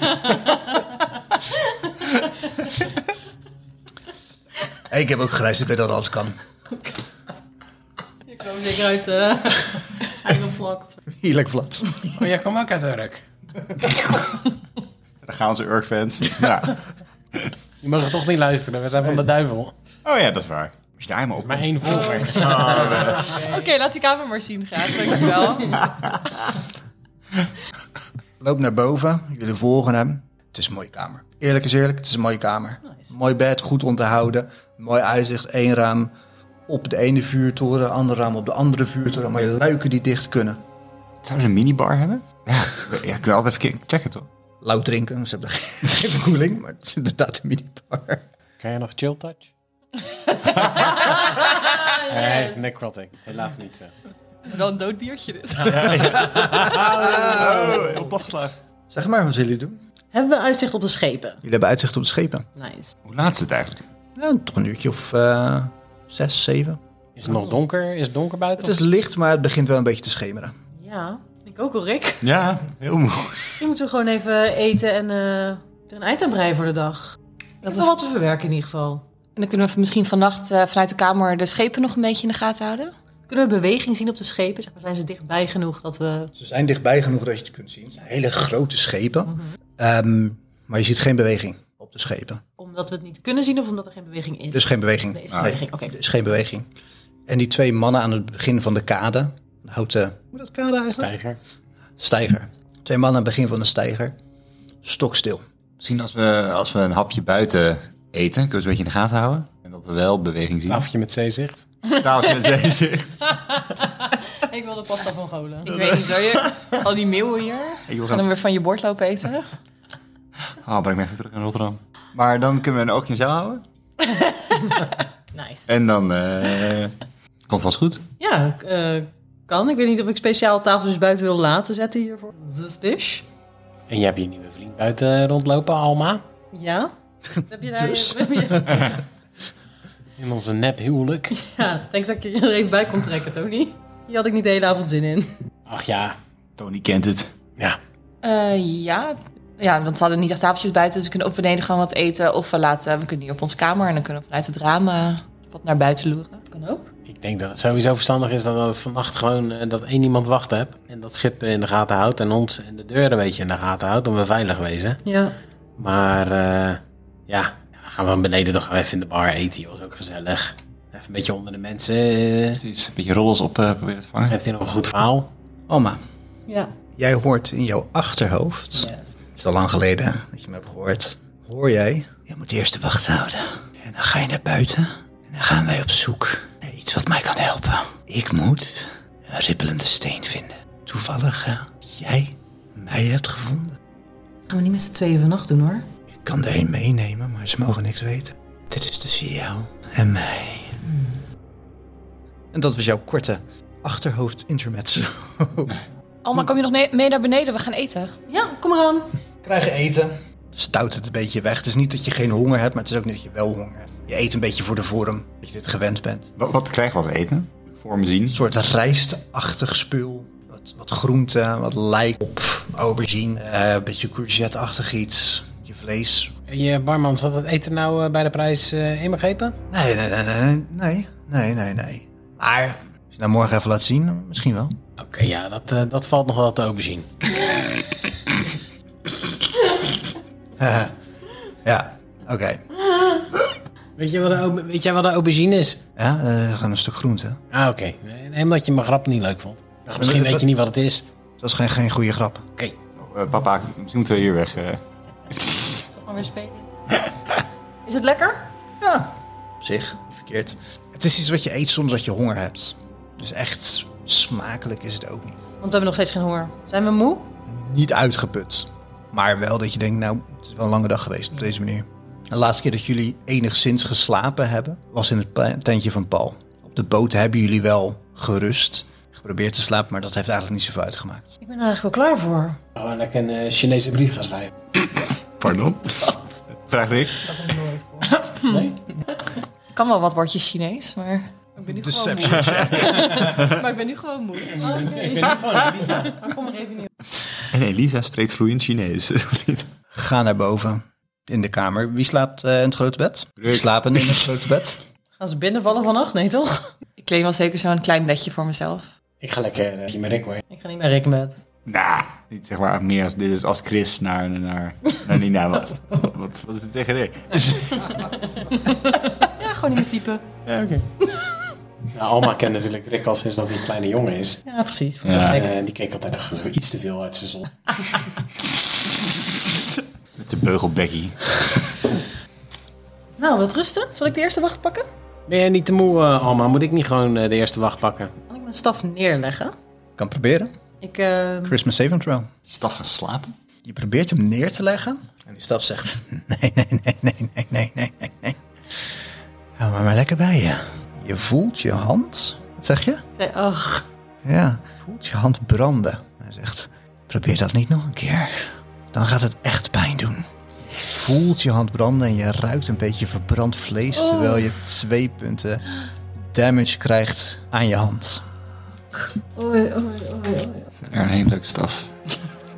Speaker 5: Hey, ik heb ook gereisd, ik weet dat alles kan.
Speaker 1: Ik kwam zeker uit eh Eigen vlak.
Speaker 5: Heerlijk plat.
Speaker 7: Oh, jij kwam ook uit Urk.
Speaker 2: Daar gaan onze Urk-fans. ja.
Speaker 7: Je mag het toch niet luisteren, we zijn van de duivel.
Speaker 2: Oh ja, dat is waar. Als je daar maar op.
Speaker 7: Maar één volver.
Speaker 3: Oké, laat die kamer maar zien graag. Dankjewel.
Speaker 5: Loop naar boven, jullie volgen hem. Het is een mooie kamer. Eerlijk is eerlijk, het is een mooie kamer. Mooi bed, goed onderhouden. Mooi uitzicht, één raam op de ene vuurtoren, ander raam op de andere vuurtoren. Mooie luiken die dicht kunnen.
Speaker 6: Zouden ze een minibar hebben? Ja, ja ik wil altijd even ki- checken, toch?
Speaker 5: Lauw drinken, dus ze hebben geen koeling, maar het is inderdaad een minibar.
Speaker 7: Kan je nog chill touch? Hij is necrotic. Helaas niet zo.
Speaker 3: Het is wel een dood biertje dit.
Speaker 2: Oh, op platgeslagen.
Speaker 5: Zeg maar, wat zullen jullie doen?
Speaker 1: Hebben we uitzicht op de schepen?
Speaker 5: Jullie hebben uitzicht op de schepen.
Speaker 1: Nice.
Speaker 6: Hoe laat is het eigenlijk?
Speaker 5: Nou, toch een uurtje of eh, zes, zeven.
Speaker 7: Is het nog donker? Is het donker buiten?
Speaker 5: Het is licht, maar het begint wel een beetje te schemeren.
Speaker 1: Ja, ik ook al, Rick.
Speaker 2: Ja, heel mooi.
Speaker 1: Nu moeten we gewoon even eten en eh, er een eind aan breien voor de dag. Dat is wel wat te verwerken in ieder geval.
Speaker 3: En dan kunnen we misschien vannacht eh, vanuit de kamer de schepen nog een beetje in de gaten houden.
Speaker 1: Kunnen we beweging zien op de schepen? Zeg maar, zijn ze dichtbij genoeg dat we...
Speaker 5: Ze zijn dichtbij genoeg dat je het kunt zien. Het zijn hele grote schepen. Ehm, maar je ziet geen beweging op de schepen.
Speaker 1: Omdat we het niet kunnen zien of omdat er geen beweging is?
Speaker 2: Dus-
Speaker 5: Er is geen beweging.
Speaker 1: Nee, is geen beweging. Oké.
Speaker 5: Er is geen beweging. En die twee mannen aan het begin van de kade, de houten hoe dat kade eigenlijk?
Speaker 7: Tijger.
Speaker 5: Steiger. Twee mannen aan het begin van de steiger, stokstil.
Speaker 6: Misschien als we, als we een hapje buiten eten, kunnen we ze een beetje in de gaten houden. En dat we wel beweging zien.
Speaker 2: Nou,
Speaker 7: Afje met zeezicht.
Speaker 6: Tafeltje met zeezicht.
Speaker 1: Ik wil de pasta van Golen.
Speaker 3: Ik weet niet hoor. Je, al die meeuwen hier.
Speaker 6: Ik wil
Speaker 3: Gaan we
Speaker 6: gaan-
Speaker 3: weer van je bord lopen eten?
Speaker 6: Oh, breng me even terug in Rotterdam. Maar dan kunnen we een oogje in de zaal houden.
Speaker 1: Nice.
Speaker 6: En dan... eh, Komt vast goed.
Speaker 1: Ja, eh, kan. Ik weet niet of ik speciaal tafeltjes buiten wil laten zetten hiervoor. Suspicious.
Speaker 7: En je hebt je nieuwe vriend buiten rondlopen, Alma.
Speaker 1: Ja. Heb je daar
Speaker 5: Dus?
Speaker 7: In onze nep huwelijk.
Speaker 1: Ja, thanks dat ik je er even bij kon trekken, Tony. Hier had ik niet de hele avond zin in.
Speaker 7: Ach ja.
Speaker 6: Tony kent het.
Speaker 7: Ja.
Speaker 3: Eh, ja. ja, want we hadden niet echt tafeltjes buiten. Dus we kunnen ook beneden gewoon wat eten. Of we, laten, we kunnen hier op ons kamer. En dan kunnen we vanuit het raam eh, wat naar buiten loeren.
Speaker 1: Kan ook.
Speaker 7: Ik denk dat het sowieso verstandig is dat we vannacht gewoon eh, dat één iemand wacht hebt. En dat schip in de gaten houdt. En ons en de deur een beetje in de gaten houdt. Om we veilig wezen.
Speaker 1: Ja.
Speaker 7: Maar eh, ja, gaan we van beneden toch wel even in de bar eten. joh. is ook gezellig. Even een beetje onder de mensen. eh.
Speaker 6: Precies. Een beetje rollers op eh, proberen te vangen.
Speaker 7: Heeft hij nog een goed verhaal?
Speaker 5: Alma,
Speaker 1: Ja.
Speaker 5: jij hoort in jouw achterhoofd,
Speaker 1: Yes.
Speaker 5: het is al lang geleden hè, dat je me hebt gehoord, hoor jij, je moet eerst de wacht houden. En dan ga je naar buiten en dan gaan wij op zoek naar iets wat mij kan helpen. Ik moet een rippelende steen vinden. Toevallig hè, jij mij hebt gevonden.
Speaker 1: Gaan we niet met z'n tweeën vannacht doen hoor.
Speaker 5: Ik kan er een meenemen, maar ze mogen niks weten. Dit is tussen jou en mij. En dat was jouw korte achterhoofd intermezzo.
Speaker 3: Alma, Oh, kom je nog ne- mee naar beneden? We gaan eten.
Speaker 1: Ja, kom eraan.
Speaker 5: Krijgen eten. Stout het een beetje weg. Het is niet dat je geen honger hebt, maar het is ook niet dat je wel honger hebt. Je eet een beetje voor de vorm, dat je dit gewend bent.
Speaker 6: Wat, wat krijgen we als eten? Voor me zien.
Speaker 5: Een soort rijstachtig spul. Wat, wat groente, wat lijk op aubergine. eh, een beetje courgette-achtig iets. Je vlees.
Speaker 7: Je eh, barman, zat het eten nou eh, bij de prijs eh, inbegrepen?
Speaker 5: Nee, nee, nee, nee, nee, nee, nee, nee. Maar als je het nou morgen even laat zien, misschien wel.
Speaker 7: Oké, ja, dat, eh, dat valt nog wel te overzien.
Speaker 5: Ja, oké.
Speaker 7: Weet, je wat de au- weet jij wat de aubergine is?
Speaker 5: Ja, eh, gewoon een stuk groente.
Speaker 7: Ah, oké. Nee, nee, omdat je mijn grap niet leuk vond. Nou, misschien
Speaker 5: dat-
Speaker 7: weet je niet wat het is.
Speaker 5: Dat is geen, geen goede grap.
Speaker 7: Oké.
Speaker 6: Eh, papa, misschien moeten we hier weg. eh.
Speaker 1: Toch maar weer spelen. Is het lekker?
Speaker 5: Ja, op zich. niet Verkeerd. Het is iets wat je eet soms dat je honger hebt. Dus echt smakelijk is het ook niet.
Speaker 1: Want we hebben nog steeds geen honger. Zijn we moe?
Speaker 5: Niet uitgeput. Maar wel dat je denkt, nou, het is wel een lange dag geweest op deze manier. De laatste keer dat jullie enigszins geslapen hebben, was in het pa- tentje van Paul. Op de boot hebben jullie wel gerust, geprobeerd te slapen, maar dat heeft eigenlijk niet zoveel uitgemaakt.
Speaker 1: Ik ben er eigenlijk wel klaar voor.
Speaker 7: Oh, dat ik een eh, Chinese brief ga schrijven.
Speaker 6: Pardon? Vraag Rick.
Speaker 3: Ik kan wel wat woordjes Chinees, maar ik ben nu gewoon moe. maar ik ben nu gewoon moe.
Speaker 7: Ik ben gewoon Lisa.
Speaker 1: Kom maar even niet.
Speaker 6: En Elisa spreekt vloeiend Chinees. Of niet?
Speaker 5: Ga naar boven, in de kamer. Wie slaapt eh, in het grote bed? Wie
Speaker 6: Rick.
Speaker 5: slapen in het grote bed?
Speaker 1: Gaan ze binnenvallen vannacht? Nee toch?
Speaker 3: Ik claim wel zeker zo'n klein bedje voor mezelf.
Speaker 7: Ik ga lekker eh, met Rick mee.
Speaker 1: Ik ga niet meer rekenen met.
Speaker 6: Nou, niet zeg maar meer als dit is als Chris naar, naar, naar Nina was. wat, wat is dit tegen Rick?
Speaker 1: Ja, gewoon niet meer typen.
Speaker 7: Nou, Alma kent natuurlijk Rick al sinds dat hij een kleine jongen is.
Speaker 1: Ja, precies.
Speaker 7: Ja. die keek altijd toch iets te veel uit zijn zon.
Speaker 6: Met zijn beugelbekkie.
Speaker 1: Nou, wat rusten. Zal ik de eerste wacht pakken?
Speaker 7: Ben jij niet te moe, eh, Alma? Moet ik niet gewoon eh, de eerste wacht pakken?
Speaker 1: Kan ik mijn staf neerleggen?
Speaker 5: Kan proberen.
Speaker 1: Ik, eh,
Speaker 5: Christmas saving throw.
Speaker 6: Staf gaan slapen?
Speaker 5: Je probeert hem neer te leggen. En die staf zegt: Nee, nee, nee, nee, nee, nee, nee, nee, nee. Hou maar maar lekker bij je. Je voelt je hand. Wat zeg je?
Speaker 1: zei, ach,
Speaker 5: Ja. Voelt je hand branden. Hij zegt: Probeer dat niet nog een keer. Dan gaat het echt pijn doen. Voelt je hand branden en je ruikt een beetje verbrand vlees. Terwijl je twee punten damage krijgt aan je hand.
Speaker 1: oei, oei, oei, oei.
Speaker 6: Verder een hele leuke staf.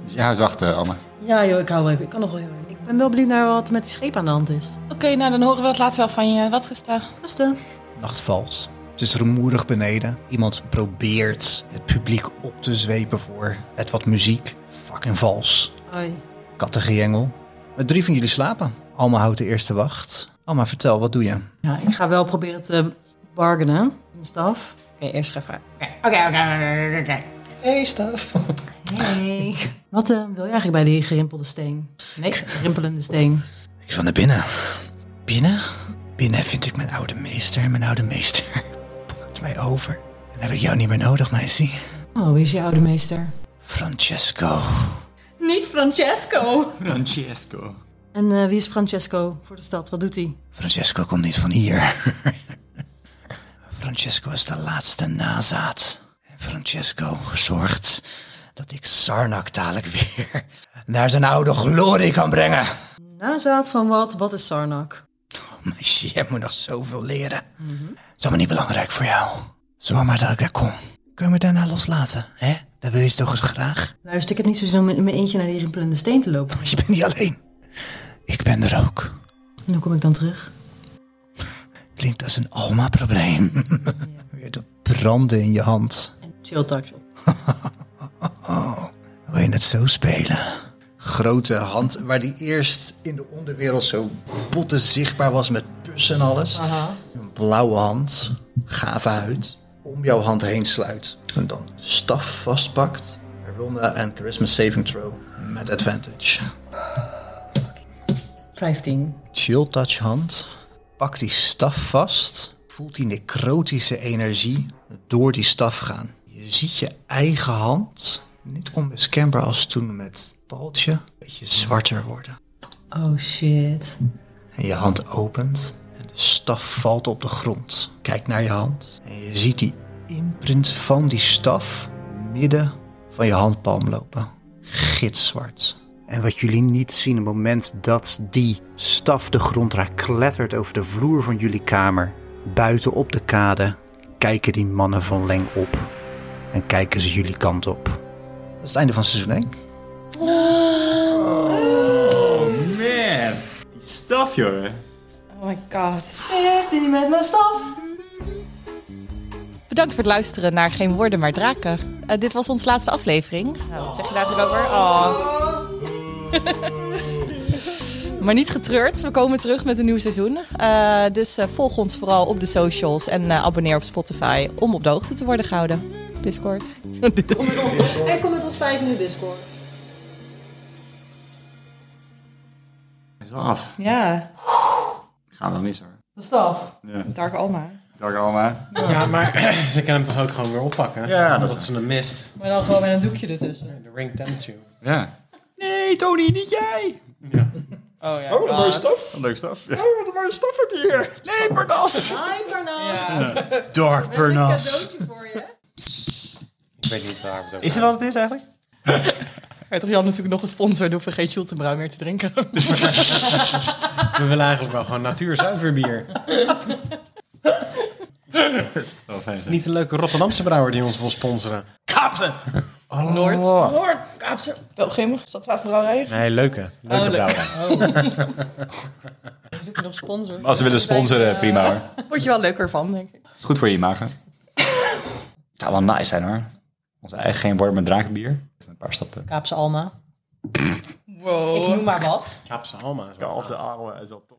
Speaker 6: Dus jij houdt wachten, Alma.
Speaker 1: Oh, Ja joh, ik hou even. Ik kan nog wel heel erg. Ik ben wel benieuwd naar wat er met die scheep aan de hand is.
Speaker 3: Oké, nou dan horen we dat later wel van je. Wat rustig.
Speaker 1: Rusten.
Speaker 5: Nacht valt. Het is rumoerig beneden. Iemand probeert het publiek op te zwepen voor het wat muziek. Fucking vals.
Speaker 1: Oei.
Speaker 5: Kattengejengel. Met drie van jullie slapen. Alma houdt de eerste wacht. Alma, vertel, wat doe je?
Speaker 1: Ja, ik ga wel proberen te bargainen. met Mijn staf. Oké, eerst ga even. Oké, oké, oké, oké.
Speaker 5: Hey, staf.
Speaker 1: Hey. Wat eh, wil je eigenlijk bij die gerimpelde steen? Nee, rimpelende steen.
Speaker 5: Ik wil naar binnen. Binnen? Binnen vind ik mijn oude meester. En mijn oude meester pakt mij over. En heb ik jou niet meer nodig, meisje.
Speaker 1: Oh, wie is je oude meester?
Speaker 5: Francesco.
Speaker 1: Niet Francesco!
Speaker 6: Francesco.
Speaker 1: En eh, wie is Francesco voor de stad? Wat doet hij?
Speaker 5: Francesco komt niet van hier. Francesco is de laatste nazaat. En Francesco zorgt dat ik Sarnak dadelijk weer naar zijn oude glorie kan brengen. Oh,
Speaker 1: Nazaat van wat? Wat is Sarnak?
Speaker 5: Meisje, jij moet nog zoveel leren. Het is allemaal niet belangrijk voor jou. Zorg maar dat ik daar kom. Kun je me daarna loslaten, hè? Dat wil je toch eens graag?
Speaker 1: Luister, ik heb niet zo zin om in mijn eentje naar die rimpelende steen te lopen.
Speaker 5: Want je bent niet alleen. Ik ben er ook.
Speaker 1: En hoe kom ik dan terug?
Speaker 5: Klinkt als een Alma-probleem. Weer dat branden in je hand.
Speaker 1: En chill touch op.
Speaker 5: Wil je het zo spelen? Grote hand, waar die eerst in de onderwereld zo botten zichtbaar was met pussen en alles. Een blauwe hand, gave huid, om jouw hand heen sluit. En dan de staf vastpakt. Ronda en Charisma Saving Throw met advantage.
Speaker 1: 15.
Speaker 5: Chill touch hand. Pak die staf vast. Voelt die necrotische energie door die staf gaan. Je ziet je eigen hand, niet onmiskenbaar als toen met paaltje, een beetje zwarter worden.
Speaker 1: Oh shit.
Speaker 5: En je hand opent en de staf valt op de grond. Kijk naar je hand en je ziet die imprint van die staf midden van je handpalm lopen. Gitzwart.
Speaker 13: En wat jullie niet zien, op het moment dat die staf de grond raakt, klettert over de vloer van jullie kamer. Buiten op de kade kijken die mannen van Leng op. En kijken ze jullie kant op.
Speaker 5: Dat is het einde van seizoen 1.
Speaker 2: Man, die staf, joh.
Speaker 3: Oh my god.
Speaker 1: Heeft hij met mijn staf?
Speaker 3: Bedankt voor het luisteren naar Geen Woorden Maar Draken. Eh, dit was onze laatste aflevering. Nou, wat zeg je daar natuurlijk over? Oh. maar niet getreurd, we komen terug met een nieuw seizoen. Eh, dus eh, volg ons vooral op de socials en eh, abonneer op Spotify om op de hoogte te worden gehouden. Discord.
Speaker 1: En kom met ons 5 in de Discord.
Speaker 6: Hij is wel af.
Speaker 3: Ja,
Speaker 6: Gaan we mis hoor.
Speaker 3: de staf.
Speaker 6: Ja.
Speaker 3: Dark Alma.
Speaker 6: Dag Alma.
Speaker 7: Ja, maar ze kunnen hem toch ook gewoon weer oppakken?
Speaker 6: Ja, dat-
Speaker 7: omdat ze hem mist.
Speaker 1: Maar dan gewoon met een doekje ertussen.
Speaker 7: De ring temptune.
Speaker 6: Ja. Nee, Tony, niet jij.
Speaker 3: Oh ja.
Speaker 11: Oh, wat een mooie staf.
Speaker 6: Een leuk staf.
Speaker 11: Oh, wat een mooie staf heb je hier.
Speaker 6: Nee, Parnas.
Speaker 8: Hi, Parnas.
Speaker 2: Dark Pernas.
Speaker 8: Cadeautje voor je.
Speaker 7: Ik weet niet waar we het over
Speaker 2: Is dat wat het is eigenlijk?
Speaker 3: Hertog Jan is natuurlijk nog een sponsor, dan hoeven we geen Schultenbrouw meer te drinken.
Speaker 7: hebben. We willen eigenlijk wel gewoon natuurzuiver bier.
Speaker 2: Oh, fijn.
Speaker 7: Niet de leuke Rotterdamse brouwer die ons wil sponsoren. Oh. Kaapse!
Speaker 3: Noord. Noord. Kaapse. Belgium. Is dat waar vooral rijden?
Speaker 7: Nee, leuke. Leuke
Speaker 3: Oh, leuk.
Speaker 7: brouwer.
Speaker 8: Zoek je nog sponsor.
Speaker 6: Als ze willen sponsoren, prima hoor.
Speaker 3: Word je wel leuker van, denk ik.
Speaker 6: Is goed voor je imago. Zou wel nice zijn hoor. Onze eigen geen worm en drakenbier. Even Een paar stappen.
Speaker 1: Kaapse Alma.
Speaker 3: Wow.
Speaker 1: Ik noem maar wat.
Speaker 7: Kaapse Alma is
Speaker 2: Of de oude is wel top.